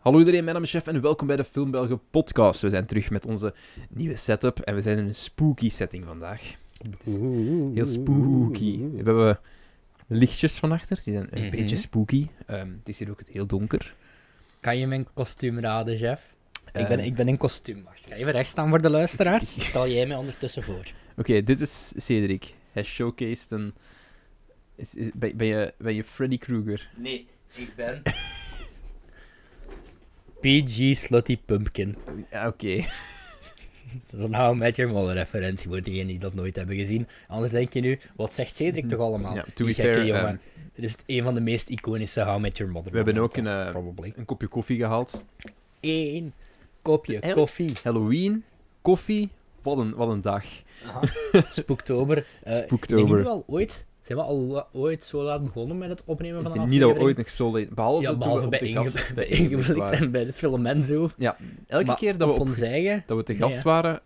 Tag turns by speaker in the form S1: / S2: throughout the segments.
S1: Hallo iedereen, mijn naam is Chef en welkom bij de Filmbelgen podcast. We zijn terug met onze nieuwe setup en we zijn in een spooky setting vandaag. Het is heel spooky. We hebben lichtjes van achter, die zijn een
S2: Mhm.
S1: beetje spooky. Ehm, het is hier ook heel donker.
S2: Kan je mijn kostuum raden, chef? ik, ben,
S1: Ehm.
S2: ik ben in kostuum. Wacht, ga even recht staan voor de luisteraars. Stel jij mij ondertussen voor.
S1: Oké, dit is Cedric. Hij showcased een... Is, is- ben, ben je, ben je Freddy Krueger?
S2: Nee, ik ben... PG Slutty Pumpkin.
S1: Ja, Oké.
S2: Dat is een How I Met Your Mother referentie voor degenen die dat nooit hebben gezien. Anders denk je nu, wat zegt Cedric toch allemaal?
S1: Ja, to be
S2: Die gekke
S1: fair,
S2: jongen.
S1: ehm,
S2: Dit is een van de meest iconische How I Met Your Mother
S1: we hebben ook een,
S2: momenten,
S1: eh,
S2: Probably.
S1: een kopje koffie gehaald.
S2: Eén kopje
S1: Eigenlijk-
S2: koffie.
S1: Halloween, koffie, wat een, wat een dag.
S2: Spooktober. Eh,
S1: Spooktober.
S2: Ik denk niet wel ooit... Zijn we al la- ooit zo laat begonnen met het opnemen
S1: Ik
S2: van een
S1: denk niet dat we
S2: aflevering?
S1: ooit nog zo late... Behalve,
S2: Ja,
S1: toen we
S2: behalve
S1: op
S2: bij,
S1: de
S2: Inge-
S1: gast-
S2: bij
S1: Inge
S2: Ingebrigt
S1: waren.
S2: en bij de film en zo.
S1: Elke
S2: Maar
S1: keer dat we,
S2: op
S1: op,
S2: ons eigen
S1: dat we te
S2: Nee,
S1: gast
S2: hè.
S1: waren,
S2: loopt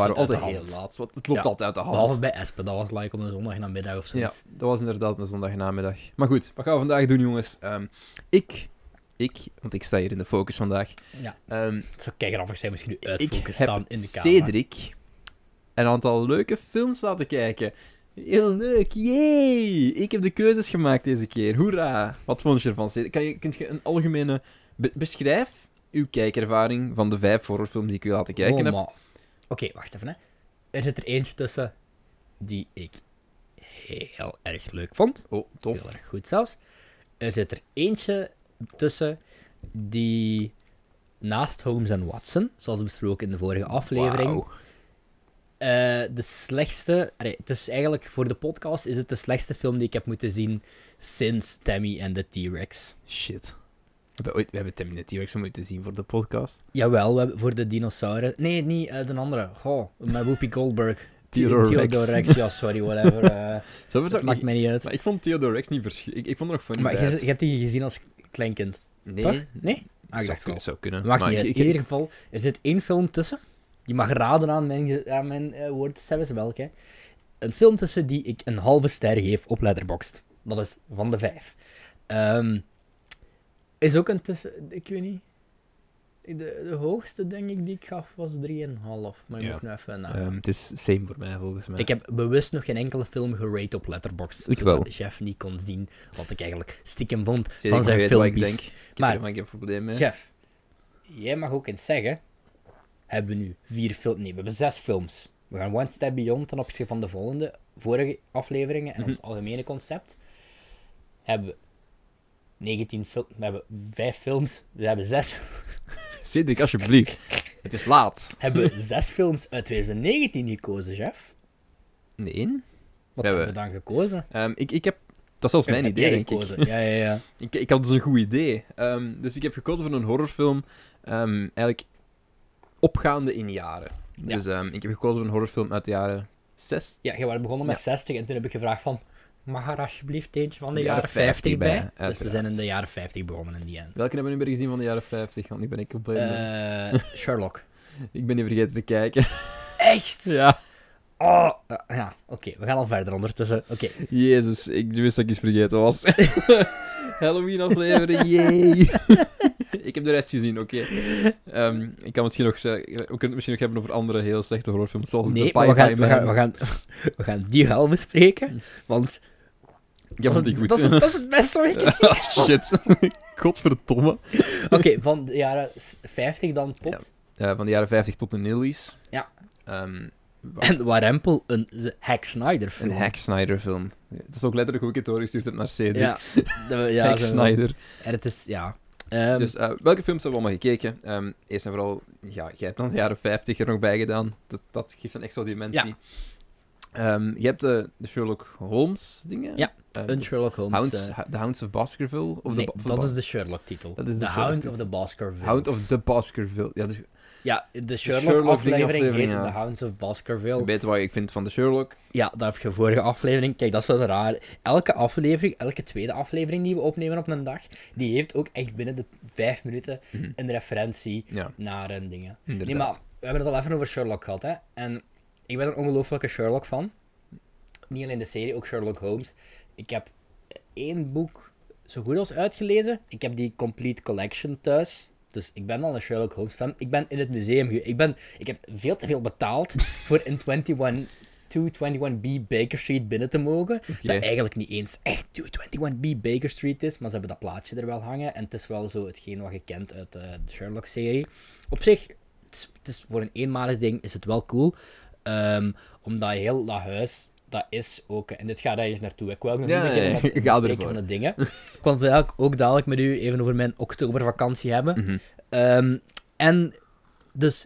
S1: waren we
S2: het
S1: altijd
S2: uit de
S1: heel
S2: hand.
S1: laat. Want het loopt
S2: Ja,
S1: altijd uit de hand.
S2: Behalve bij Espen, dat was like op een zondagnamiddag of zo.
S1: Ja, dat was inderdaad een zondagnamiddag. Maar goed, wat gaan we vandaag doen, jongens? Ehm, ik, ik, want ik sta hier in de focus vandaag.
S2: Ja.
S1: Ehm,
S2: Het zou kei grappig zijn misschien nu
S1: ik heb
S2: uitfocus staan in de kamer.
S1: Cedric een aantal leuke films laten kijken. Heel leuk, yay! Ik heb de keuzes gemaakt deze keer, hoera! Wat vond je ervan, Cedric? Kan je, kunt je een algemene... be- beschrijf uw kijkervaring van de vijf horrorfilms die ik u laten kijken
S2: Oh,
S1: heb.
S2: maar- Oké, wacht even. Hè. Er zit er eentje tussen die ik heel erg leuk vond.
S1: Oh,
S2: Heel
S1: tof.
S2: erg goed zelfs. Er zit er eentje tussen die naast Holmes en Watson, zoals besproken in de vorige aflevering,
S1: Wauw.
S2: Eh, de slechtste. allee, het is eigenlijk voor de podcast is het de slechtste film die ik heb moeten zien sinds Tammy en de T-Rex.
S1: Shit. We hebben, ooit, we hebben Tim en de T-Rex moeten zien voor de podcast.
S2: Jawel, we hebben voor de dinosauren. Nee, niet eh, de andere. Goh, met Whoopi Goldberg.
S1: Theodore Rex.
S2: Theodore Rex, ja, sorry, whatever. eh,
S1: Zo hebben we het
S2: dat
S1: ook
S2: maakt
S1: niet-
S2: mij niet uit.
S1: Maar ik vond Theodore Rex niet verschil. Ik, ik vond er nog van
S2: Maar je, je hebt die gezien als kleinkind,
S1: nee,
S2: toch? Nee? Ah,
S1: zou,
S2: ik dacht wel.
S1: kun- zou kunnen.
S2: Maakt
S1: maar
S2: niet uit.
S1: ik-
S2: In
S1: ik-
S2: ieder geval, er zit één film tussen. Je mag raden aan mijn, ge- aan mijn eh, woord, zelfs welke. Een film tussen die ik een halve ster geef op Letterboxd. Dat is van de vijf. Ehm, is ook een tussen... Ik weet niet... De, de hoogste, denk ik, die ik gaf was 3,5. Maar je
S1: Ja.
S2: moet nu even nagaan.
S1: Ehm, het is same voor mij, volgens mij.
S2: Ik heb bewust nog geen enkele film gerate op Letterboxd.
S1: Ik
S2: zodat
S1: wel.
S2: de chef niet kon zien wat ik eigenlijk stiekem vond
S1: Zie je,
S2: van
S1: ik
S2: zijn
S1: weet wat
S2: filmpjes.
S1: ik denk. Ik heb
S2: Maar-
S1: er- maar ik heb een probleem mee.
S2: Chef, jij mag ook eens zeggen: hebben we nu vier films? Nee, we hebben zes films. We gaan One Step Beyond ten opzichte van de volgende, vorige afleveringen en
S1: Mhm.
S2: ons algemene concept. Hebben we 19 films, we hebben vijf films, we hebben zes,
S1: Cedric, alsjeblieft. het is laat.
S2: hebben we zes films uit 2019 gekozen, chef.
S1: Nee.
S2: Wat
S1: Ja,
S2: hebben
S1: we-
S2: we dan gekozen?
S1: Ehm, ik, ik heb... Dat is zelfs mijn
S2: Heb
S1: idee,
S2: jij
S1: denk ik.
S2: gekozen? Ja, ja, ja.
S1: Ik, ik had dus een goed idee. Ehm, dus ik heb gekozen voor een horrorfilm, ehm, eigenlijk opgaande in jaren.
S2: Ja.
S1: Dus ehm, ik heb gekozen voor een horrorfilm uit de jaren 60.
S2: Ja, jij was begonnen met 60 en toen heb ik gevraagd van... Mag er alsjeblieft eentje van de,
S1: De
S2: jaren,
S1: jaren
S2: 50, bij? Dus we
S1: uiteraard.
S2: zijn in de jaren 50 begonnen in die end.
S1: Welke hebben we nu weer gezien van de jaren 50? Want ik ben ik compleet...
S2: Eh, Sherlock.
S1: Ik ben niet vergeten te kijken.
S2: Echt?
S1: ja.
S2: Oh, eh, ja, oké, we gaan al verder ondertussen. Oké,
S1: Jezus, ik wist dat ik iets vergeten was. Halloween aflevering, yay! ik heb de rest gezien, oké. Ehm, ik kan misschien nog, zeggen- we kunnen het misschien nog hebben over andere heel slechte horrorfilms, zoals The
S2: nee, maar
S1: Pie
S2: we gaan,
S1: Pie
S2: we, gaan,
S1: Man. Mm.
S2: we, gaan, we gaan die wel bespreken, want
S1: Ik heb het
S2: dat,
S1: niet goed.
S2: dat, is, dat is het beste wat ik heb.
S1: Shit. Godverdomme.
S2: Oké, van de jaren s- 50 dan tot...
S1: Eh, van de jaren 50 tot de Nillies.
S2: Ja.
S1: Ehm,
S2: En Warempel, een Hack Snyder
S1: een
S2: film.
S1: Hack Snyder film. Dat is ook letterlijk hoe ik het doorgestuurd heb naar CD.
S2: Ja, de- ja
S1: Hack
S2: zo-
S1: Snyder.
S2: En het is, ja... Ehm,
S1: Dus eh, welke films hebben we allemaal gekeken? Ehm, eerst en vooral, ja, jij hebt dan de jaren 50 er nog bij gedaan. Dat, dat geeft een extra dimensie. Ehm, je hebt de, de Sherlock Holmes dingen.
S2: Ja,
S1: Eh,
S2: een
S1: de
S2: Sherlock Holmes...
S1: Hounds,
S2: eh,
S1: Ha- The Hounds of Baskerville? Of
S2: nee,
S1: de, ba- of
S2: dat
S1: de
S2: is de Sherlock-titel.
S1: Dat is de
S2: The Hound
S1: Sherlock-titel.
S2: of the Baskervilles.
S1: Hound of the Baskerville. Ja, dus
S2: Ja, de
S1: Sherlock-ding
S2: Sherlock-aflevering
S1: aflevering,
S2: heet
S1: ja.
S2: The Hounds of Baskerville.
S1: je weet wat ik vind van de Sherlock.
S2: Ja, dat heb je vorige aflevering. Kijk, dat is wel raar. Elke aflevering, elke tweede aflevering die we opnemen op een dag, die heeft ook echt binnen de vijf minuten een referentie
S1: Ja,
S2: naar een dingen.
S1: inderdaad.
S2: Nee, maar we hebben het al even over Sherlock gehad, hè. En ik ben een ongelooflijke Sherlock fan. Niet alleen de serie, ook Sherlock Holmes. Ik heb één boek zo goed als uitgelezen. Ik heb die Complete Collection thuis. Dus ik ben al een Sherlock Holmes fan. Ik ben in het museum ge- ik, ben, ik heb veel te veel betaald voor in 21, 221B Baker Street binnen te mogen. Dat eigenlijk niet eens echt 221B Baker Street is, maar ze hebben dat plaatje er wel hangen. En het is wel zo hetgeen wat je kent uit eh, de Sherlock-serie. Op zich, het is, het is voor een eenmalig ding is het wel cool. Ehm, omdat heel dat huis, dat is ook... En dit gaat ergens naartoe. Ik wil nog
S1: Ja,
S2: niet beginnen
S1: nee,
S2: met het
S1: ga
S2: bespreken
S1: ervoor.
S2: van de dingen. Ik wil het eigenlijk ook dadelijk met u even over mijn oktobervakantie hebben.
S1: Mhm.
S2: Ehm, en dus,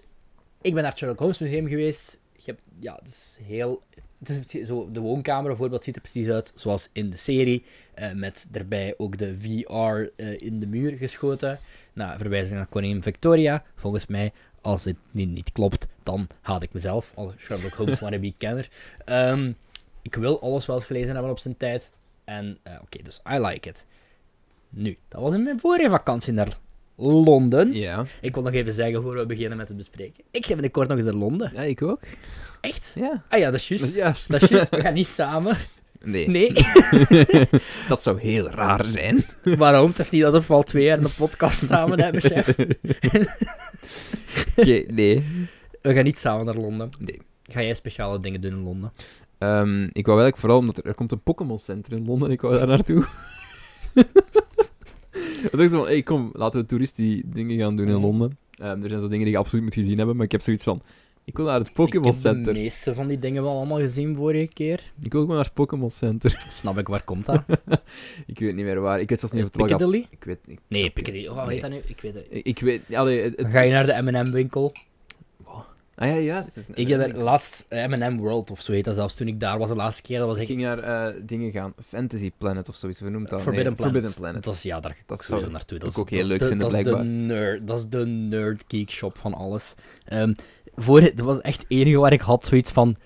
S2: ik ben naar het Sherlock Holmes Museum geweest. Je hebt, ja, het is heel... het is zo, de woonkamer bijvoorbeeld ziet er precies uit zoals in de serie. eh, met daarbij ook de VR eh, in de muur geschoten. Nou, verwijzing naar koningin Victoria. Volgens mij, als dit nu niet klopt, dan haat ik mezelf. Als Sherlock Holmes wannabe-kenner. Ehm, ik wil alles wel eens gelezen hebben op zijn tijd. En eh, oké, dus I like it. Nu, dat was in mijn vorige vakantie naar Londen.
S1: Ja.
S2: Ik wil nog even zeggen voor we beginnen met het bespreken. Ik ga binnenkort nog eens naar Londen.
S1: ja, ik ook.
S2: Echt?
S1: Ja.
S2: Ah ja, dat is juist.
S1: Ja.
S2: Dat is juist, we gaan niet samen.
S1: Nee.
S2: Nee.
S1: dat zou heel raar zijn.
S2: Waarom? Het is niet alsof we al twee jaar een podcast samen hebben, chef.
S1: Oké, nee.
S2: We gaan niet samen naar Londen.
S1: Nee.
S2: Ga jij speciale dingen doen in Londen?
S1: Ehm, ik wou eigenlijk vooral omdat er, er komt een Pokémon Center in Londen en ik wou daar naartoe. ik dacht zo van, hey, kom, laten we toeristen die dingen gaan doen in
S2: Mhm.
S1: Londen. Ehm, er zijn zo dingen die je absoluut moet gezien hebben, maar ik heb zoiets van, ik wil naar het
S2: ik
S1: Pokémon
S2: heb de
S1: Center.
S2: meeste van die dingen wel allemaal gezien vorige keer.
S1: Ik wil ook maar naar het Pokémon Center.
S2: Snap ik, waar komt dat?
S1: ik weet niet meer waar. Ik weet zelfs niet of het wel
S2: Piccadilly?
S1: gaat- Ik weet niet.
S2: Nee,
S1: Snap je?
S2: Piccadilly. Oh, hoe heet dat nu? Ik weet het
S1: Ik,
S2: niet.
S1: ik weet... Allee, het,
S2: Dan
S1: het-
S2: ga je naar de M&M winkel.
S1: Ah ja, juist. het is een-
S2: Ik heb daar laatst eh, M&M World of zo heet dat zelfs. Toen ik daar was de laatste keer, dat was
S1: Ik
S2: ik
S1: ging naar eh, dingen gaan. Fantasy Planet of zoiets. We noemen dat.
S2: Forbidden,
S1: nee,
S2: Planet.
S1: Forbidden Planet.
S2: Dat is, ja, daar
S1: Dat
S2: dat
S1: zou
S2: sowieso naartoe. Dat
S1: ik
S2: is-
S1: ook heel
S2: dat is
S1: leuk
S2: de-
S1: vinden,
S2: dat is
S1: blijkbaar.
S2: De nerd, dat is de nerd geek shop van alles. Ehm voor, dat was echt het enige waar ik had zoiets van...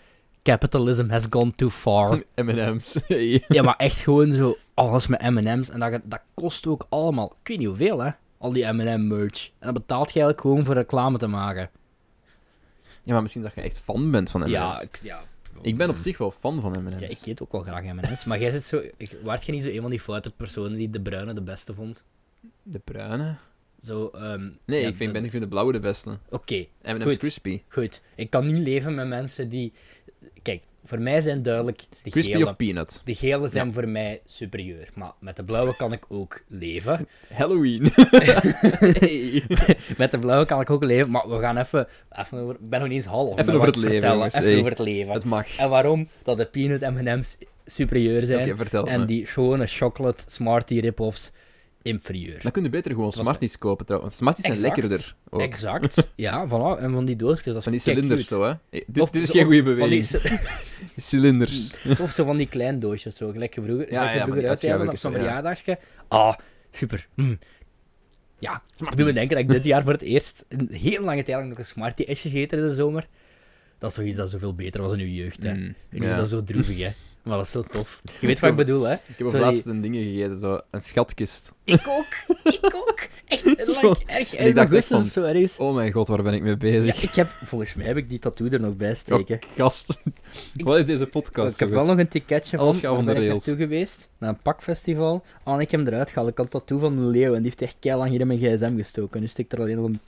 S2: Capitalism has gone too far.
S1: M&M's. Hey.
S2: ja, maar echt gewoon zo alles met M&M's. En dat, dat kost ook allemaal... Ik weet niet hoeveel, hè. Al die M&M merch. En dan betaalt je eigenlijk gewoon voor reclame te maken.
S1: Ja, maar misschien dat je echt fan bent van M&M's.
S2: Ja,
S1: ik...
S2: ik, ja.
S1: ben op zich wel fan van M&M's.
S2: Ja, ik eet ook wel graag M&M's. maar jij zit zo... Ik, waart je niet zo een van die foute personen die de bruine de beste vond?
S1: De bruine?
S2: Zo, ehm,
S1: Nee,
S2: ja,
S1: ik, vind,
S2: de-
S1: ben, ik vind de blauwe de beste.
S2: Oké,
S1: M&M's
S2: Goed.
S1: Crispy.
S2: Goed, ik kan niet leven met mensen die. Kijk, voor mij zijn duidelijk de
S1: Crispy
S2: gele.
S1: of peanut?
S2: De gele zijn voor mij superieur, maar met de blauwe kan ik ook leven.
S1: Halloween. Hey.
S2: Met de blauwe kan ik ook leven, maar we gaan even. even over, ik ben nog niet eens half.
S1: Even
S2: maar
S1: over
S2: wat
S1: het
S2: ik
S1: leven,
S2: vertellen,
S1: jongens,
S2: Even
S1: hey.
S2: over het leven.
S1: Het mag.
S2: En waarom dat de peanut MM's superieur
S1: Oké,
S2: zijn
S1: vertel
S2: en
S1: me.
S2: die gewone chocolate Smartie rip-offs inferieur.
S1: Dan kun je beter gewoon
S2: was-
S1: Smarties kopen trouwens. Smarties zijn
S2: Exact.
S1: lekkerder. Ook.
S2: Exact. ja, voilà. En van die doosjes, dat is
S1: Van die
S2: kei
S1: cilinders
S2: cute.
S1: zo, hè? Hey, dit,
S2: Of- dus
S1: dit is
S2: of-
S1: geen goede
S2: van die
S1: beweging.
S2: cil-
S1: Cilinders.
S2: Of zo van die klein doosjes, zo gelijk je
S1: Ja,
S2: vroeger, gelijk je
S1: ja, van
S2: vroeger
S1: die
S2: uitgeven op
S1: uitschuivertjes,
S2: zo'n
S1: ja.
S2: verjaardagsje. Ah, super. Mm. Ja, ik doe me denken dat ik dit jaar voor het eerst een heel lange tijd lang nog een Smartie is gegeten in de zomer. Dat is toch iets dat zoveel beter was in uw jeugd, hè.
S1: Mm,
S2: Nu is
S1: ja.
S2: dat zo droevig, hè. Maar dat is zo tof. Je weet wat ik bedoel, hè.
S1: Ik heb op
S2: Sorry.
S1: laatst een ding gegeten, zo. Een schatkist.
S2: Ik ook, ik ook. Echt, lang, erg,
S1: En ik
S2: erg
S1: dacht
S2: augustus
S1: van-
S2: of zo ergens.
S1: Oh mijn god, waar ben ik mee bezig?
S2: Ja, ik heb, volgens mij heb ik die tattoo er nog bij
S1: Ja,
S2: steken.
S1: Gast. Wat is deze podcast?
S2: ik heb wel
S1: jongens?
S2: nog een ticketje van.
S1: Alles gaat
S2: daar
S1: van de
S2: ben ik
S1: rails.
S2: naartoe geweest, naar een pakfestival. Al ik hem eruit gehaald. Ik had dat toe van een leeuw en die heeft echt keihard lang hier in mijn gsm gestoken. Nu stikt er alleen nog een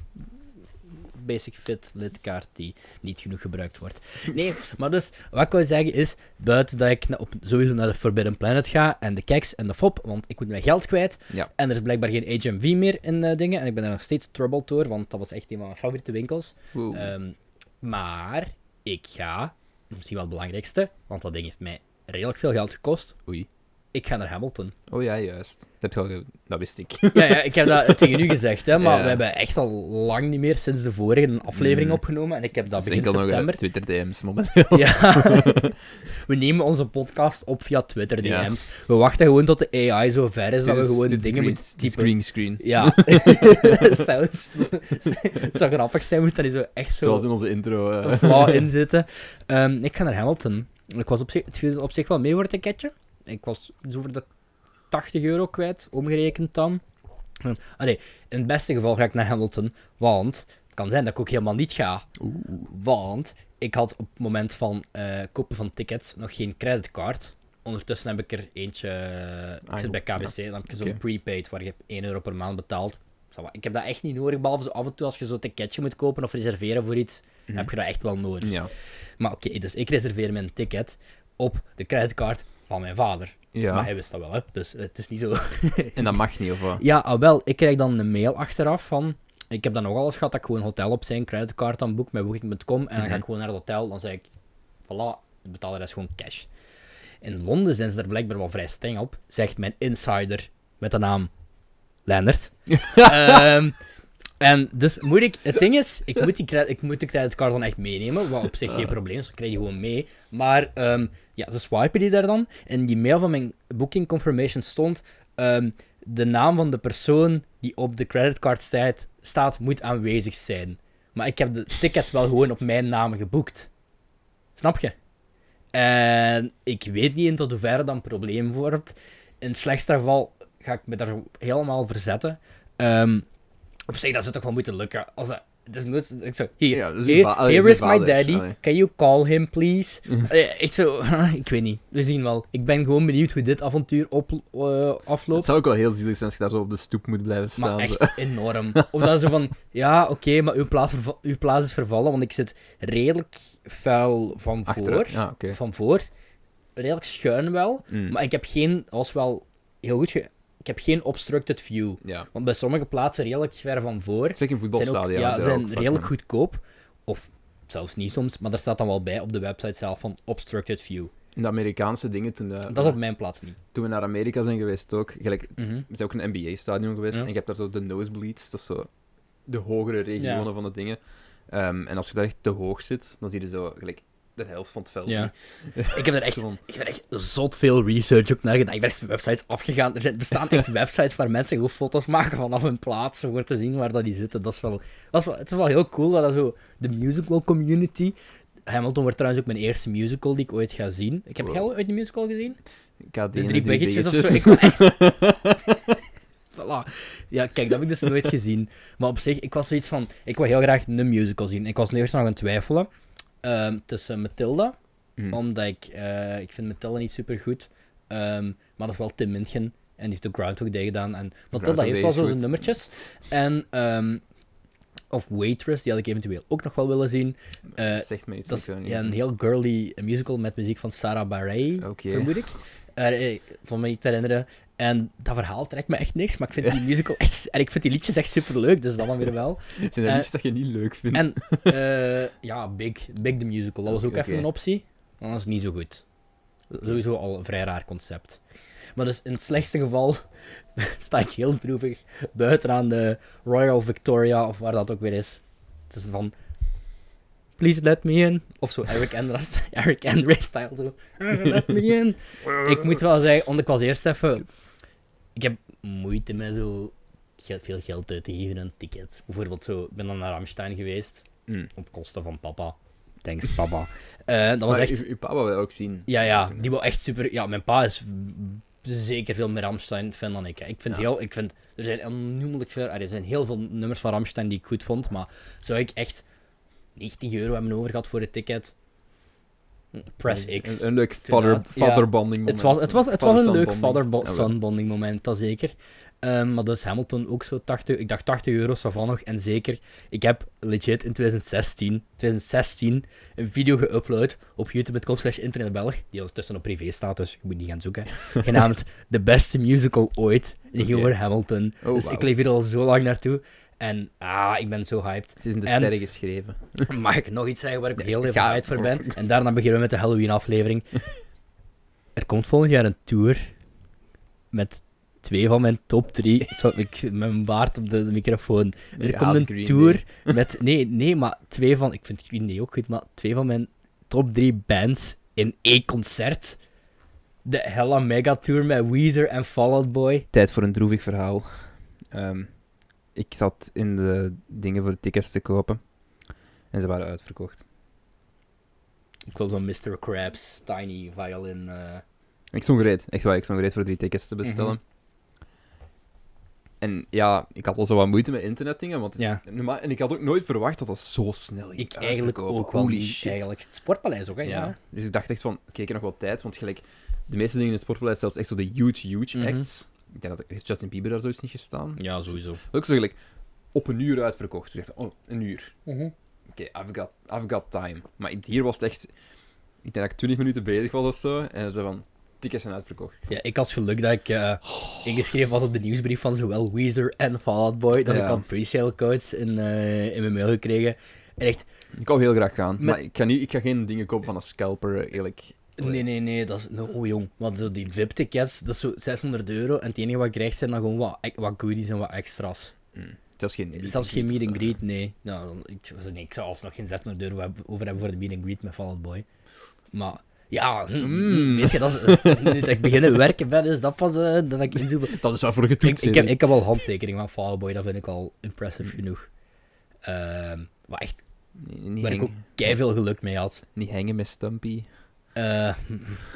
S2: basic fit lidkaart die niet genoeg gebruikt wordt. Nee, maar dus, wat ik wil zeggen is, buiten dat ik na- op, sowieso naar de Forbidden Planet ga en de keks en de fop, want ik moet mijn geld kwijt.
S1: Ja.
S2: En er is blijkbaar geen HMV meer in eh, dingen en ik ben daar nog steeds troubled door, want dat was echt een van mijn favoriete winkels.
S1: Wow.
S2: Ehm, maar ik ga, misschien wel het belangrijkste, want dat ding heeft mij redelijk veel geld gekost.
S1: Oei.
S2: Ik ga naar Hamilton.
S1: Oh ja, juist. Dat, heb je al ge- dat wist ik.
S2: Ja, ja ik heb dat tegen u gezegd, hè, maar
S1: Ja.
S2: we hebben echt al lang niet meer sinds de vorige een aflevering
S1: Mm.
S2: opgenomen. En ik heb dat
S1: is
S2: begin
S1: enkel nog eh,
S2: september.
S1: Twitter DM's momenteel.
S2: Ja. we nemen onze podcast op via Twitter
S1: Ja.
S2: DM's. We wachten gewoon tot de AI zo ver is dat we gewoon
S1: dit
S2: dingen
S1: green-
S2: moeten
S1: dit
S2: typen.
S1: Green screen.
S2: Ja, zelfs. Het zou grappig zijn, moet dat niet zo echt zo.
S1: Zoals in onze intro. eh.
S2: een flaw in zitten. Ehm, ik ga naar Hamilton. Ik was op zich, het viel op zich wel mee voor het ticketje. Ik was iets over de 80 euro kwijt, omgerekend dan. Ehm, Allee, in het beste geval ga ik naar Hamilton, want het kan zijn dat ik ook helemaal niet ga. Want ik had op het moment van eh, kopen van tickets nog geen creditcard. Ondertussen heb ik er eentje. ik
S1: Ah,
S2: zit bij
S1: joh,
S2: KBC, dan heb ik zo'n
S1: Oké.
S2: prepaid waar je 1 euro per maand betaalt. ça va. Ik heb dat echt niet nodig, behalve zo af en toe als je zo'n ticketje moet kopen of reserveren voor iets,
S1: Mhm.
S2: heb je dat echt wel nodig.
S1: Ja.
S2: Maar oké, dus ik reserveer mijn ticket op de creditcard van mijn vader. Maar
S1: ja.
S2: hij wist dat wel, hè? dus het is niet zo
S1: En dat mag niet, of wat?
S2: ja, ah, wel, ik krijg dan een mail achteraf van... Ik heb dan nogal eens gehad dat ik gewoon een hotel op zijn creditcard dan boek met booking.com. En dan ga
S1: Mhm.
S2: ik gewoon naar het hotel. Dan zeg ik, voilà, ik betaal de rest gewoon cash. In Londen zijn ze daar blijkbaar wel vrij streng op, zegt mijn insider met de naam Leendert. Ehm, en dus moet ik... Het ding is, ik moet, die credit, ik moet de creditcard dan echt meenemen, wat op zich geen probleem is, dan krijg je gewoon mee. Maar ehm, ja, ze swipen die daar dan. En die mail van mijn booking confirmation stond... ehm, de naam van de persoon die op de creditcard staat, staat moet aanwezig zijn. Maar ik heb de tickets wel gewoon op mijn naam geboekt. Snap je? En ik weet niet in tot hoeverre dat een probleem wordt. In het slechtste geval ga ik me daar helemaal verzetten. Ehm, op zich, dat zou toch wel moeten lukken. Als dat, het is nooit, ik zo, hier,
S1: Ja, dat is uw
S2: here,
S1: va- allee,
S2: here
S1: dat
S2: is
S1: is uw
S2: my
S1: vader,
S2: daddy,
S1: allee.
S2: can you call him please? Eh, ik zo, ik weet niet, we zien wel. Ik ben gewoon benieuwd hoe dit avontuur op, eh,
S1: Het
S2: afloopt.
S1: zou ook wel heel zielig zijn als je daar zo op de stoep moet blijven staan.
S2: Maar
S1: zo.
S2: echt enorm. Of dat ze van, ja, oké, maar uw plaats, verva- uw plaats is vervallen, want ik zit redelijk vuil van voor.
S1: Achteruit. Ja, oké.
S2: Van voor. Redelijk schuin wel.
S1: Mm.
S2: Maar ik heb geen, als wel heel goed, ge- ik heb geen obstructed view.
S1: Ja.
S2: Want bij sommige plaatsen redelijk ver van voor.
S1: Zeker in
S2: Zijn ook,
S1: voetbalstadion.
S2: ja,
S1: daar
S2: zijn
S1: ook vaak,
S2: redelijk
S1: hè.
S2: goedkoop. Of zelfs niet soms, maar daar staat dan wel bij op de website zelf van obstructed view.
S1: In de Amerikaanse dingen, toen, eh,
S2: Dat is op mijn plaats niet.
S1: toen we naar Amerika zijn geweest ook, gelijk, het
S2: Mhm.
S1: is ook een NBA-stadion geweest,
S2: Ja.
S1: en je hebt daar zo de nosebleeds, dat is zo de hogere regionen
S2: Ja.
S1: van de dingen. Ehm, en als je daar echt te hoog zit, dan zie je zo gelijk de helft van het veld.
S2: Ja.
S1: niet.
S2: Ik heb er echt
S1: Zo van,
S2: Ik ben echt zot veel research op naar gedaan. Ik ben echt websites afgegaan. Er zijn, bestaan echt websites waar mensen gewoon foto's maken vanaf hun plaats. Om te zien waar dat die zitten. Dat is wel, dat is wel, het is wel heel cool dat, dat zo de musical community. Hamilton wordt trouwens ook mijn eerste musical die ik ooit ga zien. Ik heb
S1: Wow.
S2: jij al ooit een musical gezien?
S1: ik had
S2: De
S1: die
S2: drie
S1: ene, die
S2: biggetjes of zo.
S1: biggetjes.
S2: Ik wil echt... voilà. Ja, kijk, dat heb ik dus nooit gezien. Maar op zich, ik was zoiets van... Ik wil heel graag een musical zien. Ik was nu eerst nog aan het twijfelen. ehm, tussen Matilda
S1: Mm.
S2: omdat ik, eh, ik vind Matilda niet super goed. maar dat is wel Tim Mintgen. En die heeft ook Groundhog Day gedaan. En Matilda
S1: Groundhog
S2: heeft
S1: Day
S2: wel
S1: is
S2: zo zijn
S1: goed.
S2: nummertjes. En, ehm, of Waitress, die had ik eventueel ook nog wel willen zien. Eh,
S1: Dat zegt me iets.
S2: dat is
S1: ik weet niet.
S2: ja, een heel girly musical met muziek van Sarah Bareilles,
S1: Oké.
S2: vermoed ik. Eh, eh, van mij te herinneren. En dat verhaal trekt me echt niks, maar ik vind die musical echt... En ik vind die liedjes echt super leuk, dus dat dan weer wel.
S1: Het zijn
S2: eh,
S1: liedjes dat je niet leuk vindt.
S2: En eh, ja, Big, Big the Musical, dat was ook
S1: Oké,
S2: even
S1: oké.
S2: een optie. Maar dat is niet zo goed. Sowieso al een vrij raar concept. Maar dus in het slechtste geval sta ik heel droevig buiten aan de Royal Victoria, of waar dat ook weer is. Het is van... Please let me in. Of zo Eric Andre, Eric Andre style zo. Let me in. Ik moet wel zeggen, want ik was eerst even... Ik heb moeite met zo ge- veel geld uit te geven aan tickets. Bijvoorbeeld zo, ik ben dan naar Ramstein geweest.
S1: Mm.
S2: Op kosten van papa. Thanks, papa. Eh, dat was
S1: Maar
S2: echt...
S1: uw, uw papa wil dat ook zien.
S2: Ja, ja, die wil echt super... Ja, mijn pa is mm, zeker veel meer Ramstein-fan dan ik. hè. Ik vind
S1: Ja.
S2: heel... Ik vind... Er zijn onnoemelijk veel... allee, Er zijn heel veel nummers van Ramstein die ik goed vond, maar zou ik echt 90 euro hebben overgehad voor het ticket? Mm, Press
S1: Dat is
S2: X.
S1: Een, een leuk vader,
S2: Inderdaad, ja.
S1: vaderbanding moment.
S2: Het was, het was, het was een leuk
S1: Vader-son-bonding. Jawel.
S2: vader-son-bonding moment, dat zeker. Ehm, maar dus Hamilton ook zo 80, ik dacht 80 euro van nog. En zeker, ik heb legit in 2016, 2016 een video geüpload op youtube.com slash internetbelg, die ondertussen op privé staat, dus je moet niet gaan zoeken, genaamd De Beste Musical Ooit, en die ging
S1: Oké.
S2: over Hamilton.
S1: Oh,
S2: dus ik
S1: wauw.
S2: leef hier al zo lang naartoe. En ah, ik ben zo hyped.
S1: Het is in de
S2: En-
S1: sterren geschreven.
S2: Mag ik nog iets zeggen waar ik
S1: Nee,
S2: heel even
S1: ga
S2: uit voor
S1: voor.
S2: ben? En daarna beginnen we met de Halloween-aflevering. er komt volgend jaar een tour met twee van mijn top drie. Zo, ik, mijn baard op de microfoon. Er
S1: Je
S2: komt
S1: haat
S2: een
S1: Green
S2: tour met. Nee, nee, maar twee van. Ik vind Green Day ook goed, maar twee van mijn top drie bands in één concert. De Hella Mega Tour met Weezer en Fall Out Boy.
S1: Tijd voor een droevig verhaal. Ehm, ik zat in de dingen voor de tickets te kopen. En ze waren uitverkocht.
S2: Ik wil zo'n Mr. Krabs Tiny Violin. eh,
S1: Ik stond gereed. Echt waar, ik stond gereed voor drie tickets te bestellen.
S2: Mhm.
S1: En ja, ik had al zo wat moeite met internetdingen. Want
S2: ja.
S1: normaal- en ik had ook nooit verwacht dat dat zo snel ging
S2: Ik eigenlijk
S1: uitverkopen.
S2: ook wel
S1: Holy
S2: niet,
S1: shit.
S2: eigenlijk. Sportpaleis ook, hè? Ja.
S1: Ja. Dus ik dacht echt van, oké, ik heb nog wel tijd. Want gelijk, de meeste dingen in het sportbeleid, zelfs echt zo de huge, huge
S2: Mhm.
S1: acts, Ik denk dat heeft Justin Bieber daar zoiets niet gestaan.
S2: Ja, sowieso.
S1: Ook zo gelijk, op een uur uitverkocht. Je zegt, oh, een uur. Oké, I've, got, I've got time. Maar hier was het echt... Ik denk dat ik 20 minuten bezig was of zo. En ze van, tickets zijn uitverkocht.
S2: Ja, ik had geluk dat ik eh, ingeschreven was op de nieuwsbrief van zowel Weezer en Fall Out Boy. Dat
S1: Ja.
S2: ik al pre-sale codes in, eh, in mijn mail gekregen. En echt,
S1: Ik wou heel graag gaan. Maar ik ga, niet, ik ga geen dingen kopen van een scalper, eerlijk.
S2: nee, nee, nee, dat is... No, oh, jong. Want zo die VIP-tickets, dat is zo 600 euro. En het enige wat je krijgt zijn dan gewoon wat, e- wat goodies en wat extra's. Dus
S1: Zelfs geen Dus, eh, meet
S2: Zelfs
S1: and
S2: geen
S1: greet
S2: meet
S1: of
S2: and
S1: zo.
S2: greet, nee. Nou, dan- ik, was- nee, ik zou alsnog geen 600 euro heb- over hebben voor de meet and greet met Fall Out Boy. Maar... Ja, mm,
S1: Mm.
S2: weet je, dat is, nu dat ik beginnen werken ben, is dat pas eh, dat ik inzoek.
S1: Dat is waarvoor
S2: Ik,
S1: getweet
S2: ik, heb, ik heb al handtekening van Fall Out Boy, dat vind ik al impressive
S1: Mm.
S2: genoeg. Ehm maar echt,
S1: Nee, niet,
S2: waar ik ook
S1: hangen,
S2: kei veel geluk mee had.
S1: niet hangen met Stumpy.
S2: Eh,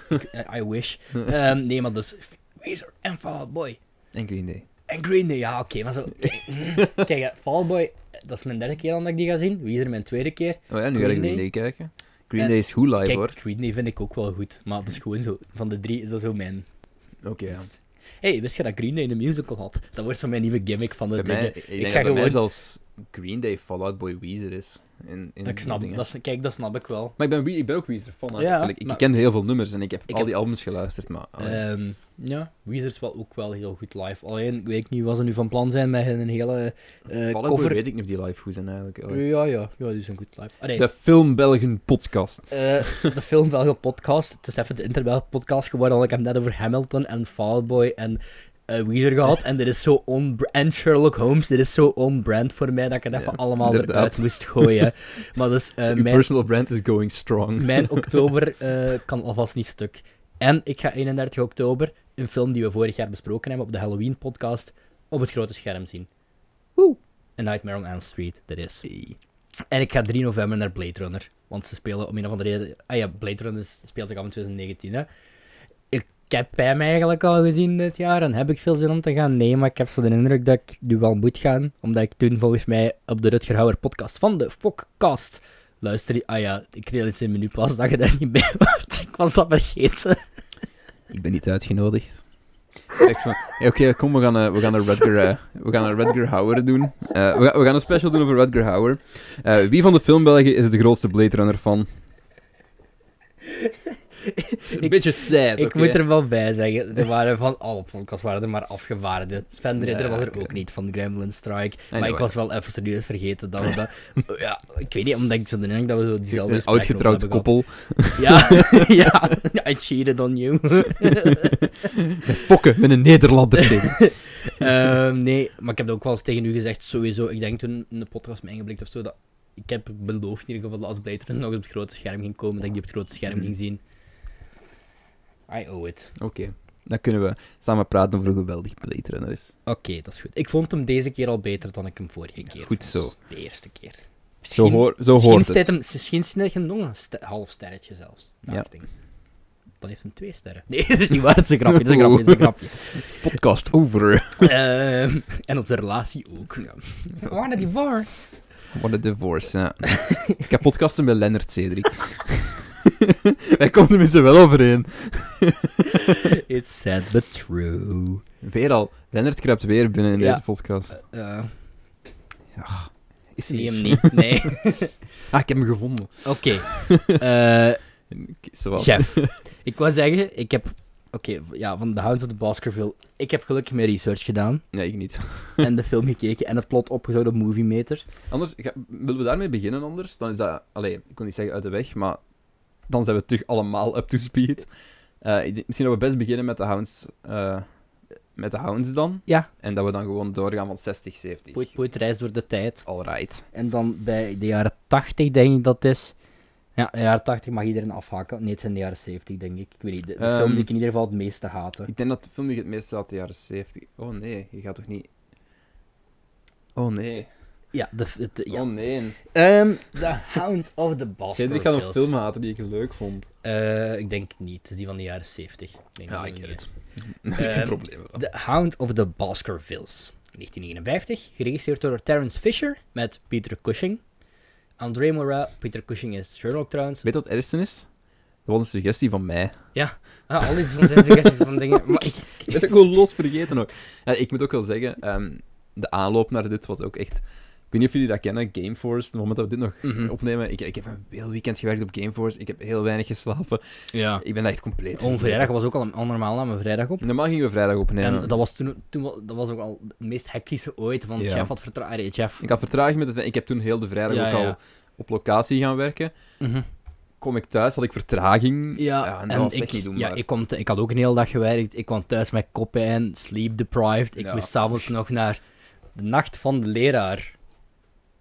S2: ik- eh, I wish. Ehm, nee, maar dus Weezer en Fall Out Boy.
S1: En Green Day.
S2: En Green Day, ja, oké, maar zo. Kijk, kijk, eh, Fall Out Boy, dat is mijn derde keer dan dat ik die ga zien. Weezer mijn tweede keer.
S1: Oh ja, nu ga
S2: Green
S1: ik Green
S2: Day?
S1: Day kijken. Green
S2: En-
S1: Day is goed live
S2: Kijk,
S1: hoor.
S2: Green Day vind ik ook wel goed, maar het is gewoon zo. Van de drie is dat zo mijn.
S1: Oké, ja.
S2: Hé, hey, wist je dat Green Day een musical had? Dat wordt zo mijn nieuwe gimmick van de
S1: Bij mij,
S2: dingen.
S1: ik, denk dat bij
S2: ga
S1: mij
S2: gewoon-
S1: zelfs Green Day Fallout Boy Weezer is. In, in
S2: Ik snap,
S1: dingen.
S2: dat, is- kijk, dat snap ik wel.
S1: Maar ik ben, Wee- ik ben ook Weezer fan. hè.
S2: Ja,
S1: Eigenlijk, ik,
S2: maar-
S1: ken heel veel nummers en ik heb
S2: Ik
S1: al
S2: heb-
S1: die albums geluisterd, maar... allee.
S2: Ehm, ja, Weezer is wel ook wel heel goed live. Alleen, ik weet niet wat ze nu van plan zijn met hun hele eh
S1: Fallout Boy
S2: cover.
S1: weet ik niet of die live goed zijn eigenlijk. allee.
S2: Ja, ja, ja, die is een goed live. Allee,
S1: De Film Belgen podcast.
S2: eh, de film Belge podcast. Het is even de Interbel podcast geworden, want ik heb net over Hamilton en Fall Out Boy en eh, Weezer gehad. En dit is zo on En Sherlock Holmes, dit is zo on-brand voor mij dat ik het even
S1: Ja,
S2: allemaal
S1: inderdaad.
S2: eruit moest gooien. maar dus, eh,
S1: Uw
S2: mijn,
S1: personal brand is going strong.
S2: mijn oktober eh, kan alvast niet stuk. En ik ga 31 oktober een film die we vorig jaar besproken hebben op de Halloween-podcast op het grote scherm zien. Woe! A Nightmare on Elm Street, dat is.
S1: Hey.
S2: En ik ga 3 november naar Blade Runner. Want ze spelen om een of andere reden... Ah ja, Blade Runner is- speelt zich af in 2019, hè. Ik heb hem eigenlijk al gezien dit jaar en heb ik veel zin om te gaan. Nee, maar ik heb zo de indruk dat ik nu wel moet gaan. Omdat ik toen volgens mij op de Rutger Hauer podcast van de Fokcast luister... Ah ja, ik realiseer me nu pas dat je daar niet bij was. Ik was dat vergeten.
S1: Ik ben niet uitgenodigd. Echt van, hey, oké, kom, we gaan, eh, we gaan een Rutger, eh, we gaan een Rutger Hauer doen. Eh, we, gaan- we gaan een special doen over Rutger Hauer. Eh, wie van de filmbelgen is de grootste Blade Runner fan? Een
S2: Ik-
S1: beetje sad,
S2: Ik
S1: oké.
S2: moet er wel bij zeggen, er waren van alle podcasts waren er maar afgevaardigden. Sven de Ridder
S1: Ja,
S2: was er
S1: oké.
S2: ook niet van Gremlin Strike. Maar
S1: Anyway.
S2: ik was wel even serieus vergeten dat we dat... ja, ik weet niet, omdat ik zo de indruk dat we zo diezelfde
S1: Een
S2: spectrum
S1: oudgetrouwd
S2: hebben gehad.
S1: koppel.
S2: Ja, ja, I cheated on you.
S1: Fokken met een Nederlander tegen.
S2: Ehm, nee, maar ik heb dat ook wel eens tegen u gezegd, sowieso. Ik denk toen in de podcast met ingeblikt of zo, dat ik heb beloofd in ieder geval dat als Blade Runner nog op het grote scherm ging komen, dat ik die op het grote scherm ging zien. I owe it.
S1: Oké, dan kunnen we samen praten over hoe geweldig Blade Runner is.
S2: Oké, dat is goed. Ik vond hem deze keer al beter dan ik hem vorige keer.
S1: goed
S2: vond.
S1: zo.
S2: De eerste keer.
S1: Zo,
S2: Misschien-
S1: hoor, zo
S2: Misschien
S1: hoort
S2: staat
S1: het.
S2: hem, misschien staat hem nog een ste- half sterretje zelfs.
S1: Ja.
S2: Ja. Dan heeft hem twee sterren. Nee, dat is niet waar. Het is een grapje. Het is een grapje. Het is een grapje.
S1: Podcast over.
S2: Ehm, en onze relatie ook.
S1: Ja.
S2: We waren een divorce.
S1: What a divorce, ja. Ik heb podcasten met Lennart Cedric. Wij komen tenminste wel overeen.
S2: It's sad but true.
S1: Weer al. Lennart kruipt weer binnen in
S2: Ja.
S1: deze podcast.
S2: Eh
S1: Is hij
S2: zie
S1: hier?
S2: hem niet. Nee.
S1: Ah, ik heb hem gevonden.
S2: Oké. Eh
S1: Zowel.
S2: Chef. Ik wou zeggen, ik heb... Oké, ja, van The Hounds of the Baskerville. Ik heb gelukkig mijn research gedaan.
S1: Nee, ik niet.
S2: en de film gekeken en het plot opgezocht op Movie Meter.
S1: Anders, ga- willen we daarmee beginnen anders? Dan is dat... Allee, ik wil niet zeggen uit de weg, maar... Dan zijn we terug allemaal up to speed. Eh, ik denk- misschien dat we best beginnen met de Hounds... eh, met de Hounds dan.
S2: Ja.
S1: En dat we dan gewoon doorgaan van 60, 70.
S2: Poet Poet reist door de tijd.
S1: Alright.
S2: En dan bij de jaren 80 denk ik dat het is. Ja, de jaren 80 mag iedereen afhaken. Nee, het zijn de jaren 70 denk ik. Ik weet niet, de, de
S1: Ehm.
S2: film die ik in ieder geval het meeste haatte.
S1: Ik denk dat de film die je het meest uit de jaren 70... Oh nee, je gaat toch niet... Oh nee.
S2: Ja, de, het- de- ja.
S1: Oh nee.
S2: Ehm, The Hound of the Baskervilles.
S1: Cedric had een film haten die ik leuk vond.
S2: Eh, ik denk het niet, het is die van de jaren 70. Ik denk dat die niet Ehm,
S1: Geen probleem.
S2: is. The Hound of the Baskervilles. 1959, geregisseerd door Terence Fisher met Peter Cushing. André Morat, Peter Cushing is Sherlock trouwens.
S1: Weet je wat het ergste is? was een suggestie van mij.
S2: Ah, al die van zijn suggesties van dingen. Maar ik,
S1: Ik ben het gewoon los vergeten ook. Ja, ik moet ook wel zeggen, ehm, de aanloop naar dit was ook echt... Ik weet niet of jullie dat kennen, Gameforce. Het moment dat we dit nog
S2: Mhm.
S1: opnemen... Ik, ik heb een heel weekend gewerkt op Gameforce. Ik heb heel weinig geslapen.
S2: ja.
S1: Ik ben echt compleet...
S2: Om vrijdag was ook al een normaal namen vrijdag op.
S1: Normaal gingen we vrijdag opnemen.
S2: En dat was toen, toen wa- dat was ook al het meest hectische ooit. Van
S1: Ja.
S2: Jeff had vertraagd. Jeff.
S1: Ik had vertraging met het... Ik heb toen heel de vrijdag
S2: Ja,
S1: ook al
S2: ja.
S1: op locatie gaan werken.
S2: Mhm.
S1: Kom ik thuis, had ik vertraging.
S2: Ja,
S1: en dat
S2: en
S1: was
S2: ik,
S1: echt niet doen.
S2: ja,
S1: maar-
S2: ik, kwam te- ik had ook een hele dag gewerkt. Ik kwam thuis met koppijn, sleep deprived. Ik
S1: Ja.
S2: moest s'avonds nog naar de nacht van de leraar.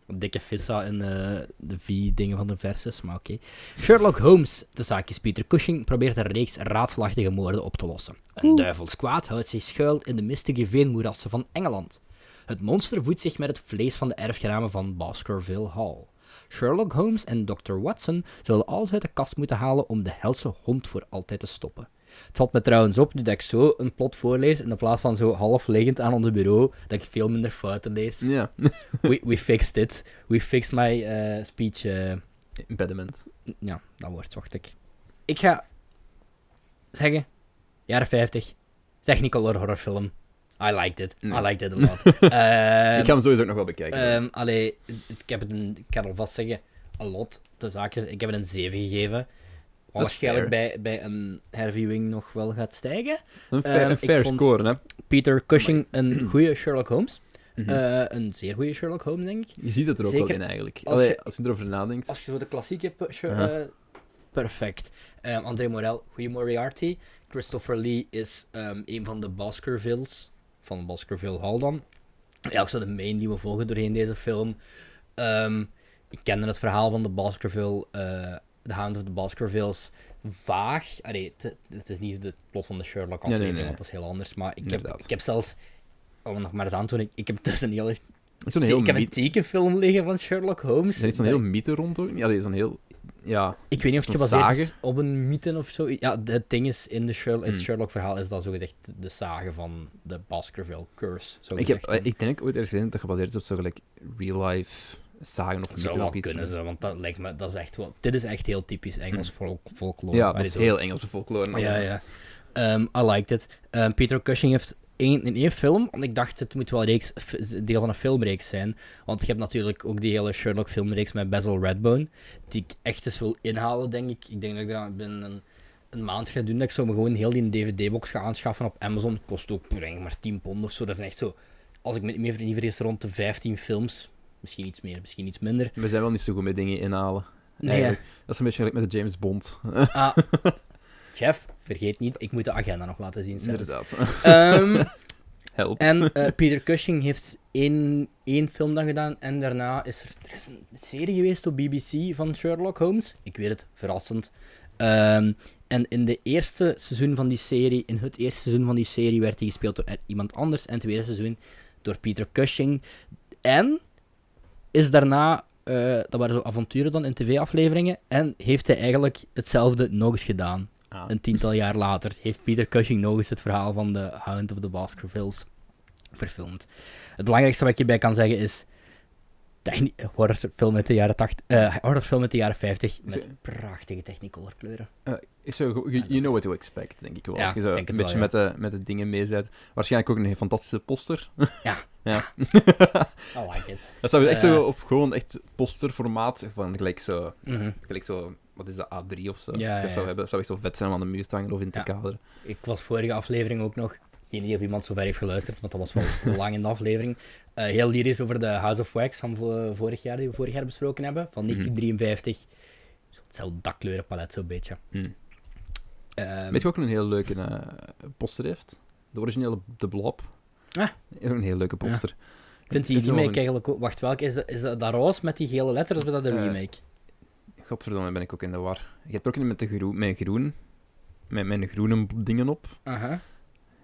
S2: Dikke vissa en eh, de vier dingen van de verses, maar oké. Sherlock Holmes, de zaakjes Peter Cushing, probeert een reeks raadselachtige moorden op te lossen. Een duivels kwaad houdt zich schuil in de mistige veenmoerassen van Engeland. Het monster voedt zich met het vlees van de erfgenamen van Baskerville Hall. Sherlock Holmes en Dr. Watson zullen alles uit de kast moeten halen om de helse hond voor altijd te stoppen. Het valt me trouwens op, nu dat ik zo een plot voorlees, in de plaats van zo half liggend aan ons bureau, dat ik veel minder fouten lees.
S1: Ja,
S2: We, we fixed it. We fixed my eh, speech. eh,
S1: impediment.
S2: ja, dat woord zocht ik. Ik ga zeggen, jaren 50, technicolor horrorfilm. I liked it.
S1: Nee.
S2: I liked it a lot. Ehm,
S1: ik ga hem sowieso ook nog wel bekijken.
S2: Ehm, allee, ik heb het een, ik kan alvast zeggen, a lot te zaken. Ik heb het een 7 gegeven. Wat
S1: Dat is
S2: waarschijnlijk bij, bij een herviewing nog wel gaat stijgen.
S1: een fair,
S2: ehm,
S1: een
S2: ik
S1: fair
S2: vond-
S1: score, hè.
S2: Peter Cushing, een goede Sherlock Holmes.
S1: Mhm.
S2: Eh, een zeer goede Sherlock Holmes, denk ik.
S1: Je ziet het er ook
S2: Zeker
S1: wel in, eigenlijk.
S2: als
S1: Als, Allee,
S2: je-
S1: als je erover nadenkt.
S2: Als je zo de klassieke... pu- Sher-
S1: Aha.
S2: eh, perfect. Ehm, André Morel, goede Moriarty. Christopher Lee is ehm, een van de Baskervilles. Van Baskerville Hall dan. Ja, ook zo de main die we volgen doorheen deze film. Ehm, ik kende het verhaal van de Baskerville... eh The Hound of the Baskervilles vaag. Allee, het, het is niet de plot van de Sherlock aflevering,
S1: nee.
S2: want dat is heel anders. Maar ik heb,
S1: Inderdaad.
S2: ik heb zelfs... Om het nog maar eens aan te doen, ik, ik heb dus een heel...
S1: Zo'n heel
S2: ik heb een
S1: mythe.
S2: tekenfilm liggen van Sherlock Holmes.
S1: Er is zo'n
S2: Dat-
S1: heel mythe rond ook. niet? Ja, er is zo'n heel... Ja,
S2: ik weet niet of het
S1: Zo'n
S2: gebaseerd is
S1: sage.
S2: op een mythe of zo. Ja, de- het ding is, in de Sherlock, het
S1: Hmm.
S2: Sherlock-verhaal is dat zogezegd de sage van de Baskerville Curse. Zo
S1: ik, heb, eh, ik denk ooit ergens gezien dat het gebaseerd is op zo gelijk real-life zagen of
S2: dat
S1: mythen
S2: zou wel
S1: of iets.
S2: kunnen, zo, want dat lijkt me, dat is echt wel... Dit is echt heel typisch Engels volk, folklore.
S1: Hmm. Ja, dat
S2: Allee,
S1: is
S2: zo-
S1: heel Engelse folklore. maar-
S2: Ja, ja. Ehm, I liked it. Ehm, Peter Cushing heeft één, in één film, want ik dacht het moet wel reeks, f- deel van een filmreeks zijn. Want je hebt natuurlijk ook die hele Sherlock filmreeks met Basil Redbone, die ik echt eens wil inhalen, denk ik. Ik denk dat ik dat binnen een, een maand ga doen, dat ik zo me gewoon heel die DVD-box ga aanschaffen op Amazon. Kost ook denk ik, maar 10 pond of zo. Dat zijn echt zo, als ik me niet meer vergis, rond de 15 films. Misschien iets meer, misschien iets minder.
S1: We zijn wel niet zo goed met dingen inhalen.
S2: Nee,
S1: eigenlijk. Dat is een beetje gelijk met de James Bond.
S2: Ah, Jeff, vergeet niet, ik moet de agenda nog laten zien. zelfs.
S1: Inderdaad.
S2: Ehm,
S1: Help.
S2: En eh, Peter Cushing heeft één, één film dan gedaan. En daarna is er, er is een serie geweest op BBC van Sherlock Holmes. Ik weet het, verrassend. Ehm, en in de eerste seizoen van die serie, in het eerste seizoen van die serie, werd hij gespeeld door eh, iemand anders. En het tweede seizoen door Peter Cushing. En is daarna, eh, dat waren zo avonturen dan in tv-afleveringen. En heeft hij eigenlijk hetzelfde nog eens gedaan.
S1: Ah.
S2: Een tiental jaar later heeft Peter Cushing nog eens het verhaal van de Hound of the Baskervilles verfilmd. Het belangrijkste wat ik hierbij kan zeggen is. techni- Horrorfilm uit de jaren 80, eh, horrorfilm uit de jaren 50 met
S1: Ze-
S2: prachtige technicolor kleuren.
S1: Eh, is zo, go- you, you know what to expect, denk ik wel.
S2: Ja,
S1: Als je zo
S2: ik
S1: een
S2: denk het
S1: beetje
S2: wel,
S1: met, de, met de dingen mee zet. Waarschijnlijk ook een fantastische poster.
S2: Ja.
S1: ja.
S2: I like it.
S1: Dat zou echt zo
S2: Eh.
S1: op gewoon echt posterformaat van gelijk zo,
S2: Mhm.
S1: gelijk zo, wat is dat, A3 of zo. Als je
S2: Ja,
S1: dat
S2: ja, ja.
S1: zou hebben, dat zou echt zo vet zijn om aan de muur te hangen of in te
S2: Ja.
S1: kaderen.
S2: Ik was vorige aflevering ook nog. Geen idee of iemand zover heeft geluisterd, want dat was wel lang in de aflevering. Eh, heel lyrisch over de House of Wax van vo- vorig jaar, die we vorig jaar besproken hebben, van 1953. Zo Hetzelfde dakkleurenpalet, zo'n beetje.
S1: Hmm.
S2: Ehm,
S1: Weet je wat ook een heel leuke eh, poster heeft? De originele De Blob.
S2: Ah.
S1: Is ook een heel leuke poster.
S2: ik vind die
S1: Het is wel
S2: remake
S1: een-
S2: eigenlijk ook... Wacht, welke? Is dat, is dat, dat roze met die gele letters of is dat de
S1: Eh,
S2: remake?
S1: Godverdomme, ben ik ook in de war. Je hebt ook een met de groen, mijn groen, met mijn groene b- dingen op.
S2: Aha.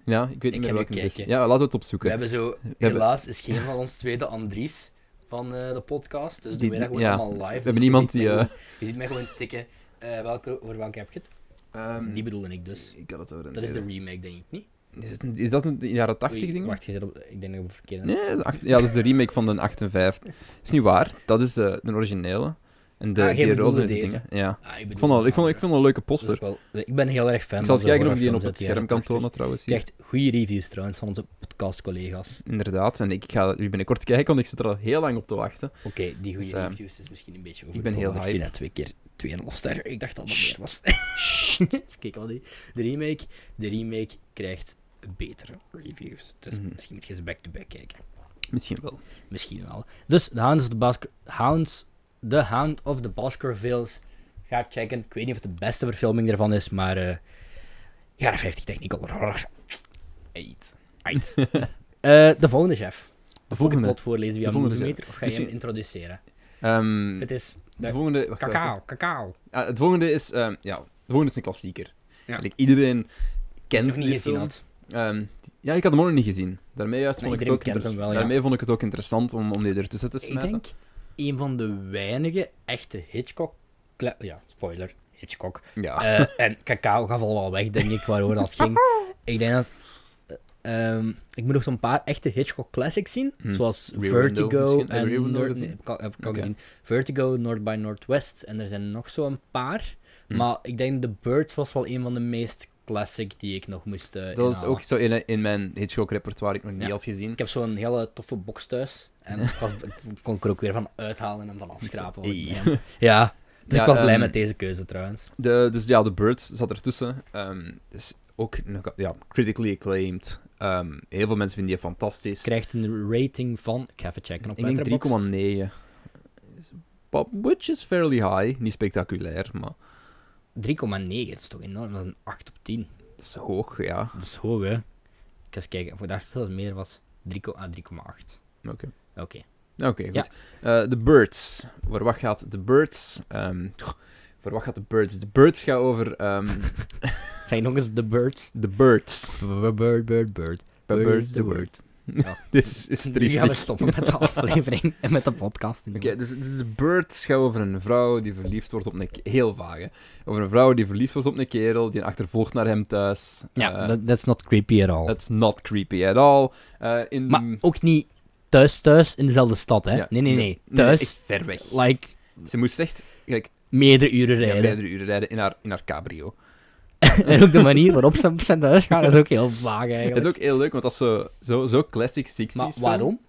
S1: Ja, ik weet
S2: Ik
S1: niet meer
S2: ga nu
S1: welke het is.
S2: kijken.
S1: Ja, laten we het
S2: We
S1: opzoeken.
S2: hebben zo...
S1: hebben-
S2: Helaas is geen van ons tweede Andries van eh, de podcast, dus doen
S1: Die-
S2: wij dat gewoon
S1: ja.
S2: allemaal live. Dus
S1: We hebben niemand die,
S2: Je ziet
S1: eh,
S2: mij gewoon, je ziet mij gewoon tikken. eh, welke, over welke heb je het?
S1: Ehm,
S2: Die bedoelde ik dus.
S1: ik had het over een...
S2: Dat is de remake, denk ik niet.
S1: Is, het een- is dat een jaren 80
S2: Oei,
S1: ding?
S2: Wacht, je zit op, ik denk dat ik op de verkeerde.
S1: Nee, de acht- ja, dat is de remake van de 58. Is niet waar. Dat is eh, de originele. En En de,
S2: Ah, jij
S1: die
S2: bedoelde
S1: roze en die
S2: deze. Dus
S1: dingen. Ja.
S2: Ah,
S1: Ik vond, dat, ik, vond, ik vond dat een leuke poster.
S2: ik ben heel erg fan
S1: Ik
S2: van
S1: zal
S2: de
S1: eens kijken of ik die op
S2: horrorfilms
S1: het
S2: uit de
S1: scherm
S2: jaren
S1: kan
S2: 80.
S1: tonen trouwens.
S2: Je
S1: Hier.
S2: krijgt goede reviews trouwens van onze podcastcollega's.
S1: Inderdaad. En ik ga hier binnenkort kijken, want ik zit er al heel lang op te wachten.
S2: Oké, die goede
S1: Dus, eh,
S2: reviews is misschien een beetje over.
S1: ik ben heel
S2: Ik zie
S1: hype.
S2: dat twee keer 2,5 sterren. Ik dacht dat dat
S1: Shh.
S2: meer was. Dus Kijk al die. De remake, de remake krijgt betere reviews. Dus
S1: Mhm.
S2: misschien moet je eens back-to-back kijken.
S1: Misschien wel.
S2: Misschien wel. Dus The Hound of the, Basque- Hounds, the Hound of the Baskervilles. Ga checken. Ik weet niet of het de beste verfilming ervan is, maar. eh jaren 50 technical horror.
S1: Eet.
S2: Uit. Eh, de volgende chef.
S1: De
S2: Moet ik het
S1: volgende.
S2: plot voorlezen via
S1: De volgende chef.
S2: Millimeter of ga je hem
S1: Misschien-
S2: introduceren?
S1: ehm,
S2: Het is
S1: de
S2: de
S1: volgende. wacht, wacht,
S2: cacao, cacao.
S1: Ah, het volgende is, ehm, ja, het volgende is een klassieker.
S2: Ja.
S1: Like, iedereen
S2: Ik
S1: kent
S2: heb
S1: die
S2: niet gezien
S1: film.
S2: had.
S1: Ehm, ja, ik had hem ook nog niet gezien. Daarmee, juist
S2: Maar
S1: vond, ik het
S2: iedereen
S1: ook
S2: kent
S1: interes-
S2: hem wel, ja.
S1: Daarmee vond ik het ook interessant om, om die ertussen te
S2: Ik
S1: smijten.
S2: denk een van de weinige echte Hitchcock. kle- Ja, spoiler. Hitchcock.
S1: Ja.
S2: Eh, en cacao gaf al wel weg, denk ik, waardoor dat ging. Ik denk dat. eh, ehm, ik moet nog zo'n paar echte Hitchcock classics zien.
S1: Hmm.
S2: Zoals
S1: Rear Window
S2: Vertigo.
S1: misschien. Heb je
S2: en
S1: Rear Window
S2: Noord-
S1: gezien?
S2: nee, heb ik al- heb ik al
S1: Oké.
S2: gezien. Vertigo, North by Northwest. En er zijn nog zo'n paar.
S1: Hmm.
S2: Maar ik denk The Birds was wel een van de meest classic die ik nog moest. eh,
S1: dat is
S2: inhalen.
S1: ook zo in, in mijn Hitchcock-repertoire ik nog niet
S2: Ja.
S1: had gezien.
S2: Ik heb zo'n hele toffe box thuis. En ik, was, ik kon ik er ook weer van uithalen en van afschrapen. wat ik
S1: Ey.
S2: neem. Ja, dus
S1: Ja,
S2: ik was blij
S1: ehm,
S2: met deze keuze trouwens.
S1: De, dus ja, The Birds zat ertussen. Ehm is ook nog- ja, critically acclaimed. Ehm, heel veel mensen vinden die fantastisch.
S2: Krijgt een rating van. Ik ga even checken op
S1: ik denk 3,9. Is- but- Which is fairly high. Niet spectaculair, maar
S2: 3,9, dat is toch enorm? Dat is een 8 op 10.
S1: dat is hoog, ja.
S2: Dat is hoog, hè? Ik ga eens kijken, voor daar zelfs meer was 3,8. Ah, 3,8.
S1: Oké.
S2: Oké.
S1: Oké, goed. Eh, The Birds. Voor wat gaat The Birds? ehm, goh, voor wat gaat The Birds? The Birds gaat over... ehm,
S2: Zijn nog eens de birds?
S1: the Birds.
S2: Bird, bird, bird. bird.
S1: By
S2: Birds
S1: Birds
S2: the
S1: the
S2: word.
S1: Word.
S2: Ja.
S1: Dit is, is
S2: Nu gaan we
S1: triestig.
S2: stoppen met de aflevering en met de podcast.
S1: Oké, dus dus The Birds gaat over een vrouw die verliefd wordt op een... ke- Heel vaag, hè. Over een vrouw die verliefd wordt op een kerel, die een achtervolgt naar hem thuis.
S2: ja,
S1: Eh,
S2: dat that's not creepy at all.
S1: That's not creepy at all. Eh, in
S2: Maar ook niet thuis, thuis in dezelfde stad, hè?
S1: Ja,
S2: nee, nee,
S1: de-
S2: nee. Thuis,
S1: echt ver weg.
S2: like,
S1: Ze moest echt gelijk,
S2: meerdere uren
S1: ja,
S2: rijden.
S1: meerdere uren rijden in haar, in haar cabrio.
S2: en ook de manier waarop ze op zijn thuis gaan, is ook heel vaag eigenlijk.
S1: Het is ook heel leuk, want dat is zo, zo, zo classic 60s.
S2: maar
S1: film.
S2: waarom?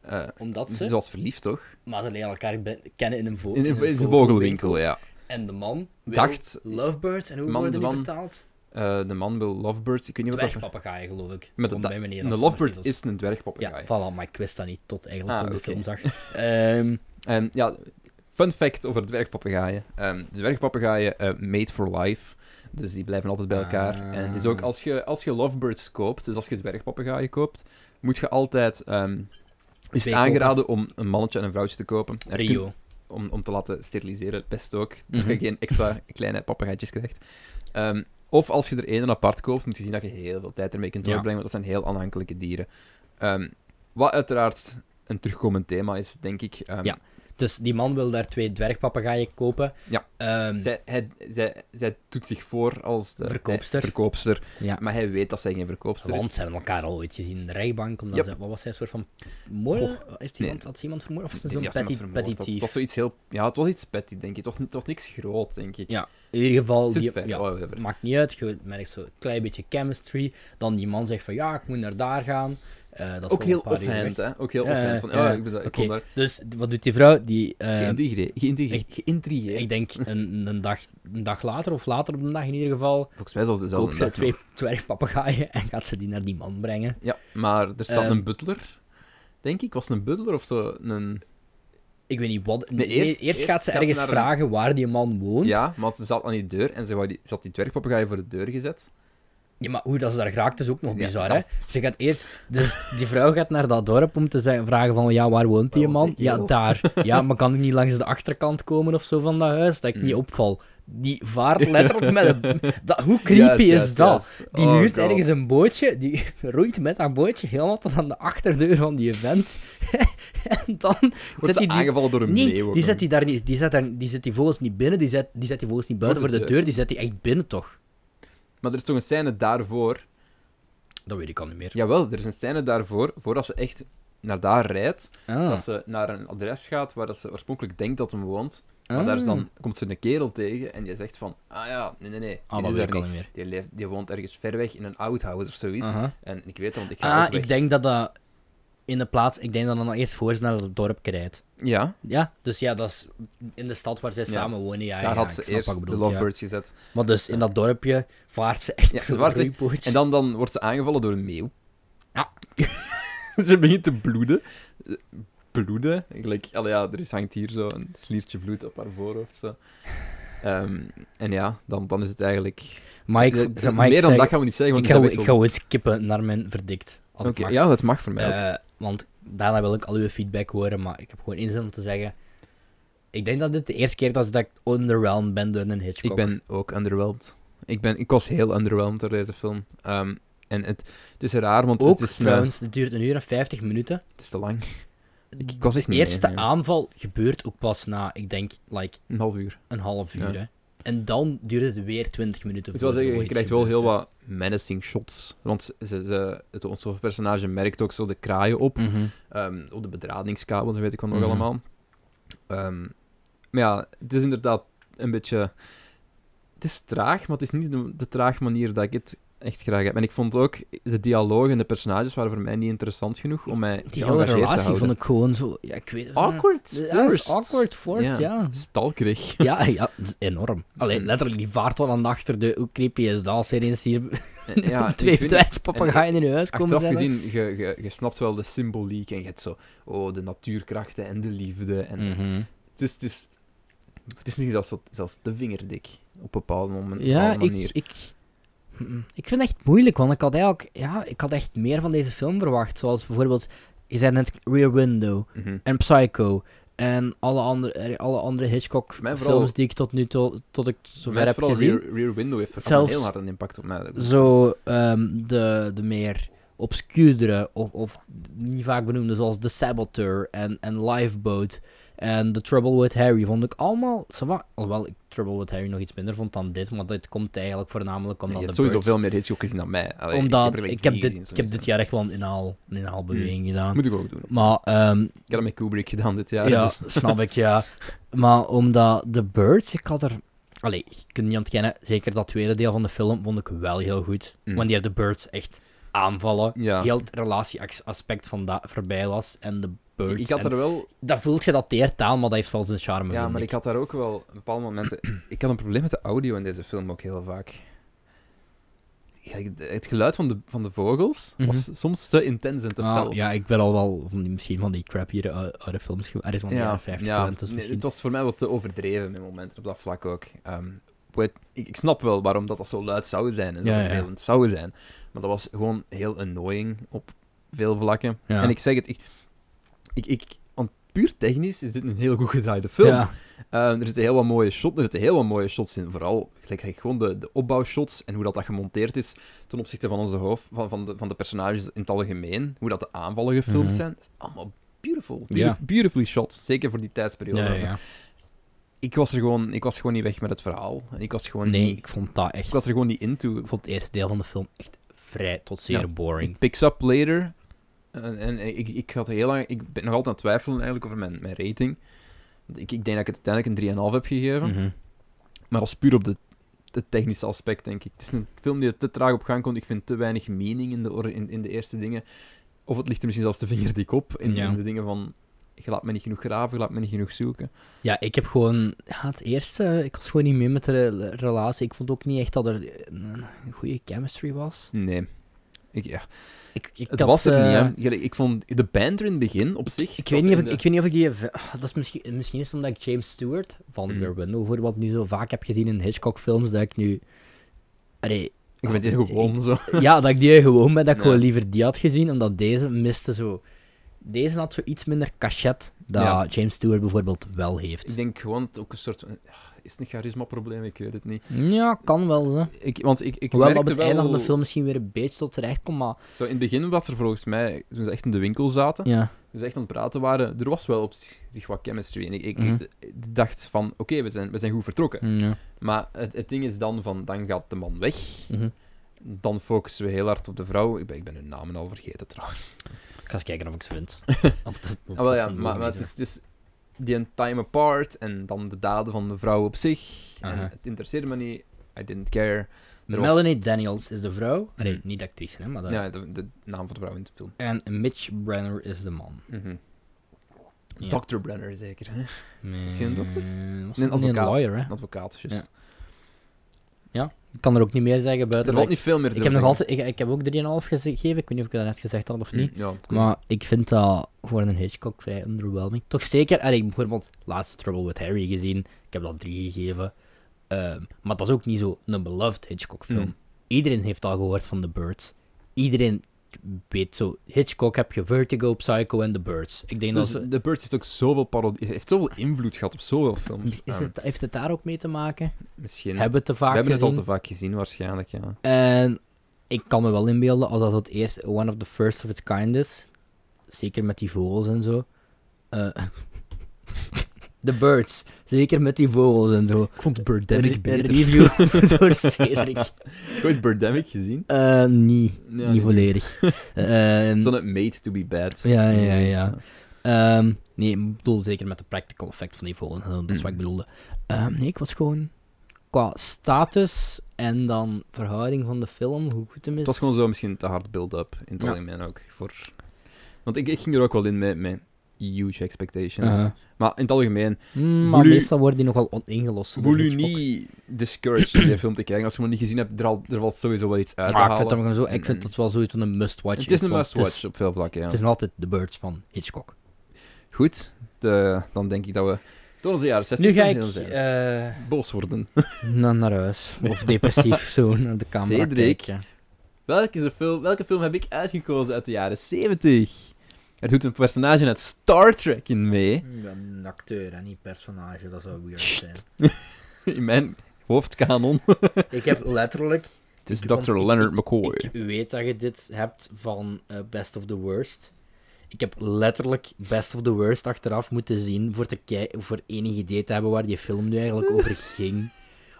S1: Eh,
S2: Omdat
S1: ze
S2: ze,
S1: was verliefd, toch?
S2: maar ze leren elkaar be- kennen in een, vo-
S1: In, in,
S2: in een
S1: in zijn vogelwinkel, ja.
S2: En de man wil
S1: Dacht-
S2: Lovebirds, en hoe
S1: de man-
S2: worden
S1: de
S2: die
S1: man-
S2: vertaald?
S1: Eh, de man wil lovebirds. Ik weet niet wat dat voor...
S2: Dwergpapagaaien, geloof ik.
S1: Met
S2: Stond
S1: dat-
S2: bij meneer
S1: Een
S2: als
S1: lovebird
S2: ondertitels.
S1: is een
S2: Ja,
S1: dwergpapagaai.
S2: voilà, maar ik wist dat niet tot eigenlijk
S1: Ah,
S2: toen
S1: oké.
S2: de film zag. Ehm,
S1: En ja, fun fact over dwergpapegaaien. Ehm dwergpapegaaien eh, made for life. Dus die blijven altijd bij elkaar.
S2: Ah.
S1: En het is ook als je, als je lovebirds koopt, dus als je dwergpapegaaien koopt, moet je altijd. ehm, is het
S2: Twee
S1: aangeraden om een mannetje en een vrouwtje te kopen. En kun-
S2: Rio.
S1: Om, om te laten steriliseren, het best ook. Dat je
S2: Mhm.
S1: geen extra kleine papegaaitjes krijgt. Ehm, of als je er één apart koopt, moet je zien dat je heel veel tijd ermee kunt
S2: Ja.
S1: doorbrengen, want dat zijn heel aanhankelijke dieren. Ehm, wat uiteraard een terugkomend thema is, denk ik. Ehm,
S2: Ja. Dus die man wil daar twee dwergpapagaaien kopen.
S1: Ja.
S2: Ehm,
S1: Zij, hij- zij, zij doet zich voor als de
S2: Verkoopster.
S1: eh, verkoopster.
S2: Ja.
S1: Maar hij weet dat zij geen verkoopster
S2: Want
S1: is.
S2: ze hebben elkaar al ooit gezien in de rechtbank. Omdat
S1: Yep.
S2: ze, wat was hij, een soort van moord? Eh, Heeft
S1: nee.
S2: iemand, Had ze iemand vermoord? Of was
S1: Ik
S2: het
S1: denk
S2: zo'n
S1: dat ze hem
S2: petty,
S1: vermoord
S2: petty
S1: had. Het
S2: thief?
S1: was zoiets heel... Ja, het was iets petty, denk ik. Het was, ni- het was niks groot, denk ik.
S2: Ja, In ieder geval,
S1: Het zit
S2: die,
S1: ver,
S2: ja,
S1: oh, whatever.
S2: maakt niet uit. Je merkt zo een klein beetje chemistry. Dan die man zegt van, ja, ik moet naar daar gaan. Eh, dat is
S1: Ook
S2: wel
S1: heel
S2: een paar uur weg.
S1: offhand, hè. Ook heel
S2: Ja,
S1: offhand. Van,
S2: ja, ja.
S1: oh, ik ben, ik
S2: Oké,
S1: kon daar...
S2: Dus d- wat doet die vrouw? Die,
S1: Het
S2: eh,
S1: is geïntrigeerd. geïntrigeerd.
S2: echt-
S1: geïntrigeerd.
S2: ik denk een, een, dag, een dag later, of later op een dag in ieder geval,
S1: Volgens mij zelfs dezelfde
S2: koopt ze
S1: dag
S2: twee
S1: nog.
S2: dwergpapagaaien en gaat ze die naar die man brengen.
S1: Ja, maar er staat
S2: Ehm.
S1: een butler. Denk ik, was het een butler of zo? Een...
S2: Ik weet niet wat.
S1: Nee,
S2: nee,
S1: eerst-
S2: eerst, gaat ze ergens
S1: naar een-
S2: vragen waar die man woont.
S1: Ja, want ze zat aan die deur en ze, wou die, ze had die dwergpapagaai voor de deur gezet.
S2: Ja, maar hoe dat ze daar geraakt is ook nog
S1: Ja,
S2: bizar,
S1: dat-
S2: hè? Ze gaat eerst... Dus die vrouw gaat naar dat dorp om te zeggen, vragen van, ja, waar woont die
S1: Waar woont
S2: man?
S1: die
S2: Ja,
S1: kerel?
S2: daar. Ja, maar kan ik niet langs de achterkant komen of zo van dat huis? Dat ik niet
S1: Mm.
S2: opval. Die vaart letterlijk met een... Dat, hoe creepy
S1: Juist,
S2: is
S1: juist,
S2: dat?
S1: juist.
S2: Die
S1: Oh,
S2: huurt
S1: God.
S2: ergens een bootje, die roeit met dat bootje helemaal tot aan de achterdeur van die event. en dan zet
S1: Wordt ze
S2: hij die...
S1: aangevallen door een
S2: Nee,
S1: meeuw? ook
S2: die
S1: nog?
S2: zet die, daar niet, die, zet daar, die zet die vogels niet binnen, die zet die, zet die vogels niet buiten voor de, deur, die zet die echt binnen, toch?
S1: Maar er is toch een scène daarvoor.
S2: Dat weet ik al niet meer.
S1: Jawel, er is een scène daarvoor, voordat ze echt naar daar rijdt,
S2: Ah.
S1: dat ze naar een adres gaat waar dat ze oorspronkelijk denkt dat hem woont. Maar
S2: Ah.
S1: daar is dan, komt ze een kerel tegen en die zegt van, ah ja, nee, nee, nee,
S2: Ah,
S1: die
S2: dat
S1: is
S2: weet
S1: er
S2: ik al
S1: niet.
S2: niet meer.
S1: Die, leeft, die woont ergens ver weg in een outhouse of zoiets.
S2: Aha.
S1: En ik weet dat, want ik ga ook
S2: Ah,
S1: weg.
S2: ik denk dat dat in de plaats, ik denk dat dat dan eerst voor ze naar het dorp rijdt.
S1: Ja,
S2: Ja, dus ja, dat is in de stad waar zij
S1: Ja.
S2: samen wonen. Ja,
S1: daar
S2: ja,
S1: had
S2: ik
S1: ze
S2: snap wat
S1: eerst
S2: je
S1: de
S2: bedoelt, ja.
S1: lovebirds gezet.
S2: Maar dus in dat dorpje vaart ze echt
S1: Ja,
S2: ja,
S1: ze
S2: zo'n
S1: vaart ze-
S2: roeibootje.
S1: En dan, dan wordt ze aangevallen door een meeuw.
S2: Ja.
S1: ze begint te bloeden. Eh, Bloeden? Gelijk, allee, ja, er is, hangt hier zo een sliertje bloed op haar voorhoofd. Zo. Ehm, en ja, dan, dan is het eigenlijk...
S2: Maar ik,
S1: Ja,
S2: zeg, maar ik
S1: meer dan
S2: zeg-
S1: dat gaan we niet zeggen, want
S2: ik
S1: die
S2: ga,
S1: zijn
S2: ik
S1: weg
S2: ga ooit skippen naar mijn verdikt, als
S1: van-
S2: ik
S1: Oké,
S2: mag.
S1: Ja, dat mag voor mij ook.
S2: Eh, want daarna wil ik al uw feedback horen, maar ik heb gewoon één zin om te zeggen. Ik denk dat dit de eerste keer is dat ik underwhelmed ben door een Hitchcock.
S1: Ik ben ook underwhelmed. Ik, ben, ik was heel underwhelmed door deze film. Ehm, en het, het is raar, want
S2: Ook
S1: het, is, eh,
S2: trouwens, het duurt een uur en 50 minuten.
S1: het is te lang. Ik, ik was echt
S2: De
S1: niet
S2: eerste
S1: mee, ja.
S2: aanval gebeurt ook pas na, ik denk, like,
S1: Een half uur.
S2: een half uur.
S1: Ja.
S2: Hè. En dan duurt het weer 20 minuten.
S1: Ik wil
S2: voordat er
S1: zeggen, je
S2: ooit
S1: krijgt wel
S2: iets
S1: heel
S2: gebeurt,
S1: wat menacing shots. Want ze, ze, het, ons hoofdpersonage merkt ook zo de kraaien op.
S2: hè. Mhm.
S1: ehm, op de bedradingskabels en weet ik wat nog
S2: Mhm.
S1: allemaal. Ehm, maar ja, het is inderdaad een beetje... Het is traag, maar het is niet de, de traag manier dat ik het echt graag heb. En ik vond ook, de dialoog en de personages waren voor mij niet interessant genoeg om mij
S2: Die hele relatie vond ik gewoon zo... Ja, ik weet het
S1: Awkward.
S2: niet. Ja, dat is
S1: forced.
S2: awkward,
S1: Ja.
S2: forced, ja.
S1: Stalkerig.
S2: Ja, ja, dat is enorm. Alleen letterlijk, die vaart wel aan de achter de... Hoe creepy is dat als er eens hier
S1: ja, ik
S2: twee
S1: vind-
S2: dwerg papegaaien in je huis komen
S1: Achteraf
S2: zetten?
S1: gezien, je, je, je snapt wel de symboliek en je hebt zo, oh, de natuurkrachten en de liefde. En
S2: Mhm.
S1: het, is, het, is, het is misschien zelfs, wat- zelfs de vingerdik op een bepaalde, moment,
S2: Ja,
S1: bepaalde
S2: ik,
S1: manier.
S2: ik, Mm, ik vind het echt moeilijk, want ik had eigenlijk... Ja, ik had echt meer van deze film verwacht. Zoals bijvoorbeeld, je zei net Rear Window.
S1: Mhm.
S2: en Psycho. En alle andere, eh, alle andere Hitchcock
S1: Voor mij
S2: films
S1: vooral-
S2: die ik tot nu toe, tot ik
S1: Maar
S2: zover
S1: het
S2: heb
S1: vooral
S2: gezien.
S1: Rear, Rear Window heeft had
S2: Zelfs-
S1: een heel hard een impact op mij.
S2: Zo ehm, de, de meer obscuurdere of, of niet vaak benoemde zoals The Saboteur en, en Lifeboat en The Trouble with Harry vond ik allemaal... ça va. Alhoewel ik Trouble with Harry nog iets minder vond dan dit, want dit komt eigenlijk voornamelijk
S1: Je
S2: omdat de
S1: hebt sowieso eh,
S2: Birds-
S1: veel meer Hitchcock gezien dan mij. Allee,
S2: omdat
S1: er
S2: ik heb,
S1: eigenlijk niet
S2: dit,
S1: gezien,
S2: ik heb dit
S1: sowieso.
S2: jaar echt wel een inhaal, een inhaalbeweging gedaan.
S1: Hmm. Moet ik ook doen.
S2: Maar ehm,
S1: Ik heb dat met Kubrick gedaan dit jaar.
S2: Ja,
S1: dus-
S2: snap ik, ja. Maar omdat The Birds, ik had er... Allee, ik kan niet ontkennen, zeker dat tweede deel van de film vond ik wel heel goed.
S1: Mm.
S2: Wanneer The Birds echt aanvallen,
S1: ja.
S2: heel het relatieaspect van dat voorbij was en The Birds...
S1: Ik had
S2: en-
S1: er wel
S2: Dat voelt gedateerd aan, maar dat heeft wel zijn charme,
S1: Ja,
S2: vind
S1: maar ik had daar ook wel bepaalde momenten. ik had een probleem met de audio in deze film ook heel vaak. Kijk, de- Het geluid van de, van de vogels was soms te intens en te
S2: Mhm. Ah,
S1: fel.
S2: ja, ik ben al wel van die, misschien van die crap hier uit, uit de films geweest. Er is van de jaren 50
S1: ja.
S2: gewend, dus
S1: Nee,
S2: misschien...
S1: het was voor mij wat te overdreven met momenten op dat vlak ook. Ehm, weet- ik, ik snap wel waarom dat, dat zo luid zou zijn en zo
S2: Ja, ja.
S1: vervelend zou zijn. Maar dat was gewoon heel annoying op veel vlakken.
S2: Ja.
S1: En ik zeg het, ik, ik, ik, want puur technisch is dit een heel goed gedraaide film.
S2: Ja.
S1: Ehm, er zitten heel wat mooie shots, er zitten heel wat mooie shots in. Vooral gelijk, gelijk gewoon de, de opbouwshots en hoe dat, dat gemonteerd is ten opzichte van onze hoofd, van, van, de, van de personages in het algemeen. Hoe dat de aanvallen gefilmd
S2: Mhm.
S1: zijn. Allemaal beautiful.
S2: Ja.
S1: Beautif- Beautifully shot. Zeker voor die
S2: Ja,
S1: tijdsperiode.
S2: ja, ja.
S1: Ik, was er gewoon, ik was gewoon niet weg met het verhaal. En Ik was, gewoon
S2: Nee,
S1: niet-
S2: ik vond dat echt...
S1: ik was er gewoon niet into.
S2: Ik vond het eerste deel van de film echt vrij tot zeer
S1: Ja.
S2: boring.
S1: It picks up later. En, en ik, ik, had heel lang, ik ben nog altijd aan het twijfelen eigenlijk over mijn, mijn rating. Want Ik, ik denk dat ik het uiteindelijk een 3,5 heb gegeven.
S2: Mhm.
S1: Maar dat is puur op de, het technische aspect, denk ik. Het is een film die er te traag op gang komt. Ik vind te weinig meaning in de, or- in, in de eerste dingen. Of het ligt er misschien zelfs de vingerdik op in,
S2: Ja.
S1: in de dingen van... Je laat me niet genoeg graven, je laat me niet genoeg zoeken.
S2: Ja, ik heb gewoon... Ja, het eerste, ik was gewoon niet mee met de re- relatie. Ik vond ook niet echt dat er een een goede chemistry was.
S1: Nee. Ik, ja.
S2: Ik, ik
S1: Het
S2: had,
S1: was er
S2: eh,
S1: niet, hè. Ik, ik vond de band er in het begin, op zich...
S2: Ik
S1: was
S2: weet, niet of
S1: in
S2: ik,
S1: de-
S2: ik weet niet of ik die... ev- ah, Dat is misschien, misschien is het omdat ik James Stewart van
S1: Mhm.
S2: Rear Window bijvoorbeeld niet zo vaak heb gezien in Hitchcock-films, dat ik nu... Allee,
S1: Ik ben hier gewoon zo...
S2: ja, dat Oh, ik die gewoon ben, dat ik
S1: Ja.
S2: gewoon liever die had gezien, omdat deze miste zo... Deze had zo iets minder cachet dat
S1: Ja.
S2: James Stewart bijvoorbeeld wel heeft.
S1: Ik denk gewoon ook een soort... van- Is het een charisma-probleem? Ik weet het niet.
S2: Ja, kan wel, hè.
S1: Ik, want ik, ik
S2: Hoewel dat op
S1: merkte
S2: het
S1: wel...
S2: einde van de film misschien weer een beetje tot terecht komt, maar...
S1: Zo, in het begin was er volgens mij... Toen ze echt in de winkel zaten...
S2: Ja.
S1: dus echt aan het praten waren, er was wel op zich zich wat chemistry. En ik, ik,
S2: Mhm.
S1: ik dacht van, oké, we, zijn, we zijn goed vertrokken.
S2: Ja.
S1: Maar het, het ding is dan van, dan gaat de man
S2: Mhm.
S1: weg. Dan focussen we heel hard op de vrouw. Ik ben, ik ben hun namen al vergeten trouwens.
S2: Ik ga eens kijken of ik ze vind. Op de- op
S1: Ah, wel,
S2: de
S1: ja,
S2: van-
S1: maar, maar het is, het is die een time apart en dan de daden van de vrouw op zich. En
S2: Aha.
S1: het interesseerde me niet. I didn't care. er was-
S2: Melanie Daniels is de vrouw. Ah, Nee,
S1: Mhm.
S2: niet de actrice, hè, maar de...
S1: Ja, de, de naam van de vrouw in de film.
S2: En Mitch Brenner is de man. Mhm. Ja.
S1: Dr. Brenner, zeker. Hè? Is hij een dokter?
S2: Eh, was
S1: Een
S2: dat niet
S1: advocaat.
S2: lawyer, hè?
S1: Een advocaat, juist.
S2: Ja. Ik kan er ook niet meer zeggen buiten.
S1: Er
S2: dat
S1: valt niet
S2: ik-
S1: veel meer te
S2: ik heb nog
S1: zeggen.
S2: altijd, ik, ik heb ook 3,5 gegeven. Ik weet niet of ik dat net gezegd had of niet.
S1: Mm, Ja, cool.
S2: Maar ik vind dat voor een Hitchcock vrij underwhelming. Toch zeker, en ik heb bijvoorbeeld laatste Trouble with Harry gezien. Ik heb dat drie gegeven. Ehm, maar dat is ook niet zo een beloved Hitchcock film.
S1: Mm.
S2: Iedereen heeft al gehoord van The Birds. Iedereen weet zo. Hitchcock heb je Vertigo, Psycho en The Birds. Ik denk
S1: Dus
S2: dat ze-
S1: de Birds heeft ook zoveel parodie, heeft zoveel invloed gehad op zoveel films.
S2: Is
S1: Ehm,
S2: het, heeft het daar ook mee te maken?
S1: misschien.
S2: Hebben we het te
S1: We
S2: vaak
S1: hebben het
S2: gezien?
S1: al te vaak gezien, waarschijnlijk, ja.
S2: En ik kan me wel inbeelden als dat zo het eerste, one of the first of its kind is. Zeker met die vogels en zo. Eh, the Birds. Zeker met die vogels en zo.
S1: Ik vond
S2: Een re- een review door Cedric.
S1: Heb je ooit Birdemic gezien?
S2: Eh, niet.
S1: Ja,
S2: niet
S1: niet.
S2: volledig. Ehm,
S1: Is dan het Made to be Bad? Mm.
S2: Ja, ja, ja, ja. ehm, nee, ik bedoel zeker met de practical effect van die vogels. en zo, Dat is wat ik
S1: Mm.
S2: bedoelde. Ehm, nee, ik was gewoon... Qua status en dan verhouding van de film, hoe goed hem is.
S1: Het was gewoon zo misschien te hard build-up, in het
S2: Ja.
S1: algemeen ook. Voor... Want ik, ik ging er ook wel in met, met huge expectations.
S2: Aha.
S1: Maar in het algemeen,
S2: Mm,
S1: Voel
S2: maar
S1: u-
S2: meestal worden die nogal on- ingelost. door
S1: voel u
S2: Hitchcock.
S1: niet discouraged om die film te kijken. Als je hem nog niet gezien hebt, er, al, er valt sowieso wel iets uit te
S2: Maar Ah, ik
S1: halen.
S2: vind, dat, gewoon zo, ik
S1: En-
S2: vind
S1: en-
S2: dat wel zoiets van een dus- must-watch.
S1: Het is een
S2: want
S1: must-watch op veel vlakken, ja.
S2: Het is nog altijd The Birds van Hitchcock.
S1: Goed, de, dan denk ik dat we door onze jaren 60
S2: Nu ga ik
S1: heen zijn. eh, boos worden.
S2: naar, naar huis. Of depressief zo naar de camera
S1: Cedric.
S2: kijken.
S1: Welke, is de film, welke film heb ik uitgekozen uit de jaren 70? Er doet een personage uit Star Trek in mee.
S2: Een acteur en niet personage, dat zou weird
S1: Sst.
S2: zijn.
S1: In mijn hoofdkanon.
S2: Ik heb letterlijk...
S1: Het is
S2: Ik-
S1: Dr.
S2: want ik-
S1: Leonard
S2: ik-
S1: McCoy.
S2: Ik weet dat je dit hebt van eh, Best of the Worst. Ik heb letterlijk Best of the Worst achteraf moeten zien voor, te kei- voor enig idee te hebben waar die film nu eigenlijk over ging.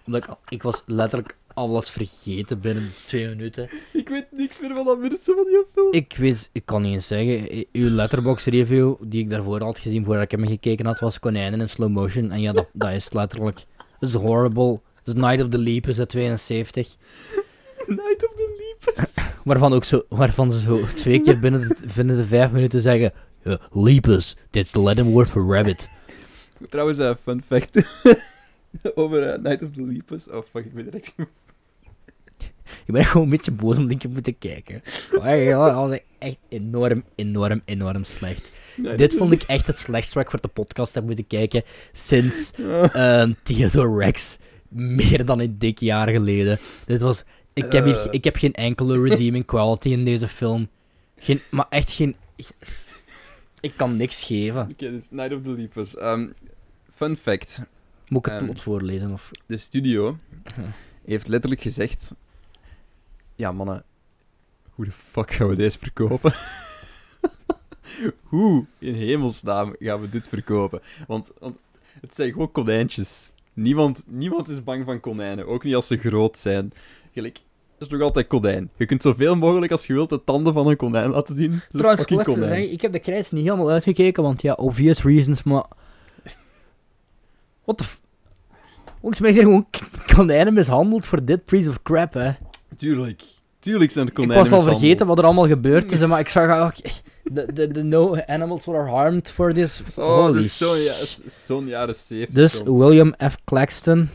S2: Omdat ik, al- ik was letterlijk alles vergeten binnen twee minuten.
S1: Ik weet niks meer van dat minste van die film.
S2: Ik weet, ik kan niet eens zeggen, i- uw letterbox review die ik daarvoor had gezien voordat ik hem gekeken had, was konijnen in slow motion. En ja, dat, dat is letterlijk. Dat is horrible. Dat is Night of the Leap is uit 72.
S1: Night of the Leapers.
S2: Waarvan, ook zo, waarvan ze zo twee keer binnen de, binnen de vijf minuten zeggen: eh, Lepus, dit is the Latin word for rabbit.
S1: Trouwens, eh, fun fact. Over eh, Night of the Leapers. Oh fuck, ik ben direct...
S2: Ik ben gewoon een beetje boos omdat ik heb moeten kijken. Maar echt, ja, dat was echt enorm, enorm, enorm slecht. Dit vond ik echt het slechtst wat ik voor de podcast heb moeten kijken sinds
S1: Ah.
S2: ehm, Theodore Rex. Meer dan een dik jaar geleden. Dit was. Ik heb, hier,
S1: Eh.
S2: ik heb geen enkele redeeming quality in deze film. Geen, maar echt geen. Ik kan niks geven.
S1: Oké, dus Night of the Leapers. Ehm, fun fact.
S2: Moet ik het
S1: Ehm.
S2: plot voorlezen? Of...
S1: de studio
S2: Ja.
S1: heeft letterlijk gezegd: Ja, mannen, hoe de fuck gaan we deze verkopen? hoe in hemelsnaam gaan we dit verkopen? Want, want het zijn gewoon konijntjes. Niemand, niemand is bang van konijnen, ook niet als ze groot zijn. Gelijk, dat is nog altijd konijn. Je kunt zoveel mogelijk als je wilt de tanden van een konijn laten zien. Het is een
S2: Trouwens, ik wil
S1: fucking
S2: even
S1: konijn.
S2: zeggen, ik heb de krijs niet helemaal uitgekeken, want ja, obvious reasons, maar... What the f... Volgens mij zijn er gewoon k- konijnen mishandeld voor dit piece of crap, hè.
S1: Tuurlijk, tuurlijk zijn er
S2: ik
S1: konijnen.
S2: was al
S1: mishandeld.
S2: vergeten wat er allemaal gebeurd is, hè, maar ik zag... ah, oké, de, de, de no animals were harmed for this...
S1: Oh,
S2: Holy
S1: dit is zo'n
S2: shit.
S1: ja, zo'n jaren 70.
S2: Dus
S1: film.
S2: William F. Claxton,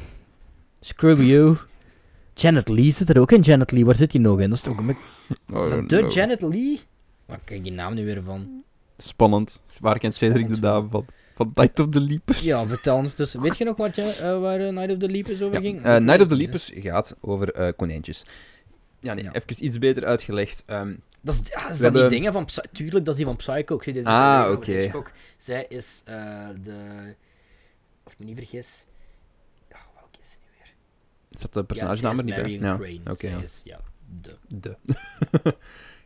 S2: screw you. Janet Lee zit er ook in, Janet Lee, waar zit die nog in? Dat is toch
S1: Oh,
S2: een...
S1: I
S2: is dat
S1: don't
S2: de
S1: know.
S2: Janet Lee? Waar krijg ik die naam nu weer van?
S1: Spannend. Waar kent Cedric de naam
S2: Spannend.
S1: van? Van Night of the Leapers.
S2: Ja, vertel ons dus. Weet je nog wat je, eh, waar eh, Night of the Leapers over ging?
S1: Eh, Night of the Leapers gaat over eh, konijntjes. Ja, nee,
S2: Ja.
S1: even iets beter uitgelegd. Ehm,
S2: Dat is, ah, is dat
S1: hebben-
S2: die dingen van Psy- Tuurlijk, dat is die van Psycho. Ik zie dit
S1: Ah,
S2: natuurlijk over
S1: oké.
S2: Hitchcock. Zij is eh, de... Als ik me niet vergis... Ja, welke is ze nu weer?
S1: zat de
S2: Ja,
S1: personage
S2: zij
S1: naam
S2: is
S1: er niet bij?
S2: Marion
S1: Ja,
S2: Crane.
S1: oké,
S2: Zij
S1: ja.
S2: is, ja, de...
S1: De.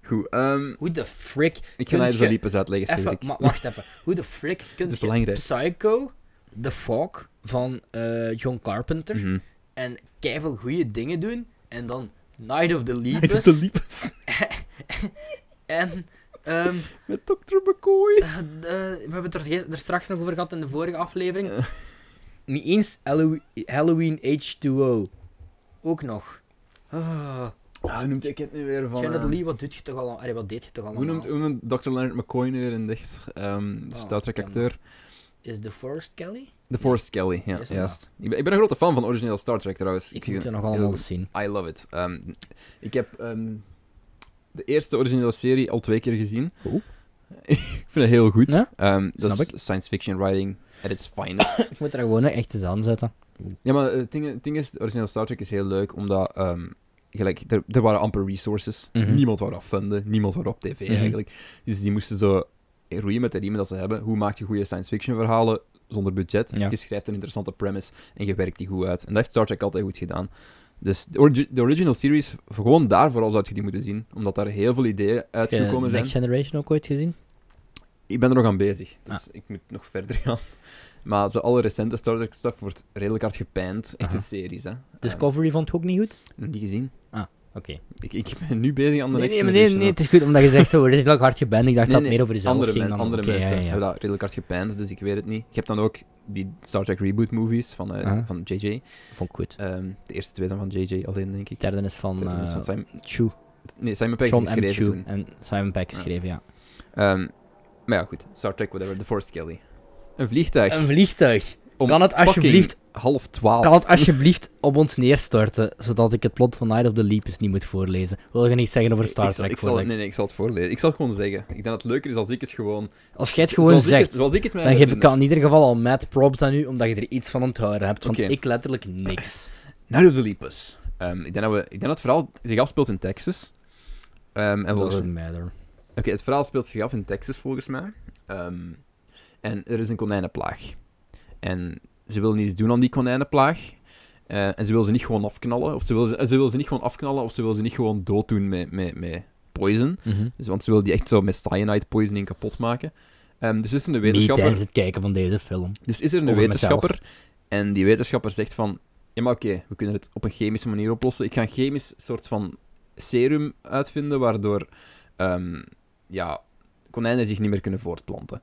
S1: Goed, ehm,
S2: Hoe de frick...
S1: ik ga
S2: kunt
S1: Night of the
S2: je-
S1: Leapers uitleggen,
S2: Even,
S1: Cedric.
S2: maar wacht even. Hoe de frick kunt je
S1: belangrijk.
S2: Psycho, The Fog van eh, John Carpenter
S1: Mhm.
S2: en keiveel goede dingen doen en dan Night of the
S1: Night of
S2: Leapers...
S1: the Leapers.
S2: En Ehm,
S1: Met Dr. McCoy.
S2: eh, eh, we hebben het er, ge- er straks nog over gehad in de vorige aflevering. Niet eens Hallowe- Halloween H2O. Ook nog. Ah,
S1: Ah, hoe noemt ik het nu weer van...
S2: Janet
S1: eh,
S2: Lee, wat doet je toch al? Allee, wat deed je toch allemaal?
S1: hoe, noemt, hoe noemt Dr. Leonard McCoy nu weer in dicht? Ehm de
S2: Oh,
S1: Star Trek
S2: ken
S1: acteur.
S2: Is The Forest Kelly?
S1: The Forest Kelly, ja,
S2: Is hem
S1: juist. Ik ben, ik ben een grote fan van origineel Star Trek trouwens.
S2: Ik
S1: vind-
S2: moet het nog
S1: heel
S2: allemaal
S1: goed.
S2: eens zien.
S1: I love it. Ehm, ik heb ehm, de eerste originele serie al twee keer gezien.
S2: Oeh.
S1: ik vind het heel goed.
S2: Oh. Ja?
S1: Ehm, dat
S2: Snap
S1: is science fiction writing at its finest.
S2: Ik moet er gewoon echt eens aan zetten.
S1: ja, maar eh, het ding, het ding is, de originele Star Trek is heel leuk, omdat ehm, gelijk, er, er waren amper resources.
S2: Mhm.
S1: Niemand wou dat funden, niemand wou op tv
S2: Mhm.
S1: eigenlijk. Dus die moesten zo roeien met de riemen dat ze hebben. Hoe maak je goede science fiction verhalen zonder budget?
S2: Ja.
S1: Je schrijft een interessante premise en je werkt die goed uit. En dat heeft Star Trek altijd goed gedaan. Dus de, origi- de original series, gewoon daarvoor al zou je die moeten zien. Omdat daar heel veel ideeën
S2: Heb je
S1: uitgekomen zijn.
S2: Eh, Next Generation ook ooit gezien?
S1: Ik ben er nog aan bezig, dus
S2: Ah.
S1: ik moet nog verder gaan. Maar zo alle recente Star Trek stuff wordt redelijk hard gepijnd. Echt
S2: Aha. Dus
S1: een series, hè. Ehm,
S2: Discovery vond ik ook niet goed?
S1: nog niet gezien.
S2: Oké.
S1: Ik, ik ben nu bezig aan de
S2: Nee,
S1: next
S2: nee, maar nee,
S1: generation,
S2: nee,
S1: hè.
S2: het is goed omdat je zegt zo redelijk hard je bent. Ik dacht
S1: Nee,
S2: dat het
S1: nee,
S2: meer over jezelf
S1: andere
S2: ging
S1: men-
S2: dan
S1: andere
S2: Oké,
S1: mensen
S2: ja, ja, ja.
S1: hebben dat redelijk hard gepijnd, dus ik weet het niet. Je hebt dan ook die Star Trek reboot movies van, eh,
S2: Ah.
S1: van JJ.
S2: Vond ik goed.
S1: Ehm, de eerste twee zijn van JJ alleen, denk ik.
S2: Derde is van,
S1: Derde is van
S2: eh,
S1: Simon,
S2: Chu.
S1: nee, Simon Pegg is
S2: John
S1: niet
S2: M.
S1: geschreven
S2: Chu
S1: toen.
S2: en Simon Peck
S1: Ja.
S2: geschreven, ja.
S1: Ehm, maar ja, goed. Star Trek, whatever. The Force Kelly. Een vliegtuig.
S2: Een vliegtuig.
S1: om
S2: Kan het
S1: fucking
S2: alsjeblieft,
S1: half twaalf.
S2: kan het alsjeblieft op ons neerstorten, zodat ik het plot van Night of the Leap eens niet moet voorlezen? Wil je niks zeggen over Star
S1: ik, zal-
S2: Trek?
S1: ik zal,
S2: voordat ik-
S1: nee, nee, ik zal het voorlezen. Ik zal het gewoon zeggen. Ik denk dat het leuker is als ik het gewoon...
S2: Als jij het gewoon
S1: zoals Ik
S2: zegt,
S1: het, zoals ik het mij
S2: dan
S1: heb
S2: geef ik aan in ieder geval al mad props aan u, omdat je er iets van onthouden hebt. Want
S1: Oké.
S2: ik letterlijk niks.
S1: Night of the Lepus. Ehm, ik, denk dat we, ik denk dat het verhaal zich afspeelt in Texas. Ehm, en volgens
S2: Doesn't matter.
S1: Oké, het verhaal speelt zich af in Texas volgens mij. Ehm, en er is een konijnenplaag. En ze willen iets doen aan die konijnenplaag. Eh, en ze wil ze niet gewoon afknallen. Of ze wil ze, ze, wil ze niet gewoon afknallen, of ze wil ze niet gewoon dooddoen met, met, met poison. Dus, want ze wil die echt zo met cyanide poisoning kapot maken. Ehm, dus is er een
S2: Niet tijdens
S1: wetenschapper.
S2: het kijken van deze film.
S1: Dus is er een
S2: over
S1: wetenschapper. En die wetenschapper zegt van. Ja, maar oké, we kunnen het op een chemische manier oplossen. Ik ga een chemisch soort van serum uitvinden, waardoor ehm, ja, konijnen zich niet meer kunnen voortplanten.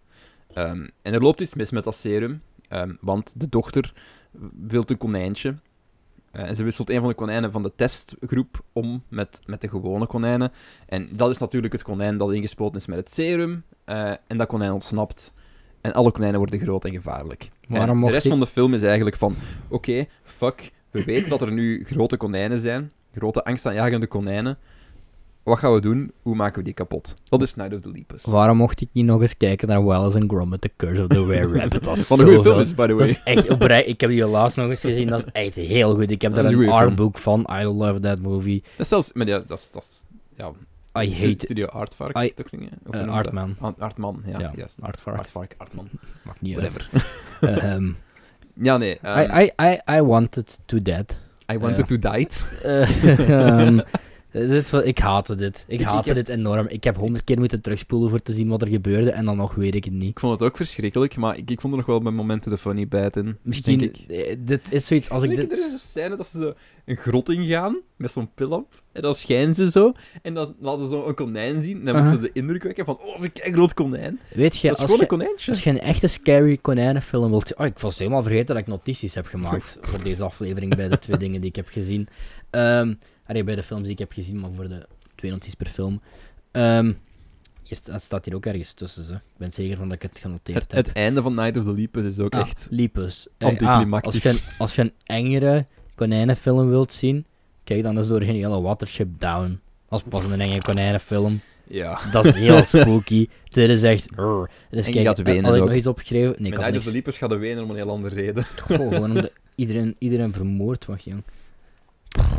S1: Ehm, en er loopt iets mis met dat serum, ehm, want de dochter wil een konijntje. Eh, en ze wisselt een van de konijnen van de testgroep om met, met de gewone konijnen. En dat is natuurlijk het konijn dat ingespoten is met het serum. eh, en dat konijn ontsnapt. En alle konijnen worden groot en gevaarlijk.
S2: Waarom
S1: En de
S2: mocht
S1: rest
S2: die-
S1: van de film is eigenlijk van... Oké, fuck. We weten dat er nu grote konijnen zijn. Grote angstaanjagende konijnen. Wat gaan we doen? Hoe maken we die kapot? Dat is Night of the Lepus.
S2: Waarom mocht ik niet nog eens kijken naar Wallace and Gromit, The Curse of the Were Rabbit? Dat is
S1: Wat een goede
S2: zoveel-
S1: film is, by the
S2: Dat
S1: way.
S2: is echt oprecht. Ik heb die laatst nog eens gezien. Dat is echt heel goed. Ik
S1: Dat
S2: heb daar
S1: is een
S2: een
S1: goeie film.
S2: artbook van. I love that movie.
S1: Dat is zelfs... Maar ja, dat is... Dat is ja,
S2: I
S1: stu-
S2: hate
S1: Studio Artvark,
S2: I-
S1: toch? dingen? Of hoe
S2: eh,
S1: noemt dat?
S2: Artman.
S1: Ant- Artman, ja.
S2: Ja,
S1: juist.
S2: Artvark.
S1: Artvark, Artman.
S2: Maakt niet uit.
S1: Whatever.
S2: Eh, ehm,
S1: Ja, nee. ehm, I,
S2: I, I, I, I wanted to dead.
S1: wanted to die. it.
S2: Eh, ehm, dit, wa- ik haatte dit. Ik,
S1: Ik- ik
S2: haatte
S1: heb-
S2: dit enorm. Ik heb honderd keer moeten terugspoelen voor te zien wat er gebeurde. En dan nog weet ik het niet.
S1: Ik vond het ook verschrikkelijk, maar ik, ik vond er nog wel mijn momenten de funny bite in.
S2: Misschien,
S1: denk ik.
S2: eh, dit is zoiets als ik
S1: Weet je,
S2: dit...
S1: Er is een scène dat ze zo een grot ingaan met zo'n pil op. En dan schijnen ze zo. En dan laten ze zo een konijn zien. En dan
S2: Aha.
S1: moeten ze de indruk wekken van: oh, een groot konijn.
S2: Weet je,
S1: dat is
S2: Uh-huh. als
S1: gewoon
S2: je,
S1: een konijntje.
S2: Dus Als je een echte scary konijnenfilm wilt... Oh, ik was helemaal vergeten dat ik notities heb gemaakt voor deze aflevering bij de twee dingen die ik heb gezien. Ehm allee, bij de films die ik heb gezien, maar voor de twee notities per film. Ehm hier, sta- het staat hier ook ergens tussen. Ze. Ik ben zeker van dat ik het genoteerd
S1: Het,
S2: heb.
S1: het einde van Night of the Lepus is ook
S2: Ah,
S1: echt.
S2: Lepus. Eh, ah,
S1: Anticlimactisch.
S2: als, je een, als je een engere konijnenfilm wilt zien, kijk dan eens door geen hele Watership Down. Als pas een enge konijnenfilm.
S1: Ja.
S2: Dat is heel spooky. Dit is echt... rrr. Dus
S1: En je
S2: kijk,
S1: gaat wenen
S2: had ik
S1: ook.
S2: nog iets opgeschreven?
S1: Met
S2: Nee, ik had
S1: Night of the
S2: niks.
S1: Lepus gaat de wenen om een heel andere reden.
S2: Goh, gewoon omdat iedereen, iedereen vermoord was, jong.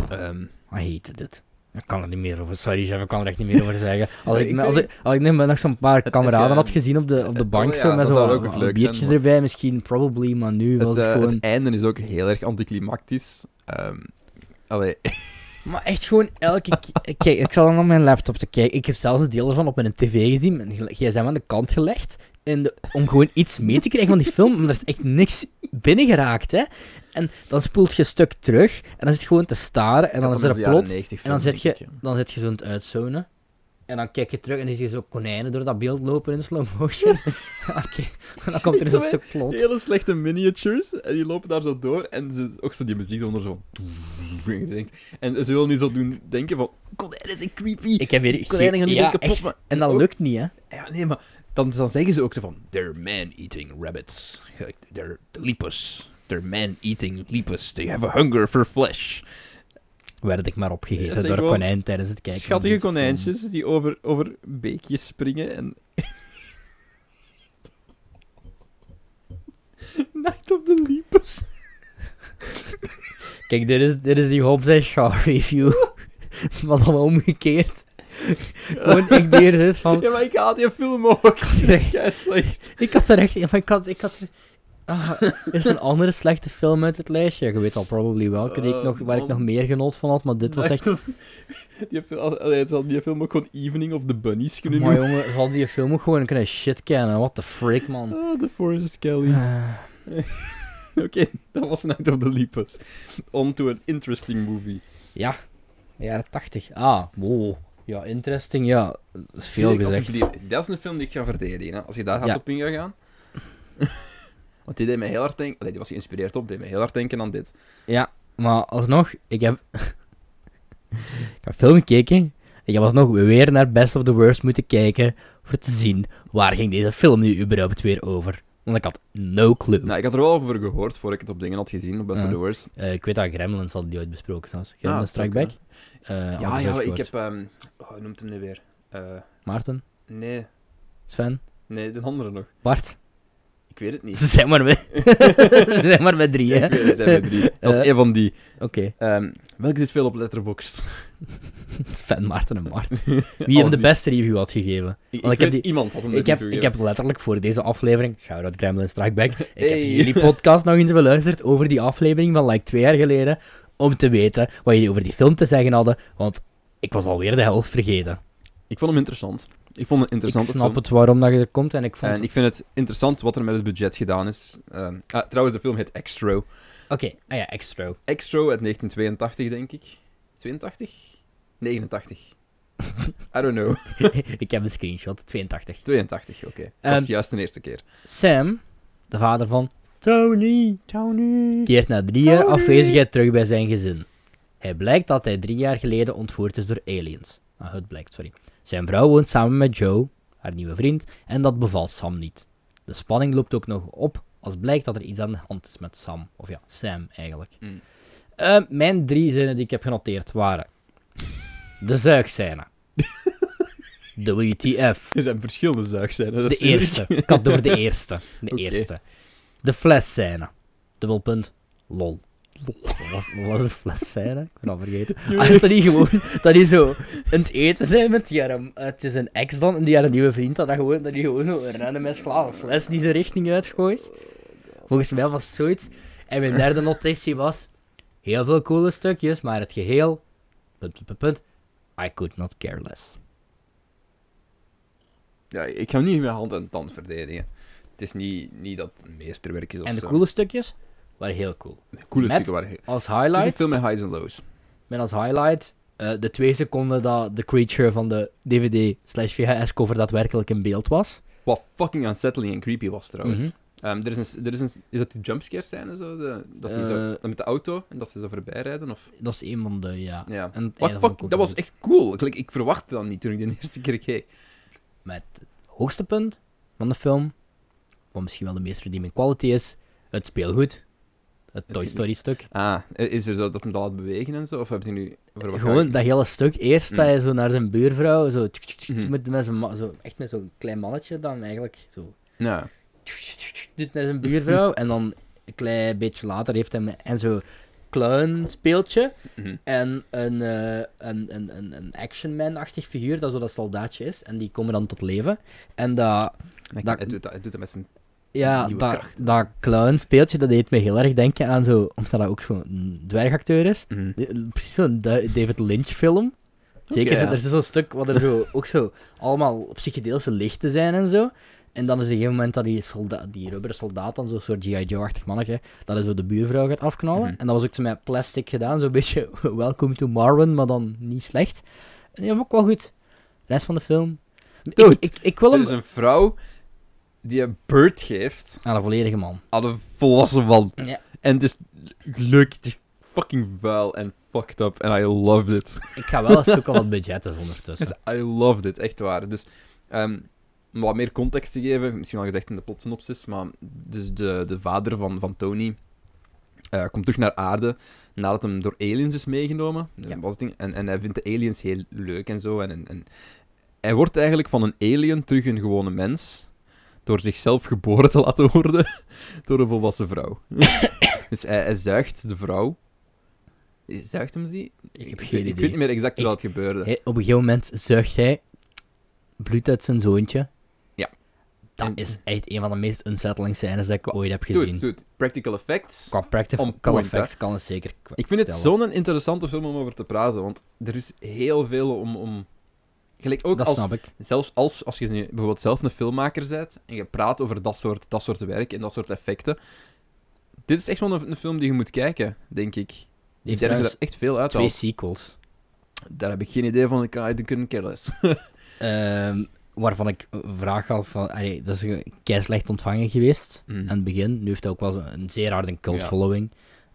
S1: Ehm,
S2: Wat heette dit? Ik kan er niet meer over, sorry chef, ik kan er echt niet meer over zeggen. Als
S1: Ja,
S2: ik,
S1: ik
S2: me-
S1: weet
S2: als ik, als ik net met nog zo'n paar
S1: het
S2: kameraden
S1: ge-
S2: had gezien op de, op de
S1: eh,
S2: bank,
S1: oh
S2: zo,
S1: ja,
S2: met
S1: dat zou ook nog
S2: zo'n
S1: leuk zijn,
S2: biertjes
S1: maar-
S2: erbij misschien, probably, maar nu was
S1: het,
S2: het
S1: eh,
S2: gewoon...
S1: het einde is ook heel erg anticlimactisch. Ehm allee,
S2: Maar echt gewoon elke keer... Kijk, ik zal dan op mijn laptop te kijken. Ik heb zelfs een deel ervan op mijn tv gezien, mijn gel- gsm aan de kant gelegd, in de- om gewoon iets mee te krijgen van die film, maar er is echt niks binnengeraakt, hè. En dan spoelt je een stuk terug, en dan zit je gewoon te staren, en dan is er een plot... En dan zet je, dan zet je zo'n uitzonen. En En dan kijk je terug en dan zie je zo konijnen door dat beeld lopen in slow motion. Oké, en dan komt er eens
S1: Zo,
S2: een
S1: hè?
S2: stuk plot.
S1: Hele slechte miniatures. En die lopen daar zo door. En ze, ook zo die muziek eronder zo. En je denkt- En ze willen nu zo doen denken van. Konijnen zijn creepy.
S2: Ik heb weer...
S1: Konijnen gaan nu
S2: ja,
S1: weer kapot,
S2: echt.
S1: maar-
S2: En dat
S1: ook-
S2: lukt niet, hè.
S1: Ja, nee, maar dan, dan zeggen ze ook zo van... They're man-eating rabbits. They're lepus. They're man-eating lepus. They have a hunger for flesh.
S2: Werd ik maar
S1: Ja,
S2: opgegeten
S1: zeg
S2: door een
S1: gewoon
S2: konijn tijdens het kijken. van
S1: Schattige
S2: deze film.
S1: konijntjes die over, over beekjes springen en... Night of the Lepus.
S2: Kijk, dit is, dit is die Hobbs and Shaw review. maar dan omgekeerd. Gewoon, ik die er zit van...
S1: Ja, maar ik haat die film ook.
S2: Nee.
S1: Kei slecht.
S2: Ik had er echt... ja, maar Ik had... Ik had ah, er is een andere slechte film uit het lijstje. Je weet al probably welke die ik
S1: Oh,
S2: nog, waar ik
S1: man.
S2: nog meer genoot van had, maar dit was echt...
S1: Night of- Die film, allee, het had die film ook gewoon Evening of the Bunnies kunnen
S2: Maar
S1: noemen.
S2: jongen, zal die film ook gewoon kunnen shit kennen? What the frick, man.
S1: Ah, The Forest Kelly.
S2: Eh,
S1: Oké, dat was Night of the Lepus. On to an interesting movie.
S2: ja, jaren 80. Ah, wow. Ja, interesting, ja. Dat is veel
S1: Zie ik,
S2: gezegd.
S1: alsjeblieft. Dat is een film die ik ga verdedigen. Hè. Als je daar hard
S2: Ja.
S1: op in gaat gaan. Want die deed me heel hard denken. Allee, die was geïnspireerd op, deed me heel hard denken aan dit.
S2: Ja, maar alsnog, ik heb... ik heb film gekeken. Ik heb alsnog weer naar Best of the Worst moeten kijken voor te zien waar ging deze film nu überhaupt weer over. Want ik had no clue.
S1: Nou, ik had er wel over gehoord voor ik het op dingen had gezien, op Best
S2: Ja.
S1: of the Worst.
S2: Eh, ik weet dat Gremlins hadden die ooit besproken trouwens. Gremlins
S1: dat zou
S2: Strike Back. Eh,
S1: Ah, ja,
S2: hadden ze
S1: ja,
S2: ooit
S1: ik
S2: gehoord.
S1: heb... ehm, oh, hoe noemt hem nu weer? Eh,
S2: Maarten,
S1: nee,
S2: Sven,
S1: nee, de andere nog.
S2: Bart.
S1: Ik weet het niet.
S2: Ze zijn maar met, ze zijn maar met drie, hè.
S1: Ik weet het, zijn we drie. Dat is
S2: Eh.
S1: één van die.
S2: Oké,
S1: Ehm, welke zit veel op Letterboxd?
S2: Sven, Maarten en Bart. Wie hem
S1: Alle
S2: de
S1: drie.
S2: beste review had gegeven.
S1: Ik, ik
S2: Want ik heb
S1: weet, iemand had hem
S2: Ik
S1: net
S2: heb,
S1: niet
S2: ik
S1: toegegeven.
S2: heb letterlijk voor deze aflevering, shout-out Gremlin Strike Back, ik
S1: Hey.
S2: heb jullie podcast nog eens beluisterd over die aflevering van like twee jaar geleden, om te weten wat jullie over die film te zeggen hadden, want ik was alweer de helft vergeten.
S1: Ik vond hem interessant. Ik vond het interessant.
S2: ik snap het waarom dat je er komt en ik vond...
S1: En ik vind het interessant wat er met het budget gedaan is. Ehm, ah, trouwens, de film heet Extro.
S2: Oké, ah ja, extra.
S1: Extro uit 1982, denk ik. 82? 89. I don't know.
S2: ik heb een screenshot, 82.
S1: 82, oké. Dat
S2: Ehm,
S1: is juist de eerste keer.
S2: Sam, de vader van Tony,
S1: Tony.
S2: keert na drie jaar
S1: Tony.
S2: afwezigheid terug bij zijn gezin. Hij blijkt dat hij drie jaar geleden ontvoerd is door aliens. Ah, het blijkt, sorry. Zijn vrouw woont samen met Joe, haar nieuwe vriend, en dat bevalt Sam niet. De spanning loopt ook nog op als blijkt dat er iets aan de hand is met Sam. Of ja, Sam eigenlijk.
S1: Mm.
S2: Eh, mijn drie zinnen die ik heb genoteerd waren: De zuigscène. WTF.
S1: Er zijn verschillende zuigzijden. dat
S2: De
S1: is eerlijk.
S2: eerste. Ik had door de eerste. De
S1: Oké.
S2: eerste. De flesscène. Dubbelpunt. Lol. Wat was, wat was de flesscène? Ik ben al vergeten. Ah, dat die gewoon, dat die zo aan het eten zijn met die haar, het is een ex dan, en die haar nieuwe vriend, dat, dat, gewoon, dat die gewoon zo een random met glazen fles die zijn richting uitgooit.
S1: Oh,
S2: Volgens mij was het zoiets. En mijn derde notitie was, heel veel coole stukjes, maar het geheel, punt, punt, punt, punt, I could not care less.
S1: Ja, ik ga hem niet met hand en tand verdedigen. Het is niet, niet dat het een meesterwerk is of
S2: En de
S1: zo.
S2: coole stukjes waren heel cool.
S1: coole
S2: met-
S1: stukken waren... Het
S2: Als
S1: is
S2: highlight...
S1: een film met highs en lows.
S2: Met als highlight eh, de twee seconden dat de creature van de DVD slash VHS cover daadwerkelijk in beeld was.
S1: Wat fucking unsettling en creepy was trouwens. Ehm, er is een, er is een, is dat die jumpscare scène zo? De, dat die zo,
S2: Eh.
S1: met de auto en dat ze zo voorbij rijden of?
S2: Dat is een van de, ja.
S1: Ja.
S2: En het
S1: What
S2: einde van de
S1: fuck, dat was
S2: cover.
S1: echt cool. Ik, like, ik verwachtte dat niet toen ik de eerste keer keek.
S2: Met het hoogste punt van de film, wat misschien wel de meest redeeming quality is, het speelgoed. Het Toy
S1: Het-
S2: Story stuk.
S1: Ah, is er zo dat hem dat laat bewegen en zo? Of heb je nu... voor wat ga
S2: Gewoon
S1: ik-
S2: dat hele stuk. Eerst
S1: Mm.
S2: dat je zo naar zijn buurvrouw, zo, tsk, tsk, tsk,
S1: Mhm.
S2: met, met zijn ma- zo echt met zo'n klein mannetje dan eigenlijk zo
S1: Ja.
S2: doet naar zijn buurvrouw. en dan een klein beetje later heeft hij en zo'n clown speeltje.
S1: Mhm.
S2: En een, eh, een, een, een, een action man-achtig figuur, dat zo dat soldaatje is. En die komen dan tot leven. En dat,
S1: Maar
S2: Dat-
S1: Het doet dat, het doet dat met zijn...
S2: ja,
S1: Nieuwe
S2: dat,
S1: krachten.
S2: dat clown speeltje, dat deed me heel erg denken aan zo, omdat dat ook zo'n dwergacteur is.
S1: Mhm.
S2: De- Precies zo'n Du- David Lynch film. Zeker,
S1: Oké,
S2: zo-
S1: ja.
S2: er is zo'n stuk wat er zo, ook zo allemaal psychedeelse lichten zijn en zo. En dan is er een gegeven moment dat die, solda- die rubberen soldaat, dan zo'n soort G.I. Joe-achtig mannetje, dat hij zo de buurvrouw gaat afknallen.
S1: Mhm.
S2: En dat was ook zo met plastic gedaan, zo'n beetje Welcome to Marvin, maar dan niet slecht. En die vond ik wel goed. De rest van de film.
S1: Dude,
S2: ik, ik, ik wil
S1: er
S2: hem.
S1: is een vrouw die een beurt geeft
S2: Aan Ah, een volledige man.
S1: aan een volwassen man.
S2: Ja.
S1: En het is leuk, het is fucking vuil en fucked up. En I loved it.
S2: Ik ga wel eens zoeken wat budget is ondertussen.
S1: Dus I loved it, echt waar. Dus ehm, om wat meer context te geven, misschien al gezegd in de plotsynopsis, maar dus de, de vader van, van Tony eh, komt terug naar aarde nadat hem door aliens is meegenomen. Dat
S2: Ja.
S1: was het ding. En, en hij vindt de aliens heel leuk en zo. En, en, en hij wordt eigenlijk van een alien terug een gewone mens door zichzelf geboren te laten worden door een volwassen vrouw. dus hij, hij zuigt de vrouw. Zuigt hem die?
S2: Ik heb
S1: weet-
S2: geen
S1: Ik weet niet
S2: idee.
S1: meer exact hoe
S2: Ik-
S1: dat gebeurde.
S2: Hij- op een gegeven moment zuigt hij bloed uit zijn zoontje.
S1: Ja.
S2: Dat
S1: En-
S2: is echt een van de meest unsettling scènes dat ik ooit heb
S1: Dude,
S2: gezien.
S1: dude, Practical effects.
S2: Qua practical
S1: On point, hè.
S2: effects kan het zeker. kwa-
S1: Ik vind het
S2: tellen.
S1: zo'n interessante film om over te praten, want er is heel veel om... om... Gelijk ook
S2: Dat
S1: als,
S2: snap ik.
S1: zelfs als, als je nu bijvoorbeeld zelf een filmmaker bent en je praat over dat soort, dat soort werk en dat soort effecten. Dit is echt wel een, een film die je moet kijken, denk ik.
S2: Die
S1: Ik denk dat
S2: heeft
S1: je
S2: trouwens
S1: er echt veel uit
S2: twee
S1: haalt.
S2: sequels.
S1: Daar heb ik geen idee van, ik kan I couldn't care less.
S2: ehm, waarvan ik een vraag had van... allee, dat is keislecht ontvangen geweest.
S1: Mm.
S2: Aan het begin. Nu heeft hij ook wel een, een zeer harde cult
S1: Ja.
S2: following.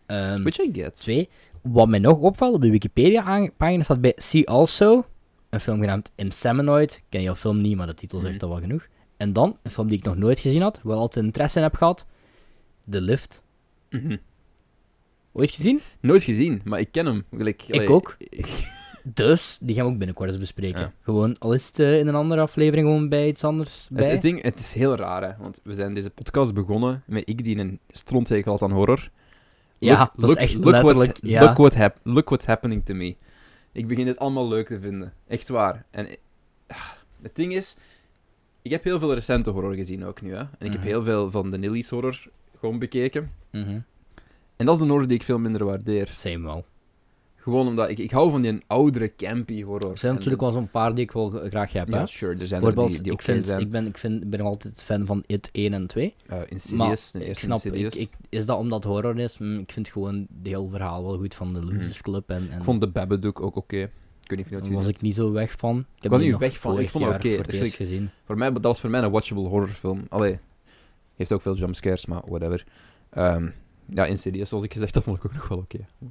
S2: Ehm,
S1: Which I get.
S2: Twee, wat mij nog opvalt op de Wikipedia-pagina staat bij See Also, een film genaamd Inseminoid. Ik ken jouw film niet, maar de titel zegt
S1: Mhm.
S2: al wel genoeg. En dan, een film die ik nog nooit gezien had, wel altijd interesse in heb gehad, The Lift.
S1: Mhm.
S2: Ooit gezien?
S1: Nooit gezien, maar ik ken hem. Gelijk, allee,
S2: ook. Dus, die gaan we ook binnenkort eens bespreken.
S1: Ja.
S2: Gewoon, al is het eh, in een andere aflevering gewoon bij iets anders bij.
S1: Het, het ding, het is heel raar, hè, want we zijn deze podcast begonnen met ik die een stronttekel had aan horror.
S2: ja,
S1: Look-
S2: dat
S1: look-
S2: is echt
S1: look
S2: letterlijk...
S1: What,
S2: ja.
S1: look, what hap- look what's happening to me. Ik begin dit allemaal leuk te vinden. Echt waar. En eh, ah, het ding is, ik heb heel veel recente horror gezien ook nu. Hè? En ik heb
S2: Mhm.
S1: heel veel van de Nilly's horror gewoon bekeken.
S2: Mhm.
S1: En dat is een horror die ik veel minder waardeer.
S2: Same wel.
S1: Gewoon omdat ik, ik hou van die oudere campy horror.
S2: Er zijn
S1: En-
S2: natuurlijk wel zo'n paar die ik wel graag heb. hè.
S1: Ja, sure, er zijn er
S2: Bijvoorbeeld,
S1: die, die ook
S2: ik,
S1: fan
S2: vind,
S1: zijn.
S2: ik, ben, ik, vind, ik ben nog altijd fan van It 1 en 2.
S1: Eh, Insidious, de
S2: ik
S1: eerste
S2: snap,
S1: Insidious.
S2: ik, ik, is dat omdat het horror is? Hm, ik vind gewoon het hele verhaal wel goed van de Losers Club. En, en
S1: Hm. Ik vond de Babadook ook oké. Ik weet niet of je dat
S2: daar
S1: gezien
S2: was
S1: hebt.
S2: ik niet zo weg van. Ik heb
S1: was
S2: die
S1: niet
S2: nog
S1: weg van, ik
S2: vorig
S1: vond dat
S2: jaar
S1: oké,
S2: voor het
S1: dus
S2: eerst
S1: ik-
S2: gezien.
S1: Voor mij, dat was voor mij een watchable horrorfilm. Allee, heeft ook veel jumpscares, maar whatever. Ehm ja, Insidious, zoals ik gezegd had, vond ik ook nog wel oké.
S2: Hm.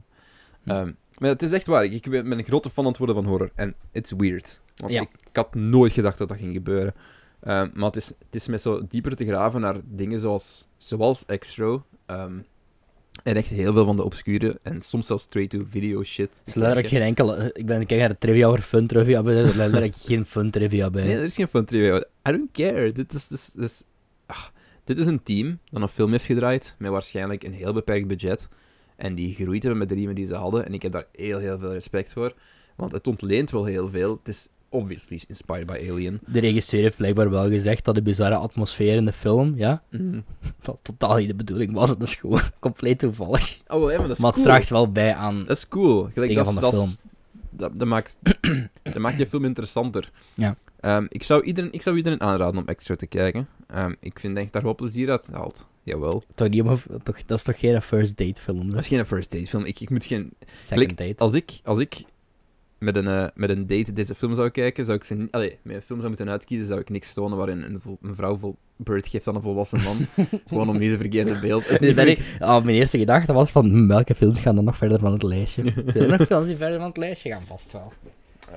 S1: Ehm, maar het is echt waar, ik, ik ben ben een grote fan aan het worden van horror. En it's weird. Want
S2: Ja.
S1: ik, ik had nooit gedacht dat dat ging gebeuren. Ehm, maar het is, het is met zo dieper te graven naar dingen zoals, zoals Extro. ehm, en echt heel veel van de obscure en soms zelfs straight-to-video shit. te
S2: Het is letterlijk
S1: kijken.
S2: geen enkele... Dus Ik ben kijken naar de trivia over fun trivia, dus maar er is letterlijk geen fun trivia bij.
S1: Nee, er is geen fun trivia. I don't care. Dit is, dit is, dit is, ah. dit is een team dat een film heeft gedraaid met waarschijnlijk een heel beperkt budget. En die gegroeid hebben met de riemen die ze hadden. En ik heb daar heel, heel veel respect voor. Want het ontleent wel heel veel. Het is obviously inspired by Alien.
S2: De regisseur heeft blijkbaar wel gezegd dat de bizarre atmosfeer in de film, ja,
S1: Mm.
S2: dat totaal niet de bedoeling was. Dat is gewoon compleet toevallig.
S1: Oh, wel, ja, maar dat is
S2: Maar het
S1: cool.
S2: draagt wel bij aan...
S1: Dat is cool. Gelijk,
S2: Dingen
S1: dat, is-
S2: van de
S1: dat, is- dat, dat maakt, dat maakt je film interessanter.
S2: Ja.
S1: Ehm, ik, zou iedereen, ik zou iedereen aanraden om extra te kijken. Ehm, ik vind echt daar wel plezier uit haalt. Jawel.
S2: Toch niet, om- toch, dat is toch geen first date film?
S1: Dat
S2: Dat
S1: is geen first date film. Ik, ik moet geen
S2: is second
S1: Klik-
S2: date.
S1: Als ik, als ik met, een, eh, met een date deze film zou kijken, zou ik ze niet... Allee, met een film zou moeten uitkiezen, zou ik niks tonen waarin een, vol- een vrouw vol bird geeft aan een volwassen man. Gewoon om niet het verkeerde beeld...
S2: Nee, ben ik, ah, mijn eerste gedachte was van hm, welke films gaan dan nog verder van het lijstje. Zijn er nog films die verder van het lijstje gaan vast wel.
S1: Ehm,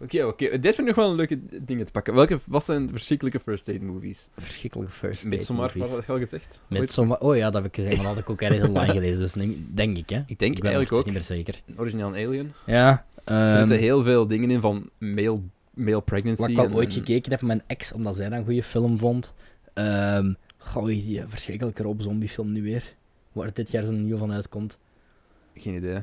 S1: Oké, oké. Dit vind ik nog wel een leuke dingen te pakken. Welke, wat zijn verschrikkelijke first date movies?
S2: Verschrikkelijke first date
S1: Midsommar, wat
S2: movies.
S1: had ik al gezegd?
S2: Met zomaar, oh ja, dat heb ik gezegd, maar dat had ik ook ergens online gelezen, dus denk, denk ik hè.
S1: Ik denk
S2: ik ben
S1: eigenlijk
S2: ondertussen
S1: ook.
S2: niet meer zeker.
S1: Origineel
S2: Ehm,
S1: Alien.
S2: Ja,
S1: er
S2: ehm,
S1: zitten heel veel dingen in van male, male pregnancy.
S2: wat ik al
S1: en-
S2: ooit
S1: en-
S2: gekeken heb met mijn ex, omdat zij dat een goede film vond. Ehm goh, hoe heet die eh, verschrikkelijke Rob Zombie film nu weer, waar dit jaar zo'n nieuw van uitkomt.
S1: Geen idee.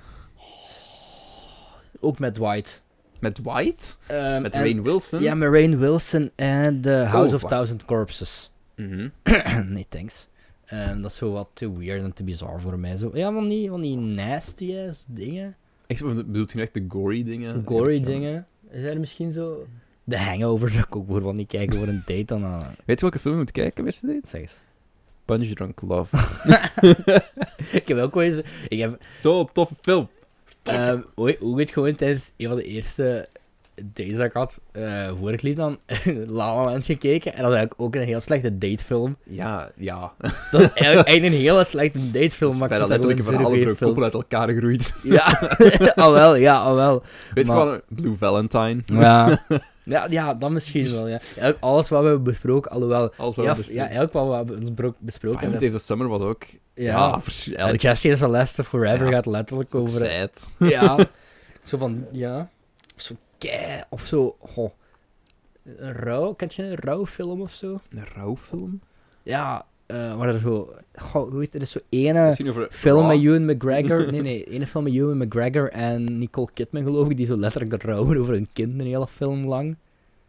S2: Ook met White.
S1: Met White?
S2: Ehm,
S1: Met
S2: en-
S1: Rainn Wilson?
S2: Ja, met Rain Wilson en The House
S1: Oh,
S2: of
S1: wa-
S2: Thousand Corpses.
S1: Mhm.
S2: nee, thanks. Ehm, dat is zo wat te weird en te bizar voor mij. Zo, ja, van die, van die nasty ass dingen.
S1: Ik bedoel je nu echt de gory dingen?
S2: Gory
S1: Ja.
S2: dingen. Zijn er misschien zo... De hangover zou ik ook voor van niet kijken voor een date dan. eh,
S1: Weet je welke film je moet kijken, eerste date?
S2: zeg eens.
S1: Punch Drunk Love.
S2: Ik heb ook wel eens... Ik heb
S1: Zo'n toffe film.
S2: ehm ooit, ooit gewoon tijdens een van de eerste deze dat ik had, eh, vorig lied dan, La La Land gekeken. En dat is eigenlijk ook een heel slechte datefilm.
S1: Ja, ja.
S2: Dat is eigenlijk, eigenlijk een heel slechte datefilm, maar ik
S1: Bijna
S2: vind dat gewoon
S1: letterlijk
S2: een
S1: verhalen voor
S2: zeer
S1: een
S2: film.
S1: koppel uit elkaar gegroeid.
S2: Ja, al wel, ja, al wel.
S1: Weet je
S2: Maar-
S1: wel, Blue Valentine.
S2: Ja. ja, ja, dat misschien wel, ja. Eigenlijk alles wat we hebben besproken, alhoewel...
S1: Als wel
S2: Ja,
S1: besproken.
S2: ja, eigenlijk wat we hebben bespro- besproken
S1: Violent
S2: hebben.
S1: Eve of Summer was ook...
S2: Ja,
S1: vers-
S2: en
S1: eigenlijk
S2: Jesse is Lester Forever
S1: Ja.
S2: gaat letterlijk
S1: over
S2: over...
S1: het.
S2: Ja. zo van, ja. Zo kei, of zo, goh. Een Rauw, kent je een rouwfilm of zo?
S1: Een rouwfilm?
S2: Ja, eh waar er zo... Goh, hoe heet er? Er is zo
S1: Heb
S2: ene
S1: je het over Raw?
S2: film met Ewan McGregor... Nee, nee, ene film met Ewan McGregor en Nicole Kidman, geloof ik, die zo letterlijk rouwen over hun kind een hele film lang.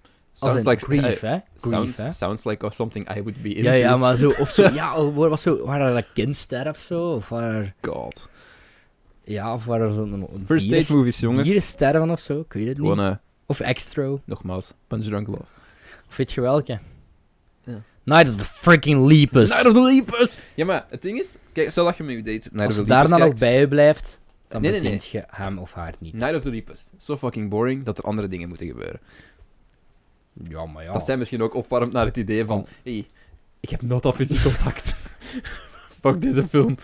S2: Als
S1: Sounds
S2: een
S1: like,
S2: grief,
S1: eh,
S2: hè? Grief,
S1: sounds,
S2: hè?
S1: sounds like something I would be into.
S2: Ja, ja, maar zo, of zo, ja, of waar was zo, waar er een kind sterft of zo, of waar, er-
S1: God.
S2: ja, of waar er zo'n een
S1: First
S2: dier-
S1: date movies, jongens.
S2: dieren sterven of zo, ik weet het
S1: Gewoon,
S2: niet.
S1: eh,
S2: Of extra.
S1: nogmaals, Punch Drunk Love.
S2: Of weet je welke?
S1: Ja.
S2: Night of the freaking Lepus.
S1: Night of the Leapers! Ja, maar het ding is, kijk, stel dat je met je date Night
S2: Als
S1: of
S2: je
S1: the Leapers
S2: daarna nog
S1: kijkt.
S2: bij je blijft, dan
S1: Nee, nee,
S2: bedient je hem of haar niet.
S1: Night of the Leapers. Zo fucking boring dat er andere dingen moeten gebeuren.
S2: Ja, maar ja.
S1: Dat zijn misschien ook opwarmd naar het idee van,
S2: Oh.
S1: hey, ik heb nooit al fysiek contact. Fuck deze film.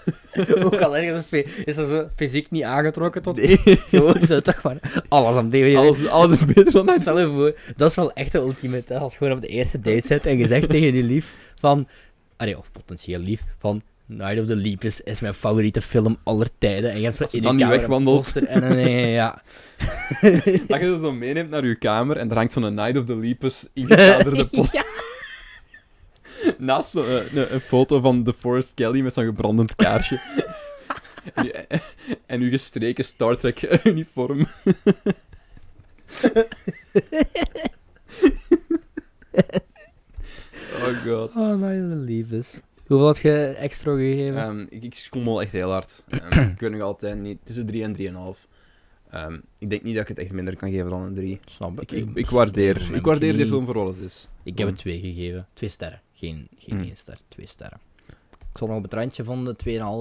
S2: Ook al ergens een fe- is dat zo fysiek niet aangetrokken tot
S1: Nee.
S2: gewoon zo toch maar alles aan DVD.
S1: Alles, alles is beter dan Night
S2: Stel je voor, dat is wel echt de ultieme. Als je gewoon op de eerste date zit en je zegt tegen je lief van... Allee, of potentieel lief, van... Night of the Lepus is mijn favoriete film aller tijden. En je hebt zo
S1: Als je
S2: in
S1: dan
S2: je
S1: niet
S2: kamer een
S1: wegwandelt.
S2: poster en een... ja, ja.
S1: Dat je ze zo meeneemt naar je kamer en er hangt zo'n Night of the Leapers ingekaderde pot.
S2: Ja.
S1: Naast zo, eh, een, een foto van The Forest Kelly met zo'n gebrandend kaarsje. en, je, eh, en uw gestreken Star Trek uniform. oh god.
S2: Oh, Night of the Lepus. Hoeveel had je extra gegeven?
S1: Ehm, ik, ik scrommel wel echt heel hard. Ehm, ik weet nog altijd niet. Tussen 3 en 3,5. Ehm ik denk niet dat ik het echt minder kan geven dan een 3.
S2: Snap
S1: Ik, ik, ik waardeer, ik waardeer die film voor wat het is.
S2: Ik heb het twee gegeven. Twee sterren. Geen, geen
S1: Mm.
S2: één ster. Twee sterren. Ik stond nog op het randje van de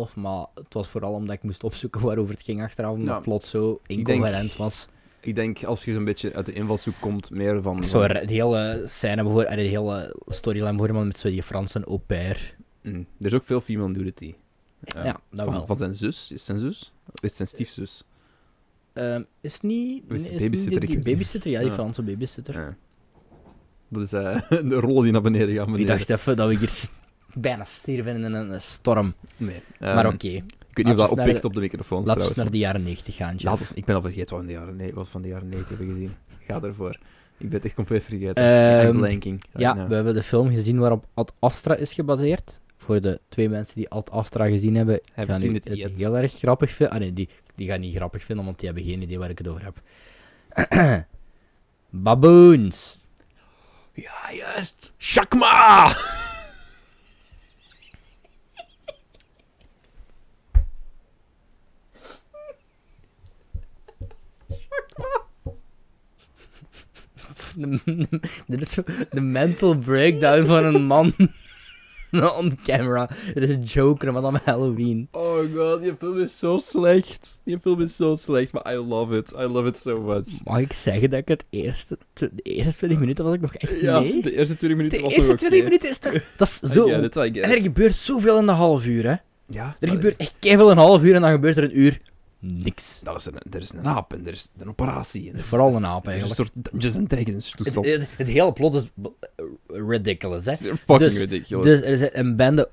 S2: 2,5, maar het was vooral omdat ik moest opzoeken waarover het ging achteraf, omdat
S1: Ja.
S2: het plots zo
S1: denk-
S2: incoherent was.
S1: Ik denk als je zo'n beetje uit de invalshoek komt, meer van.
S2: Zo, de hele scène bijvoorbeeld, de hele storyline bijvoorbeeld met zo die Franse au pair.
S1: Mm, er is ook veel female nudity. Eh,
S2: Ja, dat
S1: van,
S2: Nou wel.
S1: van zijn zus? Is zijn zus? Of is zijn stiefzus?
S2: Ehm, is het niet...
S1: Of is
S2: nee,
S1: het
S2: het niet
S1: babysitter?
S2: die-
S1: Ik
S2: die
S1: weet niet.
S2: babysitter? Ja, die
S1: Ja.
S2: Franse babysitter.
S1: Eh. Dat is eh, de rol die naar beneden gaat.
S2: ik
S1: beneden.
S2: dacht even dat we hier s- bijna stierven in een eh, storm.
S1: Nee.
S2: maar
S1: Ehm,
S2: oké,
S1: Ik weet niet of
S2: laten
S1: dat
S2: we naar de-
S1: oppikt op de microfoon.
S2: laten we
S1: trouwens.
S2: eens naar de jaren 90 gaan, Jeff.
S1: Laat ons, ik ben al vergeten wat we in de jaren ne- wat van de jaren 90 hebben gezien. Ga ervoor. Ik ben het echt compleet vergeten.
S2: Ehm,
S1: I'm blanking. right
S2: Ja,
S1: now.
S2: we hebben de film gezien waarop Ad Astra is gebaseerd. Voor de twee mensen die Ad Astra gezien hebben,
S1: Hebben
S2: gaan
S1: zien
S2: die
S1: het niet.
S2: heel erg grappig vinden. Ah nee, die, die gaan niet grappig vinden, want die hebben geen idee waar ik het over heb. Baboons.
S1: Ja, juist. Shakma!
S2: Dit is zo de mental breakdown van een man on camera. Het is Joker, maar dan met Halloween.
S1: Oh god, die film is zo slecht. Die film is zo slecht, maar I love it. I love it so much.
S2: Mag ik zeggen dat ik het eerste, tw- de eerste 20 minuten was ik nog echt
S1: Ja,
S2: mee?
S1: de eerste 20 minuten
S2: De
S1: was
S2: eerste
S1: nog
S2: 20
S1: oké.
S2: minuten is toch... Dat is
S1: I
S2: zo...
S1: get it, I get
S2: En
S1: it.
S2: er gebeurt zoveel in een half uur, hè.
S1: Ah, Ja, Hmm.
S2: Er
S1: maar
S2: gebeurt echt keihard een half uur en dan gebeurt er een uur niks.
S1: Dat is een, er is een aap en er is een operatie. En er is,
S2: Vooral een aap,
S1: er is een
S2: eigenlijk.
S1: soort Dungeons and Dragons
S2: Het,
S1: toestand.
S2: het- het hele plot is b- ridiculous, hè.
S1: Het is fucking
S2: dus-
S1: ridiculous.
S2: Dus er is een bende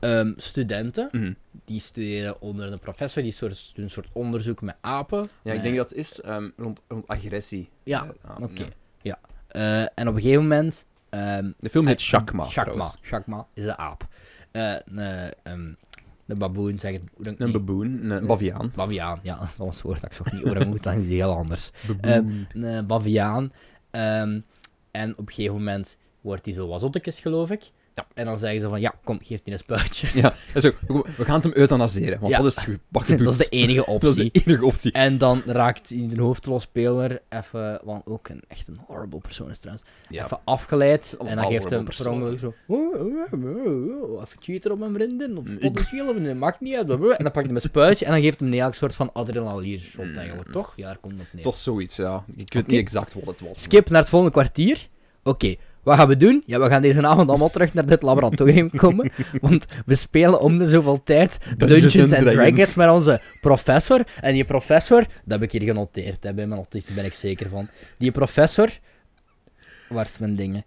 S2: ehm, studenten,
S1: Mhm.
S2: die studeren onder een professor, die soort, doen een soort onderzoek met apen.
S1: Ja, ik
S2: Met-
S1: denk dat het is ehm, rond, rond agressie.
S2: Ja,
S1: Eh, ah,
S2: oké.
S1: ja.
S2: Ja. Eh, en op een gegeven moment... ehm,
S1: De film heet
S2: Eh,
S1: Shakma.
S2: Shakma.
S1: trouwens.
S2: Shakma is een aap. Eh, een, ehm, een baboen, zeg het.
S1: Een baboon, een baviaan.
S2: Baviaan, ja, dat was het woord dat ik zo niet over moet, dat is heel anders. eh,
S1: Baboon.
S2: ehm, een baviaan. Ehm, en op een gegeven moment wordt hij zo wat zottekes, geloof ik.
S1: Ja.
S2: En dan zeggen ze van, ja, kom, geef die een spuitje.
S1: Ja, dat is ook- we gaan het hem euthanaseren, want
S2: Ja.
S1: dat is het gepakte
S2: dat is
S1: doet.
S2: de enige
S1: Dat is
S2: optie.
S1: de enige optie.
S2: En dan raakt iedere hoofdrolspeler even, want ook een, echt een horrible persoon is trouwens,
S1: Ja.
S2: even afgeleid.
S1: Allemaal
S2: en dan geeft
S1: horrible
S2: hem per ongeluk zo, "Oh, oh, oh, oh, oh, even cheater op mijn vriendin, of
S1: Mm.
S2: potentieel, of nee, maakt niet uit. blah, blah, blah." En dan pakt hij een spuitje en dan geeft hem een eigenlijk soort van adrenaline shot
S1: Mm.
S2: eigenlijk, toch? Ja, daar komt het neer.
S1: Het was zoiets, ja. Ik weet
S2: Oké.
S1: niet exact wat het was.
S2: Skip naar het volgende kwartier. Oké, wat gaan we doen? Ja, we gaan deze avond allemaal terug naar dit laboratorium komen. Want we spelen om de zoveel tijd Dungeons, and Dragons. met onze professor. En die professor, dat heb ik hier genoteerd, hè, bij mijn notities ben ik zeker van. Die professor. Waar is mijn dingen?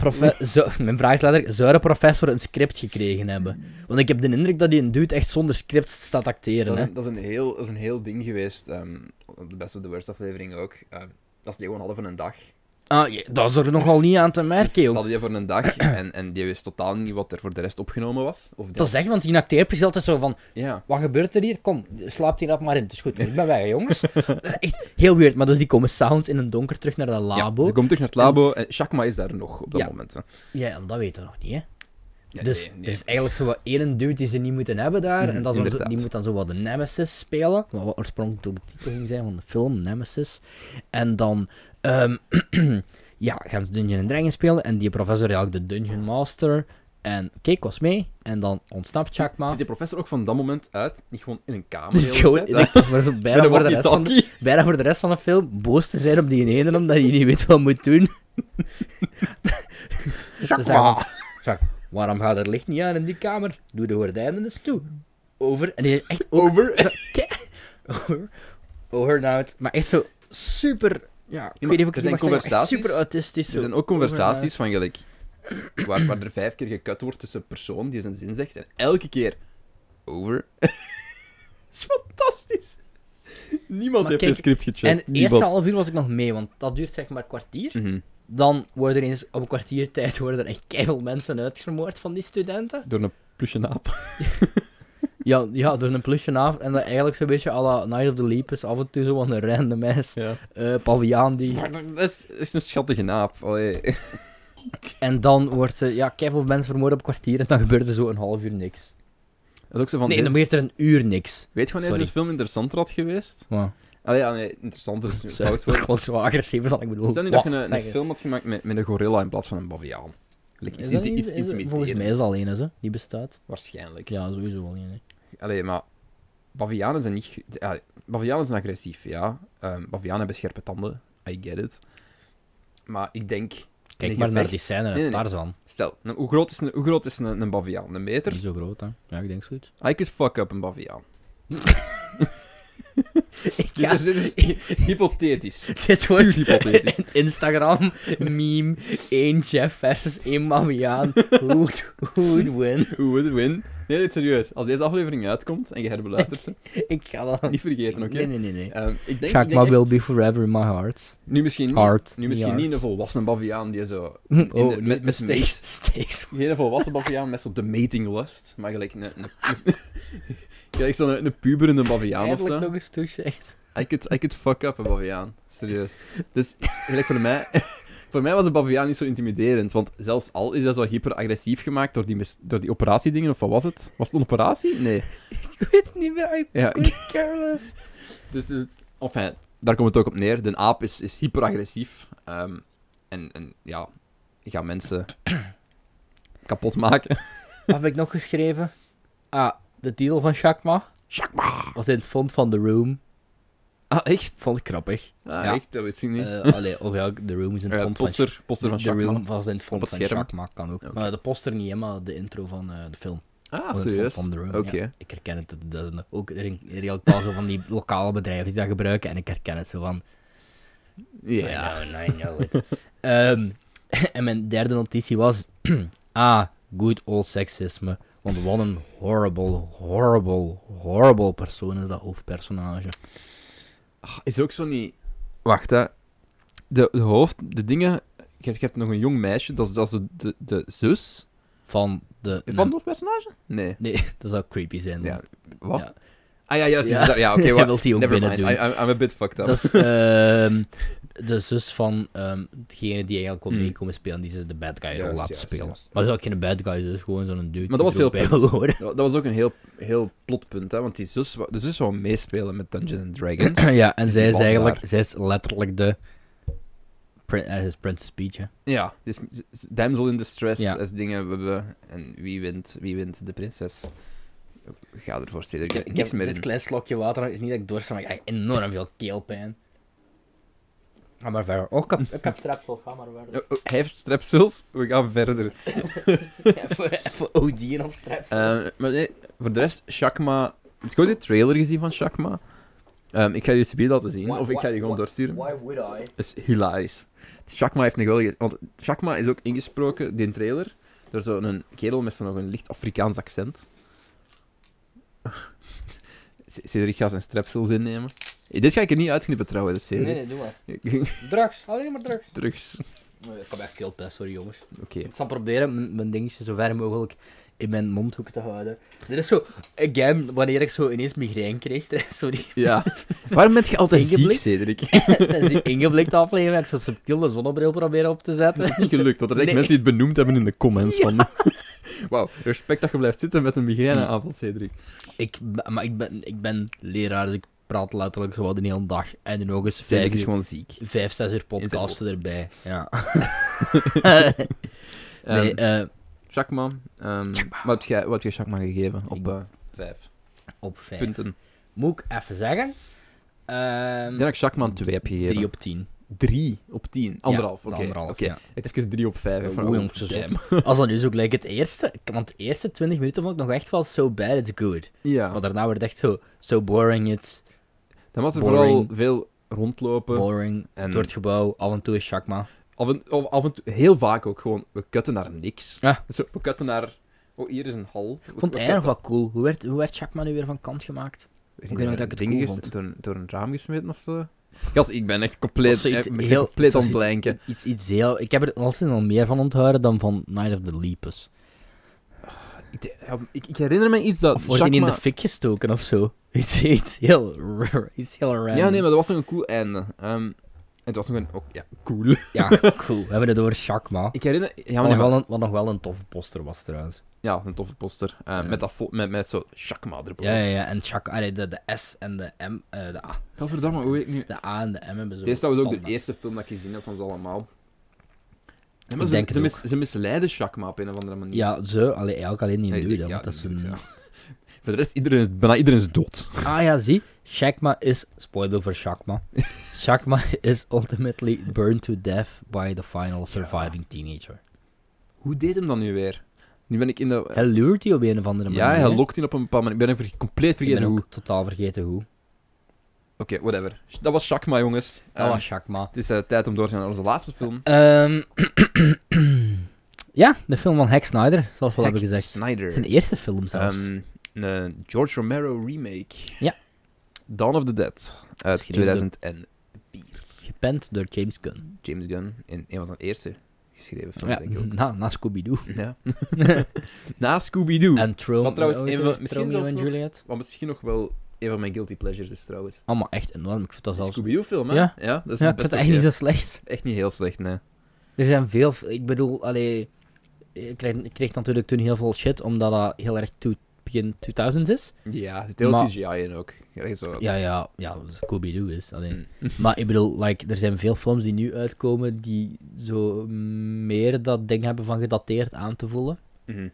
S2: Profe zo, mijn vraag is letterlijk, zou de professor een script gekregen hebben? Want ik heb de indruk dat die een dude echt zonder script staat acteren.
S1: Dat is,
S2: Hè?
S1: een, dat, is een heel, dat is een heel ding geweest. ehm, op de Best of the Worst aflevering ook. Ehm, dat is die gewoon hadden van een dag.
S2: Ah, ja, dat is er nogal niet aan te merken,
S1: Ze
S2: joh.
S1: hadden die voor een dag en, en die wist totaal niet wat er voor de rest opgenomen was. Of
S2: Dat is echt, want die acteert is altijd zo van,
S1: Ja.
S2: Wat gebeurt er hier? Kom, slaap die dat maar in. Het is goed, ik ben weg, jongens. Dat is echt heel weird. Maar dus die komen s'avonds in een donker terug naar dat labo.
S1: Ja,
S2: Ja,
S1: ze komt terug naar het labo en Shakma is daar nog op dat
S2: Ja.
S1: moment. Hè.
S2: en dat weten we nog niet, hè.
S1: Ja,
S2: dus
S1: nee, nee.
S2: er is eigenlijk zo wat één dude die ze niet moeten hebben daar.
S1: Mhm,
S2: en dat is dan zo- die
S1: inderdaad.
S2: moet dan zo wat de Nemesis spelen. Wat wat oorspronkelijk ook de titel ging zijn van de film, Nemesis. En dan... ehm, ja, gaan ze Dungeon en Dragon spelen. En die professor is eigenlijk de Dungeon Master. En oké, ik was mee. En dan ontsnapt Chakma.
S1: Ziet de professor ook van dat moment uit, niet gewoon in een kamer.
S2: Ah. Dus gewoon,
S1: in een
S2: ik, bijna voor de rest van de bijna voor de rest van de film boos te zijn op die ene omdat je niet weet wat je moet doen. Te zeggen,
S1: Shakma!
S2: "Zak, waarom gaat het licht niet aan in die kamer? Doe de gordijnen eens toe. Over. En die is echt ook
S1: Over.
S2: over. Over nou het. Maar echt zo super. Ja, ik
S1: maar
S2: weet niet of
S1: er
S2: ik het
S1: zijn
S2: mag zeggen, maar echt
S1: conversaties.
S2: Super autistisch.
S1: Er zijn ook conversaties van gelijk. Waar, waar er vijf keer gekut wordt tussen een persoon die zijn zin zegt en elke keer over. Dat is fantastisch. Niemand
S2: Maar
S1: heeft
S2: kijk,
S1: dit script
S2: En
S1: gecheckt.
S2: het eerste
S1: Niemand.
S2: half uur was ik nog mee, want dat duurt zeg maar een kwartier.
S1: Mhm.
S2: Dan worden er eens op een kwartier tijd worden er echt keihard mensen uitgemoord van die studenten.
S1: Door een plusje naap.
S2: Ja, ja, door een plusje af en dan eigenlijk zo'n beetje à la Night of the Leap is af en toe zo van een random mens.
S1: Ja.
S2: eh paviaan die...
S1: Dat is, dat is een schattige naap. Allee.
S2: En dan wordt ze, ja, keiveel mensen vermoord op een kwartier en dan gebeurt er zo een half uur niks.
S1: Dat is ook zo van.
S2: Nee, dan gebeurt er een uur niks.
S1: Weet je wanneer
S2: Sorry.
S1: de film interessanter had geweest?
S2: Wow.
S1: Allee, ja, nee, interessanter is een fout woord.
S2: Ik was zo agressiever dan ik bedoel.
S1: Stel nu
S2: Wauw,
S1: dat je een,
S2: zeg
S1: een
S2: eens.
S1: film had gemaakt met, met een gorilla in plaats van een baviaan. Like,
S2: Is
S1: iets
S2: dat
S1: iets,
S2: niet-
S1: iets
S2: is- Volgens mij is
S1: intimiderends.
S2: dat alleen eens, hè. Die bestaat.
S1: Waarschijnlijk.
S2: Ja, sowieso wel één, hè.
S1: Allee, maar bavianen zijn niet... ge- ja, bavianen zijn agressief, ja. Ehm bavianen hebben scherpe tanden. I get it. Maar ik denk...
S2: Kijk
S1: een
S2: maar naar
S1: gevecht-
S2: die scène uit
S1: Nee, nee, nee.
S2: Tarzan.
S1: Stel, nou, hoe groot is een, hoe groot is een, een baviaan? Een
S2: Die
S1: meter?
S2: is zo groot, hè. Ja, ik denk zoiets.
S1: I could fuck up een baviaan. Dus
S2: Ja.
S1: Dit, is, dit is hypothetisch.
S2: Dit
S1: Puur
S2: wordt
S1: hypothetisch.
S2: een Instagram meme. één Jeff versus één Maviaan. Who would- who would win?
S1: Hoe would it win? Nee, dit is serieus. Als deze aflevering uitkomt en je herbeluistert ze,
S2: Ik ga dat...
S1: niet vergeten, oké?
S2: Nee, nee, nee. nee.
S1: Ehm, ik denk, ik denk
S2: Chakma
S1: echt-
S2: will be forever in my heart.
S1: Nu misschien niet,
S2: Hard,
S1: nu
S2: niet
S1: misschien
S2: hard.
S1: niet een volwassen baviaan die zo...
S2: Oh,
S1: met-
S2: met,
S1: met
S2: steaks. steaks.
S1: Geen volwassen baviaan met zo de matinglust, maar gelijk een... een gelijk zo'n een, puberende baviaan of
S2: Eindelijk
S1: zo.
S2: nog eens touche, echt.
S1: I could, I could fuck up een baviaan. Serieus. Dus, gelijk voor mij... Voor mij was de baviaan niet zo intimiderend, want zelfs al is dat zo hyperagressief gemaakt door die, mis- door die operatiedingen, of wat was het? Was het een operatie? Nee.
S2: Ik weet het niet meer, I
S1: Ja,
S2: quit careless.
S1: Dus, dus enfin, daar komt het ook op neer. De aap is, is hyperagressief. ehm, en, en ja, gaat mensen kapot maken.
S2: Wat heb ik nog geschreven? Ah, de titel van Chakma. Chakma! Was in het fond van The Room.
S1: Ah, echt?
S2: Vond ik grappig.
S1: Ah,
S2: Ja.
S1: echt? Dat weet ik niet.
S2: Eh allee, of ja, The Room is in het
S1: Ja,
S2: fond van...
S1: poster, poster van
S2: The
S1: Shaq,
S2: Room
S1: man.
S2: was in het
S1: Op
S2: fond
S1: het
S2: van
S1: scherm.
S2: Chakma, kan ook.
S1: Oké.
S2: Maar de poster niet, hè, maar de intro van eh, de film.
S1: Ah,
S2: was in het
S1: serieus?
S2: fond van The
S1: Oké.
S2: Room, ja. Ik herken het uit de duizenden. Ook er zijn heel een paar zo van die lokale bedrijven die dat gebruiken. En ik herken het zo van...
S1: Ja.
S2: I know, I know it. Ehm, en mijn derde notitie was... ah, good old seksisme. Want wat een horrible, horrible, horrible persoon is dat hoofdpersonage.
S1: Ah, Is ook zo niet... Wacht, hè. De, de hoofd, de dingen... Je hebt, je hebt nog een jong meisje, dat is, dat is de, de, de zus
S2: Van de...
S1: van het hoofdpersonage? Nee.
S2: Nee, dat zou creepy zijn.
S1: Ja,
S2: Ja.
S1: wat?
S2: Ja.
S1: Ah ja, ja, het is
S2: Ja.
S1: dat- ja oké.
S2: Hij
S1: wa-
S2: wil die ook
S1: never
S2: binnen
S1: mind.
S2: doen.
S1: I, I'm, I'm a bit fucked up.
S2: Dat is ehm, de zus van ehm, degene die eigenlijk kon
S1: Hmm.
S2: meekomen spelen, die ze de bad guy rol
S1: Juist,
S2: laten
S1: juist,
S2: spelen.
S1: juist.
S2: Maar ze is ook geen bad guy, ze is gewoon zo'n dude.
S1: Maar
S2: die
S1: dat was
S2: er
S1: heel
S2: ook bij wil
S1: prettig.
S2: horen.
S1: Dat was ook een heel, heel plotpunt, hè? want die zus, wou- de zus wou meespelen met Dungeons and Dragons.
S2: ja, en zij
S1: die
S2: is
S1: was
S2: eigenlijk,
S1: daar.
S2: zij is letterlijk de. Prin- eh, ze is Princess Peach, hè.
S1: Ja, dus damsel in distress
S2: Ja.
S1: als dingen we hebben. En wie wint, wie wint de prinses? Ga ervoor, Cedric. Ik
S2: Ik
S1: niks
S2: heb
S1: meer
S2: dit
S1: in.
S2: klein slokje water, het is niet dat ik doorsta, maar ik krijg enorm veel keelpijn. Ga maar verder. Oh, ik heb, ik heb strepsel, ga maar verder.
S1: Eh, Oh, oh, hij heeft strepsels, we gaan verder.
S2: even, even OD'en op strepsel.
S1: Ehm, maar nee, voor de rest, Shakma... Heb je ooit de trailer gezien van Shakma? Ehm, ik ga jullie subiet laten zien,
S2: Why-
S1: of ik ga
S2: why-
S1: die gewoon
S2: why-
S1: doorsturen.
S2: Why would I?
S1: is hilarisch. Shakma heeft nog wel... ge- Want Shakma is ook ingesproken, die trailer, door zo'n kerel met zo'n nog een licht Afrikaans accent. C- Cedric gaat zijn strepsels innemen. Eh, Dit ga ik er niet uitknippen trouwens,
S2: Nee,
S1: Cedric.
S2: nee, doe maar. Drugs, alleen maar drugs.
S1: Drugs.
S2: Nee, Ik heb echt keelpijn, sorry jongens.
S1: Oké.
S2: Ik zal proberen mijn, mijn dingetje zo ver mogelijk in mijn mondhoek te houden. Dit is zo, again, wanneer ik zo ineens migraine kreeg, sorry.
S1: Ja. Waarom ben je altijd ziek,
S2: Ingeblikt?
S1: Cedric?
S2: Dat is die ingeblikt aflevering, heb ik zo subtiel de zonnebril proberen op te zetten.
S1: Dat is niet gelukt, want er zijn
S2: Nee.
S1: mensen die het benoemd hebben in de comments. Van... Wauw, respect dat je blijft zitten met een migraineaanval, Cedric.
S2: Ik, ben- maar ik ben, ik ben leraar, dus ik praat letterlijk gewoon de hele dag. En dan nog eens
S1: Cedric
S2: vijf,
S1: is
S2: uur-
S1: gewoon ziek.
S2: vijf zes uur
S1: hoofd.
S2: podcasten erbij. Ja.
S1: Ehm,
S2: nee, eh,
S1: Shakma, ehm, Wat, heb jij, wat heb jij Shakma gegeven op eh, vijf
S2: op vijf.
S1: punten?
S2: Moet ik even zeggen? Ehm
S1: Ik denk dat ik Shakma een 2 heb gegeven.
S2: drie op tien.
S1: 3 op 10. Anderhalf,
S2: Ja,
S1: oké.
S2: anderhalf,
S1: oké.
S2: ja.
S1: Ik heb even 3 op 5.
S2: Oh, oei, jongens, zo Als dat nu zo gelijk het eerste, want de eerste 20 minuten vond ik nog echt wel so bad it's good.
S1: Ja,
S2: Maar daarna werd het echt zo so boring it's
S1: dan was er
S2: boring.
S1: vooral veel rondlopen.
S2: boring.
S1: En
S2: Door het gebouw, af en toe is Shakma.
S1: af en, of- af en toe, heel vaak ook gewoon, we kutten naar niks.
S2: Ja.
S1: Zo, we kutten naar... Oh, hier is een hal.
S2: Ik vond het eigenlijk wel cool. Hoe werd, hoe werd Shakma nu weer van kant gemaakt? Ik weet nog dat ik het cool vond.
S1: Door, door een raam gesmeten of zo. Gast, ik ben echt compleet,
S2: Dat is iets
S1: eh, ik ben
S2: heel-
S1: compleet
S2: dat
S1: aan
S2: is
S1: het
S2: iets-
S1: blanken.
S2: Iets, iets heel... Ik heb er al sinds al meer van onthouden dan van Night of the Lepus.
S1: Ik, ja, ik, ik herinner me iets dat
S2: Of wordt hij in
S1: Shakma-
S2: de fik gestoken of zo? Iets, iets heel... raar, Iets heel random.
S1: Ja, nee, maar dat was nog een cool einde. Ehm, het was nog een... ook ja, cool.
S2: Ja, cool. We hebben het over Shakma.
S1: ik herinner... Ja,
S2: Wat
S1: maar
S2: nog,
S1: nee, maar-
S2: wel een, wat nog wel een toffe poster was trouwens.
S1: Ja, een toffe poster. Eh,
S2: Ja.
S1: Met, dat fo- met, met zo Shakma erboven.
S2: Ja, ja, ja. En Shakma... allee, De, de S en de M... eh, de A.
S1: Gadverdamme, hoe weet ik nu...
S2: De A en de M hebben zo.
S1: Dit is trouwens ook de
S2: tanden.
S1: eerste film dat ik gezien heb van ze allemaal. Ja,
S2: Ik
S1: maar ze,
S2: denk het
S1: ze, mis-
S2: ook.
S1: ze misleiden Shakma op een of andere manier.
S2: Ja, ze, allee, eigenlijk alleen niet
S1: Nee,
S2: in
S1: ik
S2: dude,
S1: denk-
S2: hè,
S1: ja,
S2: want dat is
S1: die
S2: een...
S1: doet, ja. Voor de rest, iedereen is, bijna iedereen is dood.
S2: Ah ja, zie. Shakma is. Spoiler voor Shakma. Shakma is ultimately burned to death by the final surviving teenager.
S1: Hoe deed hem dat nu weer? Nu ben ik in de...
S2: Hij luurt die op een of andere manier.
S1: ja, hij
S2: hè.
S1: lokt in op een bepaald moment. Ik ben even compleet
S2: Ik ben
S1: vergeten hoe.
S2: ook totaal vergeten hoe.
S1: Oké, whatever. Dat was Shakma, jongens.
S2: Dat
S1: Ehm,
S2: was Shakma.
S1: het is eh, tijd om door te gaan naar onze laatste film.
S2: Ehm, ja, de film van Hack Snyder, zoals we al hebben
S1: Zack
S2: gezegd.
S1: Snyder.
S2: Zijn eerste film zelfs.
S1: Ehm, een George Romero remake.
S2: Ja.
S1: Dawn of the Dead uit
S2: Geschreven door-
S1: 2004.
S2: Gepend door James Gunn.
S1: James Gunn in een van zijn eerste geschreven films,
S2: Ja,
S1: denk ik ook.
S2: na, na Scooby-Doo.
S1: Ja. Na Scooby-Doo.
S2: En Trom.
S1: Wat trouwens,
S2: eh,
S1: een
S2: hoe
S1: van-
S2: heet het?
S1: misschien
S2: Romeo
S1: zelfs
S2: en
S1: nog-
S2: Juliet.
S1: Wat misschien nog wel een van mijn guilty pleasures is trouwens.
S2: Allemaal echt enorm. Ik vind dat
S1: De
S2: zelfs...
S1: Scooby-Doo film, hè?
S2: Ja.
S1: dat is
S2: Ja, ik
S1: best
S2: vind dat echt niet
S1: oké.
S2: zo slecht.
S1: Echt niet heel slecht, nee.
S2: Er zijn veel, ik bedoel, allee, ik kreeg, ik kreeg natuurlijk toen heel veel shit omdat dat heel erg toe, begin 2000 is.
S1: Ja, er zit heel
S2: Maar-
S1: CGI in ook. Ja, dat is wel-
S2: Ja, ja, ja, Scooby-Doo is. Alleen.
S1: Hmm.
S2: maar ik bedoel, like, er zijn veel films die nu uitkomen die zo meer dat ding hebben van gedateerd aan te voelen,
S1: Mhm.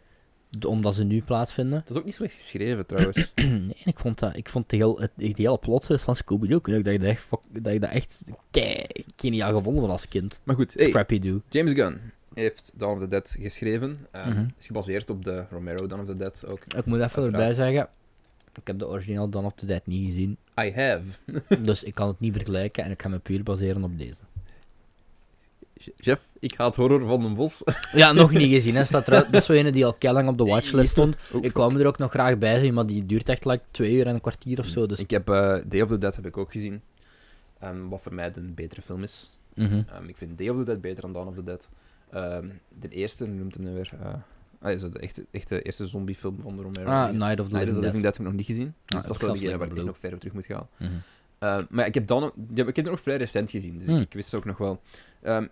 S2: d- omdat ze nu plaatsvinden.
S1: Dat is ook niet slecht geschreven trouwens.
S2: nee, ik vond dat, ik vond de heel, het, die hele plot is van Scooby-Doo, ik denk dat ik dat echt, fuck- dat ik dat echt kei geniaal gevonden van als kind.
S1: maar goed, hey,
S2: Scrappy-Doo.
S1: James Gunn heeft Dawn of the Dead geschreven. Ehm
S2: Mhm.
S1: Is gebaseerd op de Romero Dawn of the Dead ook.
S2: Ik moet even erbij zeggen, ik heb de origineel Dawn of the Dead niet gezien.
S1: I have.
S2: Dus ik kan het niet vergelijken en ik ga me puur baseren op deze.
S1: Jeff, ik haat horror van den Bos.
S2: Ja, nog niet gezien. Hè. Staat er, dat is zo ene die al kelling op de watchlist stond.
S1: Oh,
S2: Ik kwam er ook nog graag bij zien, maar die duurt echt like twee uur en een kwartier of zo. Dus...
S1: Ik heb eh, Day of the Dead heb ik ook gezien. Ehm, wat voor mij een betere film is.
S2: Mhm.
S1: Ehm, ik vind Day of the Dead beter dan Dawn of the Dead. Ehm, de eerste noemt hem nu weer. eh, Allee, zo de echte, echte eerste zombiefilm van de Romero.
S2: Ah, Night of the
S1: Night of
S2: Living
S1: the
S2: Dead. Ah,
S1: Living Dead heb ik nog niet gezien. Dus dat
S2: ik
S1: is
S2: zelf
S1: wel degene
S2: niet,
S1: waar ik echt
S2: bedoel.
S1: nog verder op terug moet gaan.
S2: Mhm.
S1: Eh, maar ik heb dan ik heb, ik heb het nog vrij recent gezien, dus ik-
S2: Hmm.
S1: ik wist het ook nog wel. Ehm,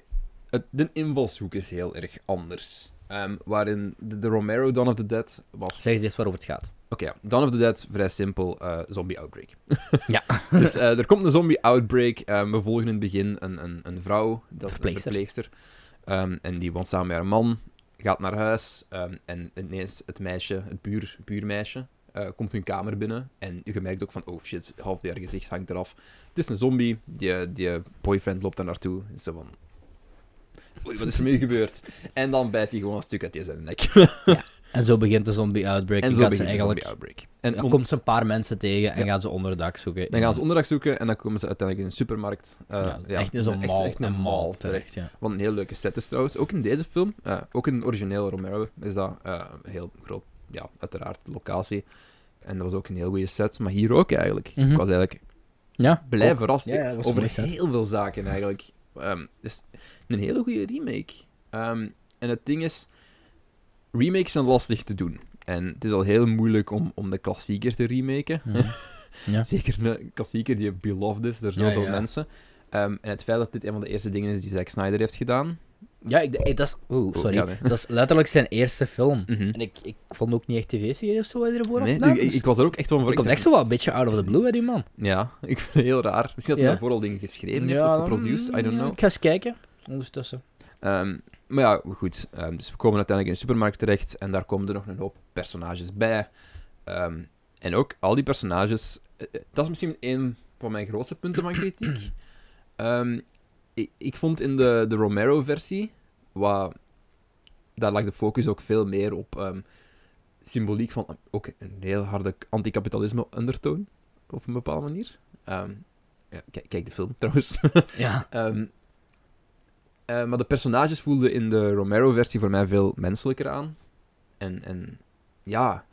S1: het, de invalshoek is heel erg anders. Ehm, waarin de, de Romero Dawn of the Dead was...
S2: Zeg eens eerst waarover het gaat.
S1: Oké, ja. Dawn of the Dead, vrij simpel, eh, zombie outbreak.
S2: Ja.
S1: dus eh, er komt een zombie outbreak. eh, we volgen in het begin een, een, een vrouw, dat is een
S2: Verpleegster.
S1: verpleegster. Ehm, en die woont samen met haar man, gaat naar huis. ehm, en ineens het meisje, het buur, buurmeisje, eh, komt hun kamer binnen. En je merkt ook van, oh shit, half haar gezicht hangt eraf. Het is een zombie, die, die boyfriend loopt daar naartoe. En zo van... Oei, wat is er mee gebeurd? En dan bijt hij gewoon een stuk uit zijn nek.
S2: En zo begint de zombie outbreak.
S1: en
S2: En
S1: zo
S2: gaat
S1: begint
S2: ze
S1: de
S2: eigenlijk...
S1: zombie outbreak. En
S2: Dan
S1: on-
S2: komt ze een paar mensen tegen
S1: Ja.
S2: en gaan ze onderdak zoeken.
S1: Dan gaan ze onderdak zoeken en dan komen ze uiteindelijk in een supermarkt. eh,
S2: Ja, echt in zo'n
S1: echt-
S2: mall,
S1: echt een mall terecht.
S2: ja.
S1: Wat een heel leuke set is trouwens. Ook in deze film, eh, ook in origineel Romero, is dat eh, een heel groot, ja, uiteraard locatie. En dat was ook een heel goede set, maar hier ook eigenlijk.
S2: Mhm.
S1: Ik was eigenlijk
S2: Ja,
S1: blij
S2: ook.
S1: verrast
S2: Ja, ja, dat was een
S1: over
S2: mooie set.
S1: heel veel zaken eigenlijk. Ehm dus een hele goede remake. Ehm, en het ding is, remakes zijn lastig te doen. En het is al heel moeilijk om, om de klassieker te remaken.
S2: Mhm. Ja.
S1: Zeker een klassieker die beloved is door
S2: Ja,
S1: zoveel
S2: ja.
S1: mensen. Ehm, en het feit dat dit een van de eerste dingen is die Zack Snyder heeft gedaan.
S2: Ja, ik, eh, dat is... Oeh,
S1: Oh,
S2: sorry.
S1: ja, nee.
S2: Dat is letterlijk zijn eerste film.
S1: Mhm.
S2: En ik, ik vond ook niet echt tv-serie of zo wat hij ervoor had
S1: Nee,
S2: gedaan.
S1: ik, ik-
S2: dus
S1: ik was er ook echt van voor.
S2: ik kom echt zo wel een beetje out of the blue bij die man.
S1: Ja, ik vind het heel raar. Misschien dat
S2: Ja.
S1: hij daarvoor al dingen geschreven heeft of geproduced, I don't
S2: mm,
S1: know.
S2: Ik ga eens kijken. Ondertussen.
S1: Ehm, maar ja, goed. Ehm, dus we komen uiteindelijk in de supermarkt terecht en daar komen er nog een hoop personages bij. Ehm, en ook al die personages. eh, eh, dat is misschien een van mijn grootste punten van kritiek. Ehm, ik, ik vond in de, de Romero-versie, wa- daar lag de focus ook veel meer op ehm, symboliek van eh, ook een heel harde anticapitalisme-undertoon, op een bepaalde manier. Ehm, ja, kijk- kijk de film trouwens.
S2: Ja.
S1: Ehm, eh, maar de personages voelden in de Romero-versie voor mij veel menselijker aan. En, en ja,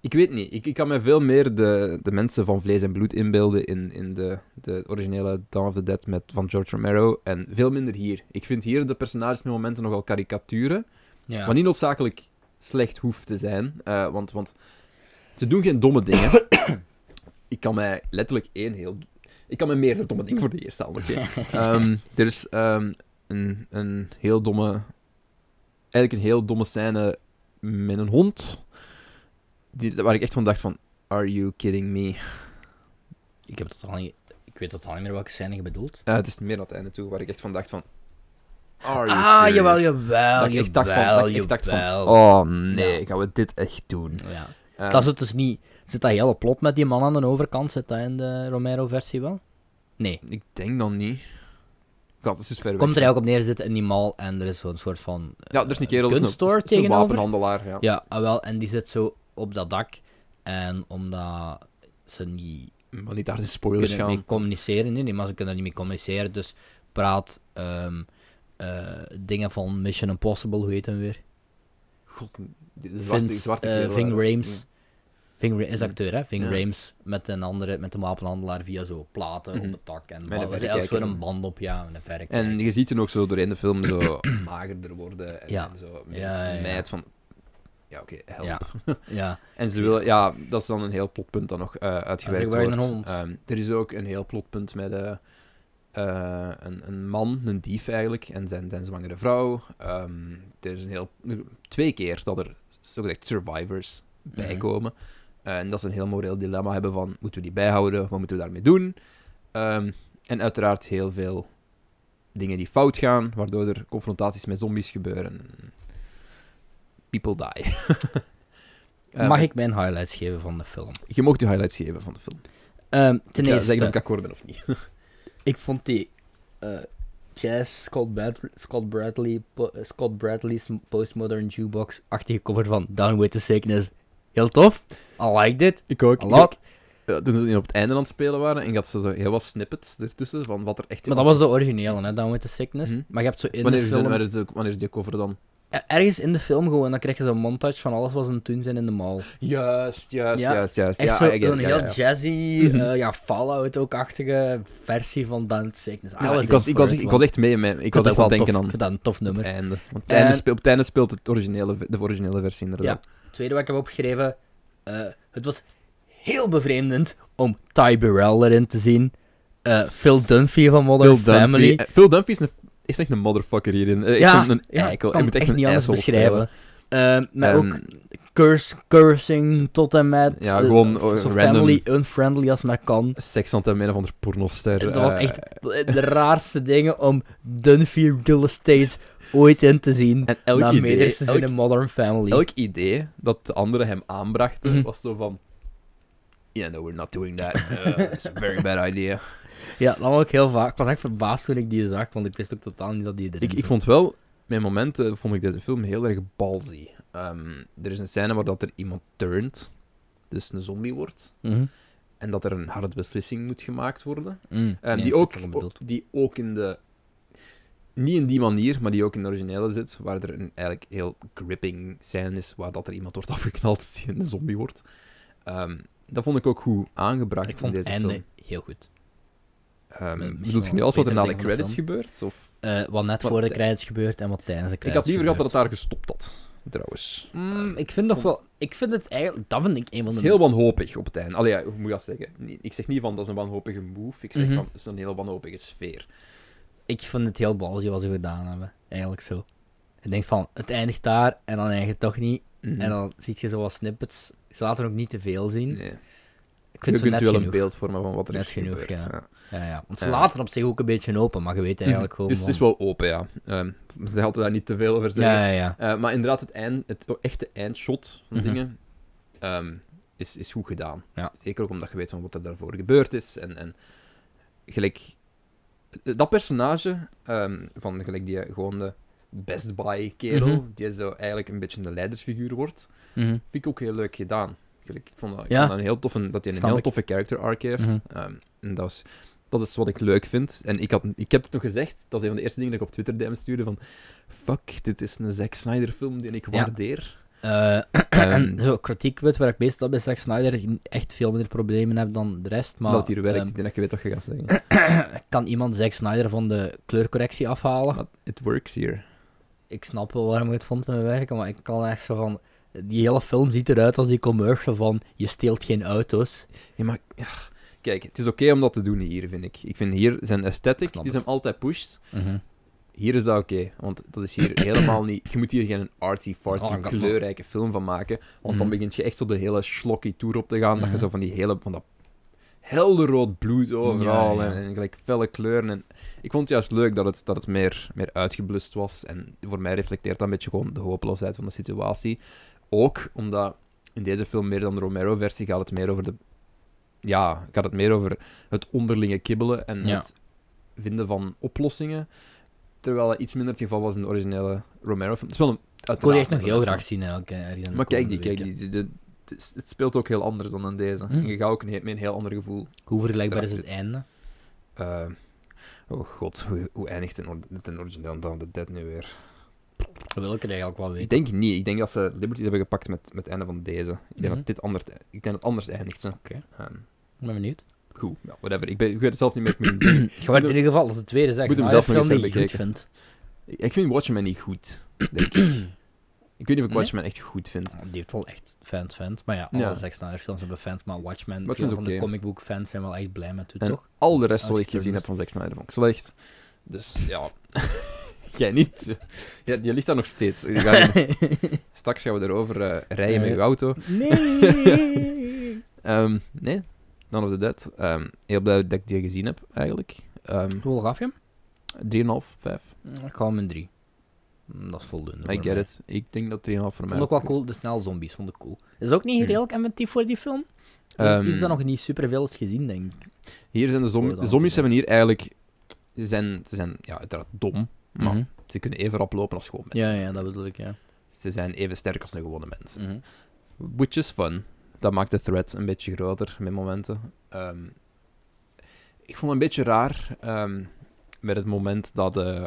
S1: ik weet niet. Ik, ik kan me veel meer de, de mensen van vlees en bloed inbeelden in, in de, de originele Dawn of the Dead met, van George Romero. En veel minder hier. Ik vind hier de personages met momenten nogal karikaturen.
S2: ja.
S1: Wat niet noodzakelijk slecht hoeft te zijn. eh, want, want ze doen geen domme dingen. ik kan mij letterlijk één heel... Ik kan me meerdere domme dingen voor de eerste halen. oké. Ehm, er is ehm, een, een heel domme... Eigenlijk een heel domme scène met een hond. Die, waar ik echt van dacht van... Are you kidding me?
S2: Ik heb totaal niet... Ik weet totaal niet meer welke scène je bedoelt.
S1: Eh, het is meer aan het einde toe waar ik echt van dacht van... Are you
S2: Ah,
S1: serious?
S2: jawel, jawel,
S1: Dat ik echt dacht van... dat ik echt dacht van oh nee, gaan we dit echt doen?
S2: Ja.
S1: Ehm,
S2: Dat is het dus niet. Zit dat hele plot met die man aan de overkant? Zit dat in de Romero-versie wel? Nee.
S1: Ik denk dan niet. God, dat is ver weg.
S2: Komt er eigenlijk op neer zitten in die mal en er is zo'n soort van. eh,
S1: Ja, er is een kerel, dat is een,
S2: kunststore
S1: dat is een
S2: tegenover.
S1: wapenhandelaar. Ja.
S2: Ja, ah, wel, en die zit zo op dat dak. En omdat ze niet
S1: Maar niet daar de spoilers
S2: kunnen mee
S1: gaan.
S2: communiceren, nee, nee, maar ze kunnen er niet mee communiceren, dus praat ehm, eh, dingen van Mission Impossible, hoe heet hem weer?
S1: God, de zwarte,
S2: Vince,
S1: zwarte
S2: eh,
S1: kerel. mm.
S2: Ving
S1: waar-
S2: Rames. Ving Ra- is
S1: Ja.
S2: acteur, hè? Ving
S1: Ja.
S2: Rames met een andere, met een wapenhandelaar via zo platen
S1: Mhm.
S2: op het dak. En
S1: een
S2: ba- er is eigenlijk
S1: verrekijker.
S2: zo'n band op, ja, en een verrekijker.
S1: En je ziet hem ook zo doorheen de film zo magerder worden. En,
S2: Ja.
S1: en zo
S2: Ja, ja, ja.
S1: meid van... Ja, oké, help.
S2: Ja. Ja,
S1: En ze willen... Ja, dat is dan een heel plotpunt dat nog eh uitgewerkt
S2: Ja, ze gebruiken
S1: wordt.
S2: een hond.
S1: Ehm, er is ook een heel plotpunt met eh, eh, een, een man, een dief eigenlijk, en zijn, zijn zwangere vrouw. Ehm, er is een heel... Twee keer dat er zogezegd survivors
S2: Mhm.
S1: bijkomen. Eh, En dat ze een heel moreel dilemma hebben van, moeten we die bijhouden? Wat moeten we daarmee doen? Ehm, en uiteraard heel veel dingen die fout gaan, waardoor er confrontaties met zombies gebeuren. People die. Ehm,
S2: Mag ik mijn highlights geven van de film?
S1: Je mocht je highlights geven van de film.
S2: Ehm, ten
S1: Ik ga
S2: eerste,
S1: zeggen of ik
S2: ik,
S1: akkoord ben of niet.
S2: vond die eh Jazz Scott, Bad- Scott, Bradley, po- eh, Scott Bradley's Postmodern Jukebox-achtige cover van Down With The Sickness heel tof. I like dit.
S1: Ik ook.
S2: A lot.
S1: Ja, toen ze op het einde aan het spelen waren en ik had ze zo heel wat snippets ertussen van wat er echt...
S2: Maar dat was de originele, hè, Down With The Sickness.
S1: Mhm.
S2: Maar je hebt zo in
S1: wanneer,
S2: de
S1: is de-
S2: film...
S1: wanneer is de, wanneer is die cover dan?
S2: eh, ergens in de film gewoon, dan krijg je zo'n montage van alles wat ze toen zijn in de mall.
S1: Juist, juist,
S2: Ja.
S1: juist, juist.
S2: Echt
S1: Ja,
S2: zo-
S1: I get it,
S2: zo'n
S1: ja,
S2: heel
S1: ja, Mhm. ja.
S2: jazzy, eh, ja, Fallout ook-achtige versie van Bound Sickness.
S1: Ja,
S2: Alles
S1: ik, was,
S2: is
S1: ik, was,
S2: voor
S1: ik
S2: het,
S1: was
S2: want
S1: echt mee, man. Ik,
S2: ik
S1: was
S2: vond dat
S1: echt aan het
S2: wel
S1: denken aan
S2: tof. Ik vind dat een tof
S1: het
S2: nummer.
S1: einde. Want het
S2: En-
S1: einde spe- op het einde speelt het originele, de originele versie inderdaad.
S2: Het tweede wat ik heb opgeschreven, eh, het was heel bevreemdend om Ty Burrell erin te zien. Eh, Phil Dunphy van Modern
S1: Phil Dunphy-
S2: Family.
S1: eh, Phil Dunphy is, een, is echt een motherfucker hierin. Eh, Echt
S2: ja,
S1: zo'n- een
S2: ja,
S1: eikel.
S2: kan
S1: Hij moet echt,
S2: het echt
S1: een
S2: niet anders
S1: asshole
S2: beschrijven.
S1: spelen.
S2: Eh, maar
S1: Ehm,
S2: ook curse, cursing tot en met.
S1: Ja,
S2: eh,
S1: gewoon, eh,
S2: zo
S1: random.
S2: family unfriendly als maar kan.
S1: seks aan het hebben met een of andere pornoster.
S2: Dat was
S1: eh,
S2: echt de raarste dingen om Dunphy Real Estate ooit in te zien.
S1: En elk
S2: na
S1: idee,
S2: meerdere
S1: elk-
S2: in een Modern Family.
S1: elk idee dat de anderen hem aanbrachten,
S2: Mhm.
S1: was zo van... Yeah, no, we're not doing that. Uh, it's a very bad idea.
S2: Ja, dat was ook heel vaak. Ik was echt verbaasd toen ik die zag, want ik wist ook totaal niet dat die erin
S1: Ik, ik
S2: zat.
S1: vond wel... Mijn momenten vond ik deze film heel erg ballsy. Ehm, er is een scène waar dat er iemand turnt, dus een zombie wordt,
S2: Mhm.
S1: en dat er een harde beslissing moet gemaakt worden.
S2: Mm,
S1: Ehm,
S2: nee,
S1: die,
S2: ik
S1: ook,
S2: weet wat je bedoelt.
S1: die ook in de... Niet in die manier, maar die ook in de originele zit, waar er een eigenlijk heel gripping scène is, waar dat er iemand wordt afgeknald die een zombie wordt. Ehm, dat vond ik ook goed aangebracht
S2: Ik vond
S1: in
S2: het
S1: deze
S2: einde
S1: film.
S2: heel goed.
S1: Ehm,
S2: misschien
S1: bedoelt je
S2: wel
S1: nu alles wat er
S2: een
S1: na de
S2: betere ding
S1: credits
S2: van
S1: gebeurt? Of...
S2: Eh, wat net
S1: Wat
S2: voor de
S1: tij-
S2: credits gebeurt en wat tijdens de
S1: Ik
S2: credits
S1: had liever gehad dat
S2: gebeurt.
S1: het daar gestopt had, trouwens.
S2: Mm, ik vind nog
S1: vond-
S2: wel... Ik vind het eigenlijk... Dat vind ik een van
S1: Het
S2: de...
S1: is heel wanhopig op het einde. Allee, ja, hoe moet je dat zeggen? Nee, Ik zeg niet van dat is een wanhopige move, ik zeg
S2: Mhm.
S1: van het is een hele wanhopige sfeer.
S2: Ik vind het heel balzie wat ze gedaan hebben. Eigenlijk zo. Ik denk van, het eindigt daar en dan eindigt het toch niet.
S1: Mhm.
S2: En dan zie je zo wat snippets. Ze laten ook niet te veel zien.
S1: Nee.
S2: Ik
S1: Je
S2: vind
S1: kunt
S2: het
S1: wel
S2: net
S1: een
S2: genoeg.
S1: beeld vormen van wat er
S2: Net
S1: is
S2: genoeg,
S1: gebeurd.
S2: ja.
S1: ja.
S2: Ja, ja. Want ze
S1: Ja.
S2: laten op zich ook een beetje open, maar je weet eigenlijk
S1: Mhm.
S2: gewoon...
S1: Het is, het is
S2: van-
S1: wel open, ja. Ehm, ze hadden daar niet te veel over zeggen.
S2: Ja, ja, ja.
S1: Eh, maar inderdaad, het, eind, het echte eindshot van
S2: Mhm.
S1: dingen ehm, is, is goed gedaan.
S2: Ja.
S1: Zeker ook omdat je weet van wat er daarvoor gebeurd is. En, en gelijk... eh, Dat personage ehm, van gelijk die eh, gewoon de best buy kerel,
S2: Mhm.
S1: die zo eigenlijk een beetje de leidersfiguur wordt,
S2: Mhm.
S1: vind ik ook heel leuk gedaan. Gelijk, ik vond dat, ik
S2: Ja.
S1: vond dat een heel toffe, dat hij een
S2: Snap
S1: heel
S2: ik.
S1: toffe character arc heeft.
S2: Mhm.
S1: Ehm, en dat is, dat is wat ik leuk vind. En ik, had, ik heb het nog gezegd, dat is een van de eerste dingen dat ik op Twitter DM stuurde, van fuck, dit is een Zack Snyder film die ik waardeer.
S2: Eh,
S1: Ehm,
S2: en zo, kritiekpunt waar ik meestal bij Zack Snyder echt veel minder problemen heb dan de rest, maar...
S1: dat hier werkt,
S2: ehm,
S1: ik denk dat je weet wat je gaat zeggen.
S2: kan iemand Zack Snyder van de kleurcorrectie afhalen?
S1: Maar it works here.
S2: Ik snap wel waarom ik het vond met mijn werken, maar ik kan echt zo van... Die hele film ziet eruit als die commercial van je steelt geen auto's.
S1: Ja, maar... ja, Kijk, het is oké om dat te doen hier, vind ik. Ik vind hier zijn aesthetic,
S2: Snap
S1: die
S2: het.
S1: zijn altijd pushed. Hier is dat oké, want dat is hier helemaal niet... Je moet hier geen artsy-fartsy,
S2: Oh, ik had-
S1: kleurrijke film van maken, want dan
S2: Mhm.
S1: begint je echt tot de hele slokkie tour op te gaan, dat
S2: Mhm.
S1: je zo van die hele... Van dat helderrood bloed overal,
S2: Ja, ja.
S1: En, en gelijk felle kleuren. En ik vond het juist leuk dat het, dat het meer, meer uitgeblust was, en voor mij reflecteert dat een beetje gewoon de hopeloosheid van de situatie. Ook omdat in deze film, meer dan de Romero-versie, gaat het meer over de... Ja, gaat het meer over het onderlinge kibbelen en
S2: Ja.
S1: het vinden van oplossingen. Terwijl dat iets minder het geval was in de originele Romero-film. Het is wel een...
S2: Ik wil die
S1: uiteraard
S2: echt nog
S1: een
S2: heel graag
S1: verrassing.
S2: zien eigenlijk. eh, ergens in de
S1: Maar kijk die,
S2: komende
S1: kijk die.
S2: weken.
S1: die- die- het is- het speelt ook heel anders dan in deze.
S2: Hm.
S1: En je gaat ook een, he- met een heel ander gevoel.
S2: Hoe vergelijkbaar is
S1: Draag
S2: het einde?
S1: Eh, oh god, hoe, hoe eindigt het in or- het origineel dan de Dead nu weer?
S2: Dat wil ik er eigenlijk wel
S1: Ik
S2: weten.
S1: denk niet. Ik denk dat ze Liberties hebben gepakt met, met het einde van deze. Ik denk
S2: Mhm.
S1: dat dit anders... Ik denk dat het anders eindigt. Zo.
S2: Oké.
S1: Ehm,
S2: Ik ben benieuwd.
S1: goed, ja, whatever. Ik, ben, ik weet het zelf niet meer. Ik moet hem-
S2: Je wordt in ieder geval als de tweede "Ah, Zack
S1: Moet hem
S2: Snyder
S1: zelf nog
S2: film
S1: eens
S2: die je
S1: hebben
S2: goed
S1: bekeken.
S2: vindt.
S1: Ik, ik vind Watchmen niet goed, denk ik. Ik weet niet of ik
S2: Nee?
S1: Watchmen echt goed vind.
S2: Die heeft wel echt fans, fans. Maar ja, alle
S1: Ja.
S2: Zack Snyder films hebben fans, maar Watchmen,
S1: Watchmen
S2: veel
S1: is
S2: van de
S1: oké.
S2: comicbook fans zijn wel echt blij met het,
S1: En
S2: toch?
S1: al de rest wat ik
S2: Uitgeturnd.
S1: gezien heb van Zack Snyder vond ik slecht. Dus ja, jij niet. Ja, je ligt daar nog steeds. Je gaat hier- Straks gaan we erover eh, rijden met
S2: Nee.
S1: je auto.
S2: Nee!
S1: Ehm, nee, None of the Dead. Ehm, heel blij dat ik die gezien heb, eigenlijk. Ehm
S2: Hoe gaf je hem?
S1: 3,5, 5.
S2: Ik hou hem een 3. Dat is voldoende.
S1: I get it. Ik denk dat 3,5 voor
S2: Ik
S1: mij...
S2: vond ook wel cool, de snel zombies vond ik cool. Is het ook niet
S1: Hmm.
S2: redelijk inventief voor die film? Is,
S1: Ehm,
S2: is dat nog niet superveel gezien, denk ik.
S1: Hier zijn de
S2: Voor
S1: zombies.
S2: de
S1: De zombies
S2: None of
S1: hebben
S2: the
S1: hier eigenlijk... Ze zijn, ze zijn ja, uiteraard dom, maar
S2: Mhm.
S1: ze kunnen even rap lopen als gewoon mensen.
S2: Ja, ja, dat bedoel ik, ja.
S1: Ze zijn even sterk als een gewone mens.
S2: Mhm.
S1: Which is fun. Dat maakt de threat een beetje groter met momenten. Ehm, ik vond het een beetje raar ehm, met het moment dat eh,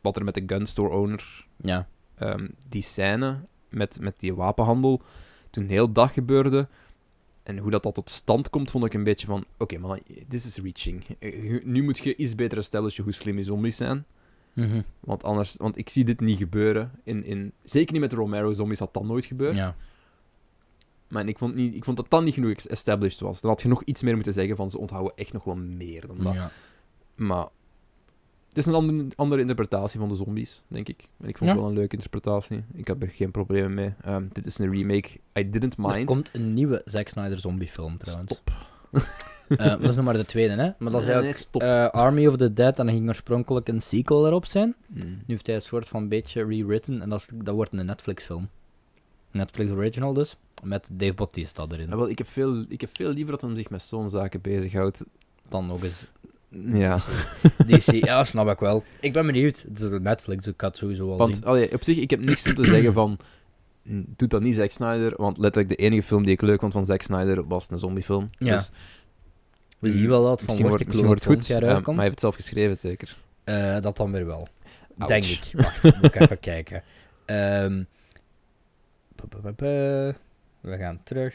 S1: wat er met de gun store owner,
S2: Ja.
S1: ehm, die scène met, met die wapenhandel, toen heel dag gebeurde. En hoe dat, dat tot stand komt, vond ik een beetje van: oké, maar this is reaching. Eh, je- Nu moet je iets beter establishen hoe slim die zombies zijn.
S2: Mhm.
S1: Want anders, want ik zie dit niet gebeuren. In, in, zeker niet met de Romero zombies had dat nooit gebeurd.
S2: Ja.
S1: Maar ik vond, niet, ik vond dat dan niet genoeg established was. Dan had je nog iets meer moeten zeggen van ze onthouden echt nog wel meer dan dat.
S2: ja.
S1: Maar het is een andere, andere interpretatie van de zombies, denk ik. En ik vond
S2: Ja.
S1: het wel een leuke interpretatie. Ik heb er geen problemen mee. Ehm, dit is een remake. I didn't
S2: Er
S1: mind.
S2: komt een nieuwe Zack Snyder zombiefilm trouwens.
S1: Stop.
S2: Eh, maar dat is nog maar de tweede, hè? Maar dat is
S1: Nee,
S2: eigenlijk
S1: nee, stop.
S2: eh, Army of the Dead en dan ging oorspronkelijk een sequel erop zijn.
S1: Mm.
S2: eh, Nu heeft hij een soort van beetje rewritten en dat, is- dat wordt een Netflix-film. Netflix Original dus, met Dave Bautista erin.
S1: Ja, Ah, wel, ik, heb veel, ik heb veel liever dat hij zich met zo'n zaken bezighoudt.
S2: Dan nog eens
S1: Ja.
S2: DC. ja, snap ik wel. Ik ben benieuwd. Het is op Netflix, dus ik had het sowieso wel
S1: Want
S2: zien.
S1: allee, op zich, ik heb niks om te zeggen van. "Mm, Doe dat niet, Zack Snyder. Want letterlijk de enige film die ik leuk vond van Zack Snyder was een zombiefilm.
S2: Ja.
S1: Dus
S2: We zien wel dat van
S1: misschien
S2: wordt
S1: wordt,
S2: de
S1: misschien
S2: kloon
S1: wordt het goed.
S2: jaar
S1: ehm, maar
S2: uitkomt.
S1: hij heeft het zelf geschreven, zeker.
S2: Eh, dat dan weer wel.
S1: Ouch.
S2: Denk ik. Wacht, moet ik even kijken. Ehm, pa, pa, pa, pa. We gaan terug.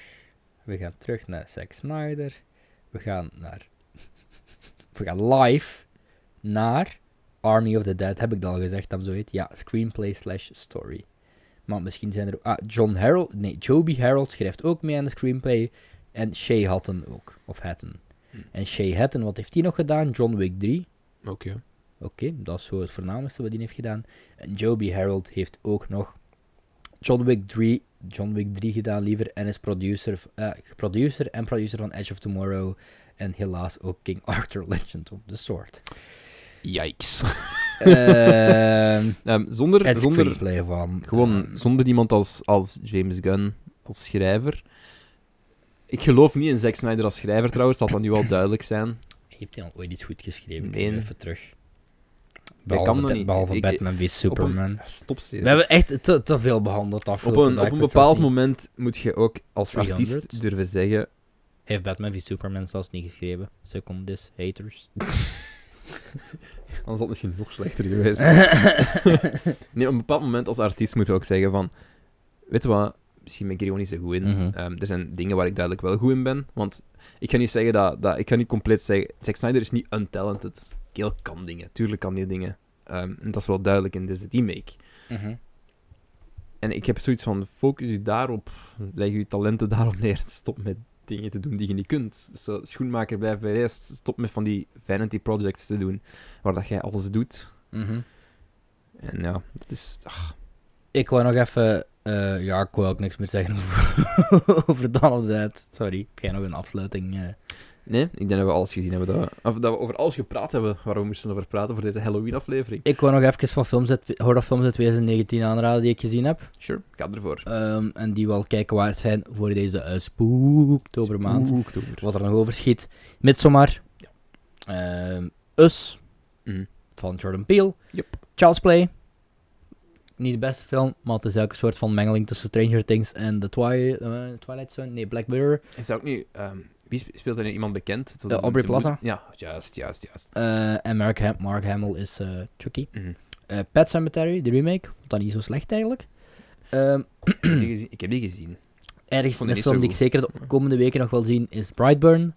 S2: We gaan terug naar Zack Snyder. We gaan naar... We gaan live naar Army of the Dead. Heb ik dat al gezegd, dan zo heet. Ja, screenplay slash story. Maar misschien zijn er... Ah, John Harold... Nee, Joby Harold schrijft ook mee aan de screenplay. En Shay Hatton ook. Of Hatton.
S1: Hm.
S2: En Shay Hatton, wat heeft hij nog gedaan? John Wick 3.
S1: Oké.
S2: Oké, dat is zo het voornaamste wat hij heeft gedaan. En Joby Harold heeft ook nog John Wick 3, John Wick 3 gedaan liever. En is producer, v- eh, producer en producer van Edge of Tomorrow. En helaas ook King Arthur Legend of the Sword.
S1: Yikes.
S2: Ehm
S1: Ehm, zonder,
S2: het
S1: zonder,
S2: screenplay van...
S1: gewoon,
S2: ehm,
S1: zonder iemand als, als James Gunn als schrijver. Ik geloof niet in Zack Snyder als schrijver trouwens, dat dat nu al duidelijk zijn.
S2: heeft hij al ooit iets goed geschreven?
S1: Nee.
S2: Even terug. Behalve,
S1: kan dat
S2: de-
S1: niet.
S2: behalve
S1: Ik-
S2: Batman v Superman.
S1: Stop ze.
S2: We hebben echt te, te veel behandeld
S1: Op
S2: afgelopen
S1: een,
S2: dag,
S1: op een
S2: ik weet zelfs
S1: bepaald
S2: niet.
S1: moment moet je ook als
S2: 300?
S1: artiest durven zeggen:
S2: Heeft Batman v Superman zelfs niet geschreven. Secondis, haters.
S1: Anders had het misschien nog slechter geweest. nee, op een bepaald moment als artiest moeten we ook zeggen van... Weet je wat? Misschien ben ik hier gewoon niet zo goed in.
S2: Mhm.
S1: Ehm, er zijn dingen waar ik duidelijk wel goed in ben. Want ik ga niet zeggen dat... dat ik ga niet compleet zeggen... Zack Snyder is niet untalented. Keel kan dingen. Tuurlijk kan die dingen. Ehm, en dat is wel duidelijk in deze remake. En ik heb zoiets van... Focus je daarop. Leg je talenten daarop neer. Stop met dingen te doen die je niet kunt. Zo, schoenmaker blijft bij de rest. Stop met van die vanity projects te doen. Waar dat jij alles doet.
S2: Mhm.
S1: En ja, het is. ach,
S2: Ik wou nog even. eh, ja, ik wou ook niks meer zeggen over, over Dawn of the Dead. Sorry, ik heb nog een afsluiting. eh.
S1: Nee, ik denk dat we alles gezien hebben. Dat we, of dat we over alles gepraat hebben waar we moesten over praten voor deze Halloween-aflevering.
S2: Ik wou nog even van films uit, horrorfilms uit 2019 aanraden die ik gezien heb.
S1: Sure, ga ervoor.
S2: Ehm, en die wel kijken waard zijn voor deze eh, spooktobermaand.
S1: Spooktober.
S2: Wat er nog over schiet. Midsommar. Ehm, Us.
S1: Mhm.
S2: Van Jordan Peele.
S1: Yep.
S2: Child's Play. Niet de beste film, maar het is elke soort van mengeling tussen Stranger Things en The Twi eh, Twilight Zone. Nee, Black Mirror.
S1: Is dat ook nu. ehm, wie spe- speelt er nu iemand bekend? Zo
S2: Eh,
S1: de- de
S2: Aubrey
S1: moeder-
S2: Plaza.
S1: Ja, juist, juist, juist.
S2: Eh, en Mark, Ham- Mark Hamill is eh, Chucky.
S1: Mhm.
S2: Eh, Pet Cemetery, de remake, vond dat niet zo slecht eigenlijk. Ehm,
S1: ik, heb die gezien, ik heb die gezien.
S2: ergens
S1: Vond
S2: een
S1: ik niet zo
S2: film die ik
S1: goed.
S2: zeker de komende weken nog wil zien is Brightburn.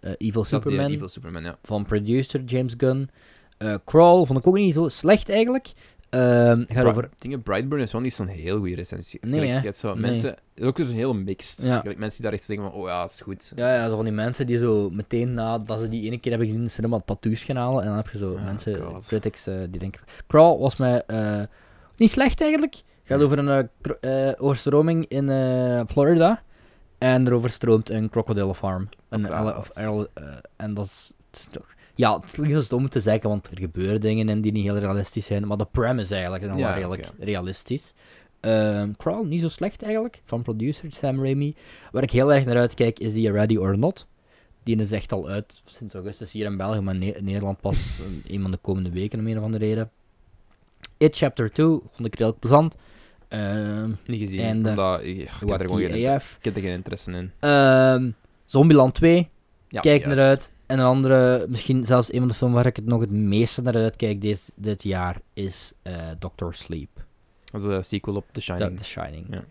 S2: Eh,
S1: Dat
S2: Evil
S1: is die, eh,
S2: Superman
S1: Evil Superman, ja.
S2: van producer James Gunn. Eh, Crawl vond ik ook niet zo slecht eigenlijk. Ehm gaat
S1: Bra-
S2: over...
S1: Dingen, Brightburn is wel niet zo'n heel goede recensie.
S2: Nee,
S1: Gelijk,
S2: hè?
S1: je hebt zo
S2: Nee.
S1: mensen. Het is ook zo'n heel mixed.
S2: Ja.
S1: Gelijk mensen die daar echt zeggen van, oh ja, is goed.
S2: Ja, ja, zo van die mensen die zo meteen nadat ze die ene keer hebben gezien in de cinema tattoos gaan halen. En dan heb je zo
S1: Oh,
S2: mensen,
S1: God.
S2: critics, eh, die denken... Crawl was mij eh, niet slecht eigenlijk. gaat
S1: Hmm.
S2: over een eh, kro- eh, overstroming in eh, Florida. En er overstroomt een crocodile farm. Een
S1: Crocodile
S2: alle- of
S1: farms.
S2: alle- eh, en dat is, het is toch... Ja, het is niet zo stom om te zeggen, want er gebeuren dingen en die niet heel realistisch zijn. Maar de premise eigenlijk is dan
S1: Ja,
S2: wel redelijk realistisch. Ehm, Crawl, niet zo slecht eigenlijk, van producer Sam Raimi. Waar ik heel erg naar uitkijk is die Ready or Not. Die is echt al uit sinds augustus hier in België, maar Ne- Nederland pas een- een van de komende weken om een of andere reden. It Chapter 2 vond ik redelijk plezant. Ehm
S1: Niet gezien.
S2: En, eh,
S1: omdat, ik, ik heb er gewoon geen,
S2: Wacky
S1: inter-
S2: AF.
S1: ik heb er geen interesse in.
S2: Ehm, Zombieland 2,
S1: Ja,
S2: kijk
S1: juist.
S2: naar uit. En En een andere, misschien zelfs een van de films waar ik het nog het meeste naar uitkijk dit, dit jaar, is eh, Doctor Sleep.
S1: Dat is een sequel op The
S2: The,
S1: Shining.
S2: The Shining.
S1: Ja.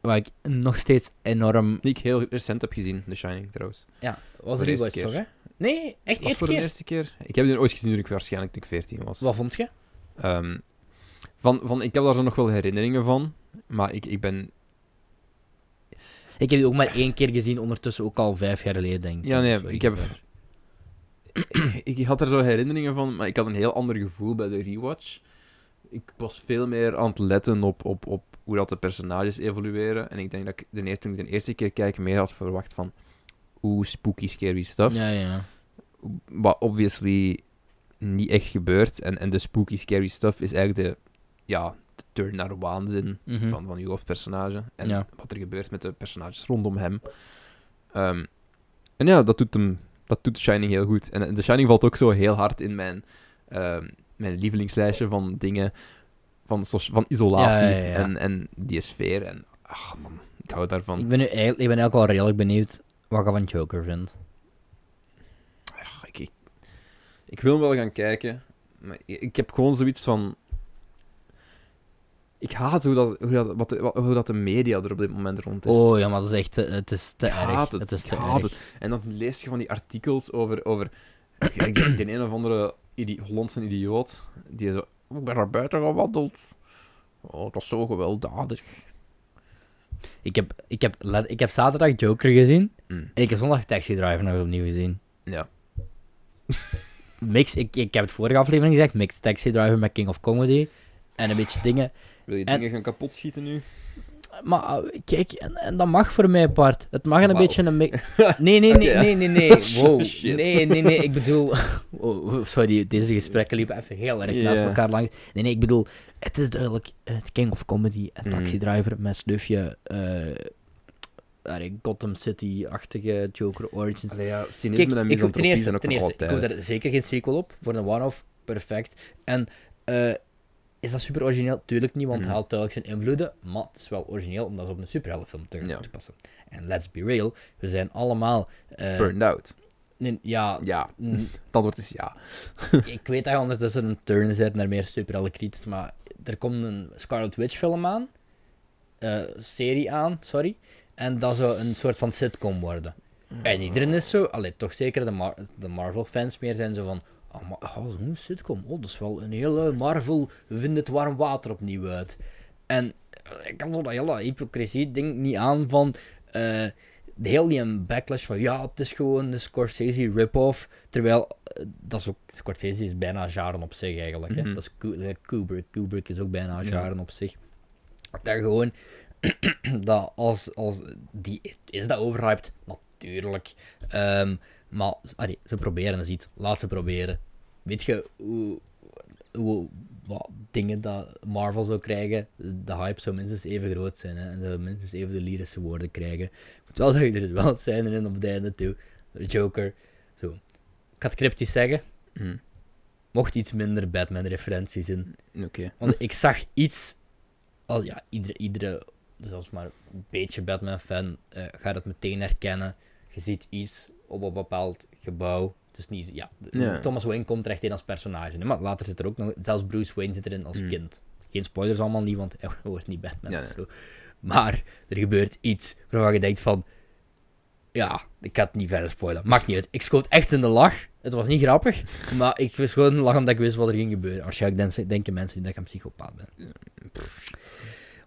S2: Waar ik nog steeds enorm...
S1: Die ik heel recent heb gezien, The Shining trouwens.
S2: Ja, was
S1: de
S2: er
S1: eerste
S2: iets
S1: keer.
S2: toch, hè? Nee, echt
S1: Was
S2: eerste
S1: voor de
S2: keer.
S1: eerste keer. Ik heb die ooit gezien toen ik waarschijnlijk toen ik 14 was.
S2: Wat vond je?
S1: Ehm, van, van, ik heb daar zo nog wel herinneringen van, maar ik, ik ben...
S2: Ik heb die ook maar één keer gezien, ondertussen ook al vijf jaar geleden, denk ik.
S1: Ja, nee,
S2: Of zoiets
S1: ik heb-
S2: daar.
S1: ik had er zo herinneringen van, maar ik had een heel ander gevoel bij de rewatch. Ik was veel meer aan het letten op, op, op hoe dat de personages evolueren. En ik denk dat ik de, eer- toen ik de eerste keer kijk meer had verwacht van... Oeh, spooky, scary stuff.
S2: Ja, ja.
S1: wat obviously niet echt gebeurt. En, en de spooky, scary stuff is eigenlijk de, ja, de turn naar waanzin
S2: Mhm.
S1: van, van uw hoofdpersonage. En
S2: Ja.
S1: wat er gebeurt met de personages rondom hem. Ehm, en ja, dat doet, hem, dat doet The Shining heel goed. En, en The Shining valt ook zo heel hard in mijn, ehm, mijn lievelingslijstje van dingen. Van, soci- van isolatie
S2: Ja, ja, ja.
S1: En, en die sfeer. En ach man, ik hou daarvan.
S2: Ik ben nu eigenlijk, ik ben eigenlijk wel redelijk benieuwd wat ik van Joker vind.
S1: Ach, ik, ik, ik wil hem wel gaan kijken. Maar i- ik, heb gewoon zoiets van. Ik haat hoe dat, hoe dat, wat, de- wat- hoe dat de media er op dit moment rond is.
S2: Oh ja, maar dat is echt, te- het is te
S1: Ik haat
S2: erg.
S1: het,
S2: Het is
S1: ik
S2: te
S1: haat
S2: erg.
S1: het. En dan lees je van die artikels over. over ik denk de een of andere idi Hollandse idioot. Die zo. Ik ben naar buiten gewandeld. Oh, dat is zo gewelddadig.
S2: Ik heb, ik, heb, let- ik heb zaterdag Joker gezien
S1: Mm,
S2: en ik heb zondag Taxi Driver nog eens opnieuw gezien.
S1: Ja.
S2: Mix, ik, ik heb het vorige aflevering gezegd, mix Taxi Driver met King of Comedy en een beetje dingen.
S1: Wil je
S2: En-
S1: dingen gaan kapot schieten nu?
S2: Maar eh, kijk, en, en dat mag voor mij, Bart. Het mag een
S1: Wauw.
S2: beetje een... mi- Nee, nee, nee,
S1: Oké.
S2: nee, nee, nee. Wow.
S1: Shit.
S2: Nee, nee, nee, ik bedoel... Oh, oh, sorry, deze gesprekken liepen even heel erg naast
S1: Ja.
S2: elkaar langs. Nee, nee, ik bedoel... Het is duidelijk eh, het King of Comedy en
S1: Mhm.
S2: Taxi Driver met snufje... eh, allee, Gotham City-achtige Joker Origins.
S1: Allee, ja, cynisme
S2: Kijk,
S1: en
S2: ik hoop ten
S1: misantropie
S2: eerste,
S1: zijn ook van
S2: ten eerste
S1: alle
S2: ik hoop
S1: tijden.
S2: daar zeker geen sequel op. Voor een one-off, perfect. En eh, is dat super origineel? Tuurlijk niet, want
S1: Mhm.
S2: hij haalt duidelijk zijn invloeden. Maar het is wel origineel om dat op een superheldenfilm te
S1: Ja.
S2: te passen. En let's be real, we zijn allemaal... eh,
S1: Burned out.
S2: nee, ja,
S1: Ja,
S2: mm,
S1: het antwoord is ja.
S2: ik weet dat je ondertussen een turn zet naar meer superheldenkritisch, maar er komt een Scarlet Witch film aan. eh, serie aan, sorry. En dat zou een soort van sitcom worden.
S1: Mm.
S2: En iedereen is zo, allee, toch zeker de, Mar- de Marvel-fans meer zijn zo van. Oh, maar oh, zo'n sitcom. Oh, dat is wel een hele Marvel. We vinden het warm water opnieuw uit. En eh, ik kan zo dat hele hypocrisie-ding niet aan van. eh de heel die een backlash van ja, het is gewoon een Scorsese rip-off. Terwijl, eh, dat is ook, Scorsese is bijna jaren op zich eigenlijk.
S1: Mhm.
S2: Hè? Dat is Ku- eh, Kubrick. Kubrick is ook bijna
S1: Ja.
S2: jaren op zich. Dat gewoon, dat als, als, die, is dat overhyped? Natuurlijk. Ehm, maar, allee, ze proberen eens iets. Laat ze proberen. Weet je hoe, hoe, wat dingen dat Marvel zou krijgen? De hype zou minstens even groot zijn. Hè? En zou minstens even de lyrische woorden krijgen. Ik moet wel zeggen, er zit wel een scène in op het einde toe. De Joker. Zo. Ik ga het cryptisch zeggen.
S1: Mm,
S2: Mocht iets minder Batman-referenties in.
S1: Oké.
S2: Want ik zag iets. Als ja, iedere, iedere dus als maar een beetje Batman-fan eh, gaat het meteen herkennen. Je ziet iets op een bepaald gebouw. Het is niet, ja, de-
S1: Ja.
S2: Thomas Wayne komt er echt in als personage. hè, Maar later zit er ook nog, zelfs Bruce Wayne zit erin als
S1: Hmm.
S2: kind. Geen spoilers allemaal niet, want hij wordt niet Batman
S1: Ja,
S2: of
S1: ja.
S2: zo. Maar er gebeurt iets waarvan je denkt van, ja, ik ga het niet verder spoilen. Maakt niet uit. Ik schoot echt in de lach. Het was niet grappig, maar ik schoot in de lach omdat ik wist wat er ging gebeuren. Waarschijnlijk denken- denken mensen die dat ik een psychopaat ben.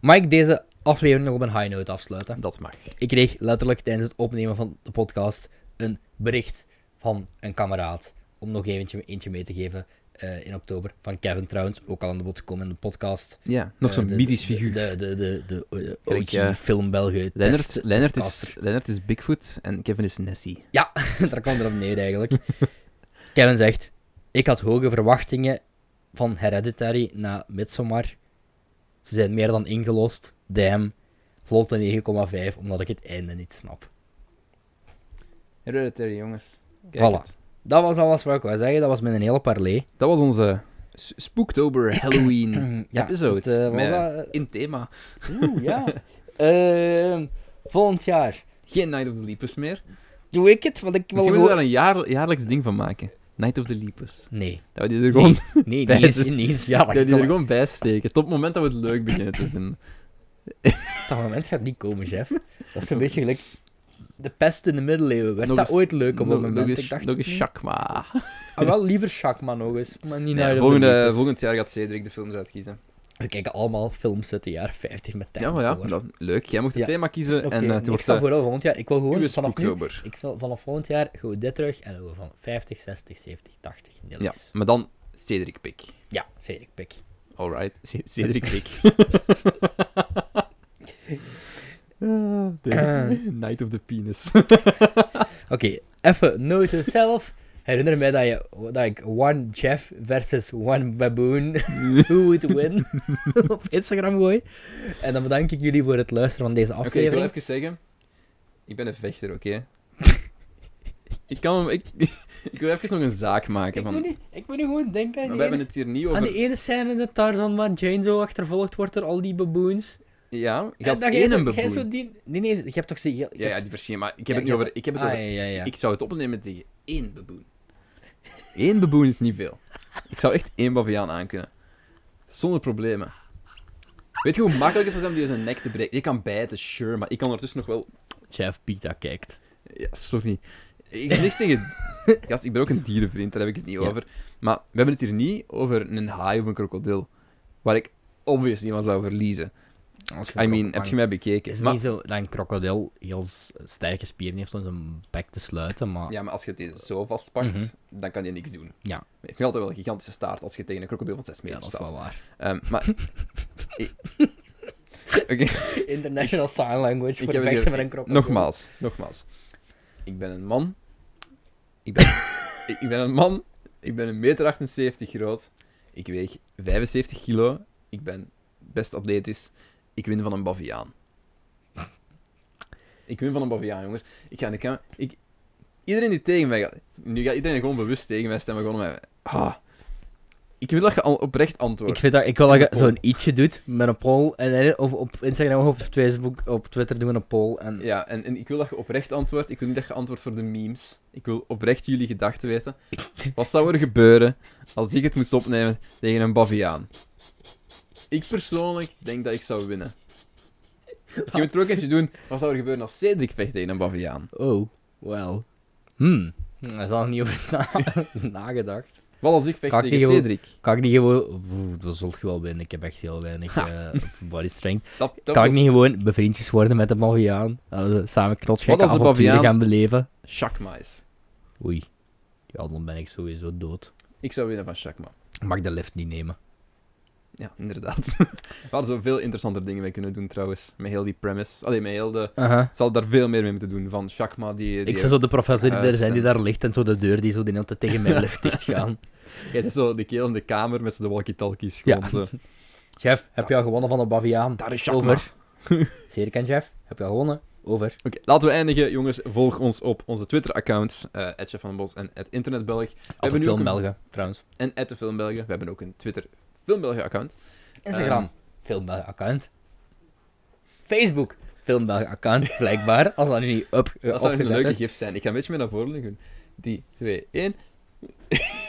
S2: Mag ik deze aflevering nog op een high note afsluiten?
S1: Dat mag.
S2: Ik kreeg letterlijk tijdens het opnemen van de podcast een bericht van een kameraad. Om nog eventje eentje mee te geven eh, in oktober. Van Kevin trouwens, ook al aan de bod gekomen in de podcast.
S1: Ja, nog
S2: Eh,
S1: zo'n
S2: de-
S1: mythisch
S2: de-
S1: figuur.
S2: De, de, de, de, de
S1: Kijk,
S2: OG
S1: eh,
S2: film België.
S1: Leonard,
S2: test-
S1: Leonard, is,
S2: testcaster.
S1: Leonard is Bigfoot en Kevin is Nessie.
S2: Ja, daar kwam er op neer eigenlijk. Kevin zegt: Ik had hoge verwachtingen van Hereditary na Midsommar. Ze zijn meer dan ingelost. Damn. Vlot een 9,5 omdat ik het einde niet snap.
S1: Hereditary, jongens.
S2: Voilà. Dat was alles wat ik wou zeggen. Dat was met een hele parley.
S1: Dat was onze S- Spooktober Halloween episode.
S2: het, eh, was
S1: Met-
S2: dat-
S1: in thema.
S2: Oeh, ja. Ehm, volgend jaar.
S1: Geen Night of the Leapers meer.
S2: doe ik het, want ik wil
S1: Misschien moeten
S2: gewoon...
S1: we daar een jaar, jaarlijks ding van maken. Night of the Leapers.
S2: Nee,
S1: Dat we die er gewoon,
S2: nee,
S1: Dat
S2: niet eens,
S1: is-
S2: niet eens ja,
S1: dat we dus- die er gewoon bij steken. Tot het moment dat we het leuk beginnen te vinden.
S2: Dat moment gaat niet komen, chef. Dat is een beetje gelijk... De pest in de middeleeuwen. Werd
S1: Nog
S2: dat
S1: eens-
S2: ooit leuk op dat
S1: Nog-
S2: moment?
S1: Nog
S2: ik
S1: eens,
S2: dacht...
S1: nog eens
S2: hmm,
S1: Chakma.
S2: ah, wel, liever Shakma nog eens. Maar niet
S1: Nee,
S2: naar de
S1: volgende,
S2: Olympics.
S1: volgend jaar gaat Cedric de films uitkiezen.
S2: We kijken allemaal films uit de jaren 50 met
S1: Ja, maar ja,
S2: Technicolor.
S1: dat- leuk. Jij mocht het
S2: Ja.
S1: thema kiezen
S2: Oké,
S1: en eh, het
S2: ik
S1: wordt
S2: stel
S1: eh,
S2: voor dat we volgend jaar... Ik wil
S1: uw
S2: gewoon vanaf nu...
S1: spooktober.
S2: Ik wil vanaf volgend jaar gewoon dit terug en dan doen we van 50, 60, 70, 80
S1: Ja,
S2: nillies. Ja,
S1: maar dan Cedric Pick.
S2: ja zeker, pik.
S1: Alright, C- Cedric Pick. Ah, de- Night of the Penis.
S2: Oké, even note to self. Herinner mij dat, je, dat ik One Jeff versus One Baboon Who Would Win op Instagram gooi. En dan bedank ik jullie voor het luisteren van deze
S1: Oké, ik wil
S2: aflevering.
S1: even zeggen. Ik ben een vechter, oké? ik kan hem... Ik, ik wil even nog een zaak maken
S2: ik,
S1: van...
S2: moet nu, ik moet nu gewoon denken aan,
S1: Maar
S2: die
S1: we hebben
S2: ene,
S1: het hier niet
S2: aan
S1: over...
S2: die ene scène dat Tarzan waar Jane zo achtervolgd wordt door al die baboons.
S1: Ja, ik
S2: En
S1: had
S2: dat jij
S1: één
S2: zo-
S1: een
S2: jij
S1: baboen.
S2: zo die... Nee, nee, je hebt toch... zo- Je, je
S1: Ja, ja,
S2: hebt-
S1: die verschillen, maar ik
S2: Ja,
S1: heb het
S2: je
S1: niet over...
S2: hebt-
S1: Ik heb het
S2: ah,
S1: over...
S2: ja, ja, ja.
S1: Ik zou het opnemen tegen één baboen. Eén baboen is niet veel. Ik zou echt één baviaan aankunnen. Zonder problemen. Weet je hoe makkelijk het is om die zijn nek te breken? Je kan bijten, sure, maar ik kan ondertussen nog wel...
S2: Jeff Pita kijkt.
S1: Ja, sorry. Ik heb niks tegen... Gast, ik ben ook een dierenvriend, daar heb ik het niet
S2: Ja.
S1: over. Maar we hebben het hier niet over een haai of een krokodil. Waar ik obvious niet van zou verliezen. I mean, heb je mij bekeken?
S2: Het is
S1: Maar-
S2: niet zo dat een krokodil heel s- sterke spieren heeft om zijn bek te sluiten, maar...
S1: Ja, maar als je deze zo vastpakt,
S2: Mhm.
S1: dan kan je niks doen.
S2: Ja.
S1: Hij heeft nu altijd wel een gigantische staart als je tegen een krokodil van 6 meter
S2: Ja, dat is
S1: staat.
S2: wel waar.
S1: Ehm, maar... Ik- Oké,
S2: International Sign Language
S1: ik heb het hier- Nogmaals, nogmaals. Ik ben een man. Ik ben, ik ik ben een man. Ik ben 1,78 meter 78 groot. Ik weeg 75 kilo. Ik ben best atletisch. Ik win van een baviaan. Ik win van een baviaan, jongens. Ik ga in de kamer... Ik... Iedereen die tegen mij gaat... Nu gaat iedereen gewoon bewust tegen mij stemmen. Gewoon om mij... Ah. Ik wil dat je al oprecht antwoordt.
S2: Ik, vind dat, ik wil dat je
S1: poll.
S2: zo'n ietsje doet met een poll. En, eh, of op Instagram of op Facebook, op Twitter doen we een poll. En
S1: Ja, en, en ik wil dat je oprecht antwoordt. Ik wil niet dat je antwoordt voor de memes. Ik wil oprecht jullie gedachten weten. Wat zou er gebeuren als ik het moest opnemen tegen een baviaan? Ik persoonlijk denk dat ik zou winnen. Misschien moet je er ook eentje doen. Wat zou er gebeuren als Cedric vecht tegen een baviaan?
S2: Oh, well. Hmm. Daar is al niet over na- nagedacht.
S1: Wat als ik vecht
S2: Kan ik
S1: tegen
S2: niet gewoon-
S1: Cedric?
S2: Kan ik niet gewoon... Oeh, Dat zult je wel winnen. Ik heb echt heel weinig eh, body strength.
S1: Dat, dat
S2: Kan ik
S1: was-
S2: niet gewoon bevriendjes worden met de baviaan? Dat we samen knotsgekke
S1: Wat als de
S2: avonturen
S1: baviaan-
S2: gaan beleven?
S1: Shakma is.
S2: Oei. Ja, dan ben ik sowieso dood.
S1: Ik zou winnen van Shakma.
S2: Mag ik de lift niet nemen.
S1: Ja, inderdaad. We hadden zoveel interessanter dingen mee kunnen doen trouwens. Met heel die premise. Allee, met heel de... Ik zal daar veel meer mee moeten doen. Van Shakma die... die
S2: Ik zou zo de professor die daar
S1: Juist,
S2: zijn die
S1: en-
S2: daar ligt en zo de deur die zo de hele tijd tegen mijn lift dicht gaan.
S1: Jij zit zo de keel in de kamer met z'n de walkie-talkies. Gewoon
S2: Ja.
S1: zo.
S2: Jeff, heb je al gewonnen van de Baviaan?
S1: Daar is
S2: Over. Zeker en Jeff, heb je al gewonnen? Over.
S1: Oké, laten we eindigen, jongens. Volg ons op onze Twitter-accounts. eh Chef van den Bos en internetbelg. We
S2: Altijd
S1: nu
S2: veel
S1: ook een-
S2: Belgen, trouwens.
S1: En de filmbelgen. We hebben ook een Twitter filmbelgen-account.
S2: Instagram, Ehm, veel Belgen account. Facebook, veel Belgen account, blijkbaar. Als dat nu niet up, eh,
S1: Dat zou een
S2: opgezet
S1: leuke
S2: is.
S1: gift zijn. Ik ga een beetje meer naar voren liggen. 3, 2, 1.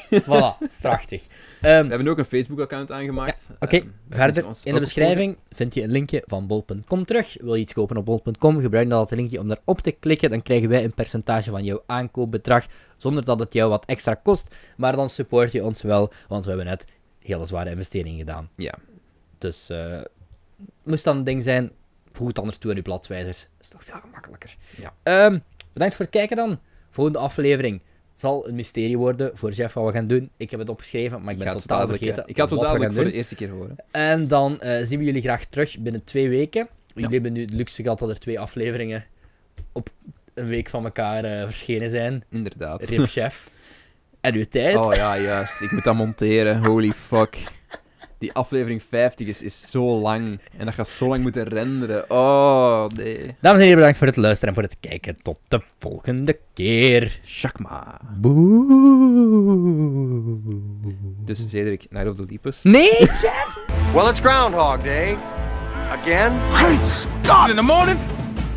S1: We
S2: Voilà, prachtig. Ehm,
S1: hebben ook een Facebook-account aangemaakt.
S2: Oké,
S1: Ehm, daar kun
S2: verder
S1: je ons
S2: in
S1: ook op
S2: de beschrijving vind je een linkje van bol.com terug. Wil je iets kopen op bol.com, gebruik dan dat linkje om daarop te klikken. Dan krijgen wij een percentage van jouw aankoopbedrag, zonder dat het jou wat extra kost. Maar dan support je ons wel, want we hebben net hele zware investeringen gedaan.
S1: Ja.
S2: Dus eh, moest dan een ding zijn, voeg het anders toe aan uw bladwijzers. Dat is toch veel gemakkelijker.
S1: Ja.
S2: Ehm, bedankt voor het kijken dan. Volgende aflevering zal een mysterie worden voor Jeff wat we gaan doen. Ik heb het opgeschreven, maar
S1: Ik
S2: ik ben
S1: ga het zo
S2: totaal
S1: dadelijk, eh,
S2: vergeten
S1: ik ga het zo
S2: wat we
S1: dadelijk
S2: gaan
S1: voor
S2: doen.
S1: de eerste keer horen.
S2: En dan eh, zien we jullie graag terug binnen twee weken. Jullie
S1: Ja.
S2: hebben nu het luxe gehad dat er twee afleveringen op een week van elkaar eh, verschenen zijn.
S1: Inderdaad.
S2: Rip Chef. En uw tijd.
S1: Oh ja, juist. Ik moet dat monteren. Holy fuck. Die aflevering 50 is, is zo lang. En dat gaat zo lang moeten renderen. Oh, nee.
S2: Dames en heren, bedankt voor het luisteren en voor het kijken. Tot de volgende keer.
S1: Shakma.
S2: Boe.
S1: Dus Cedric, Night of the Leapers.
S2: Nee!
S3: Well, it's Groundhog Day. Again?
S4: in the morning,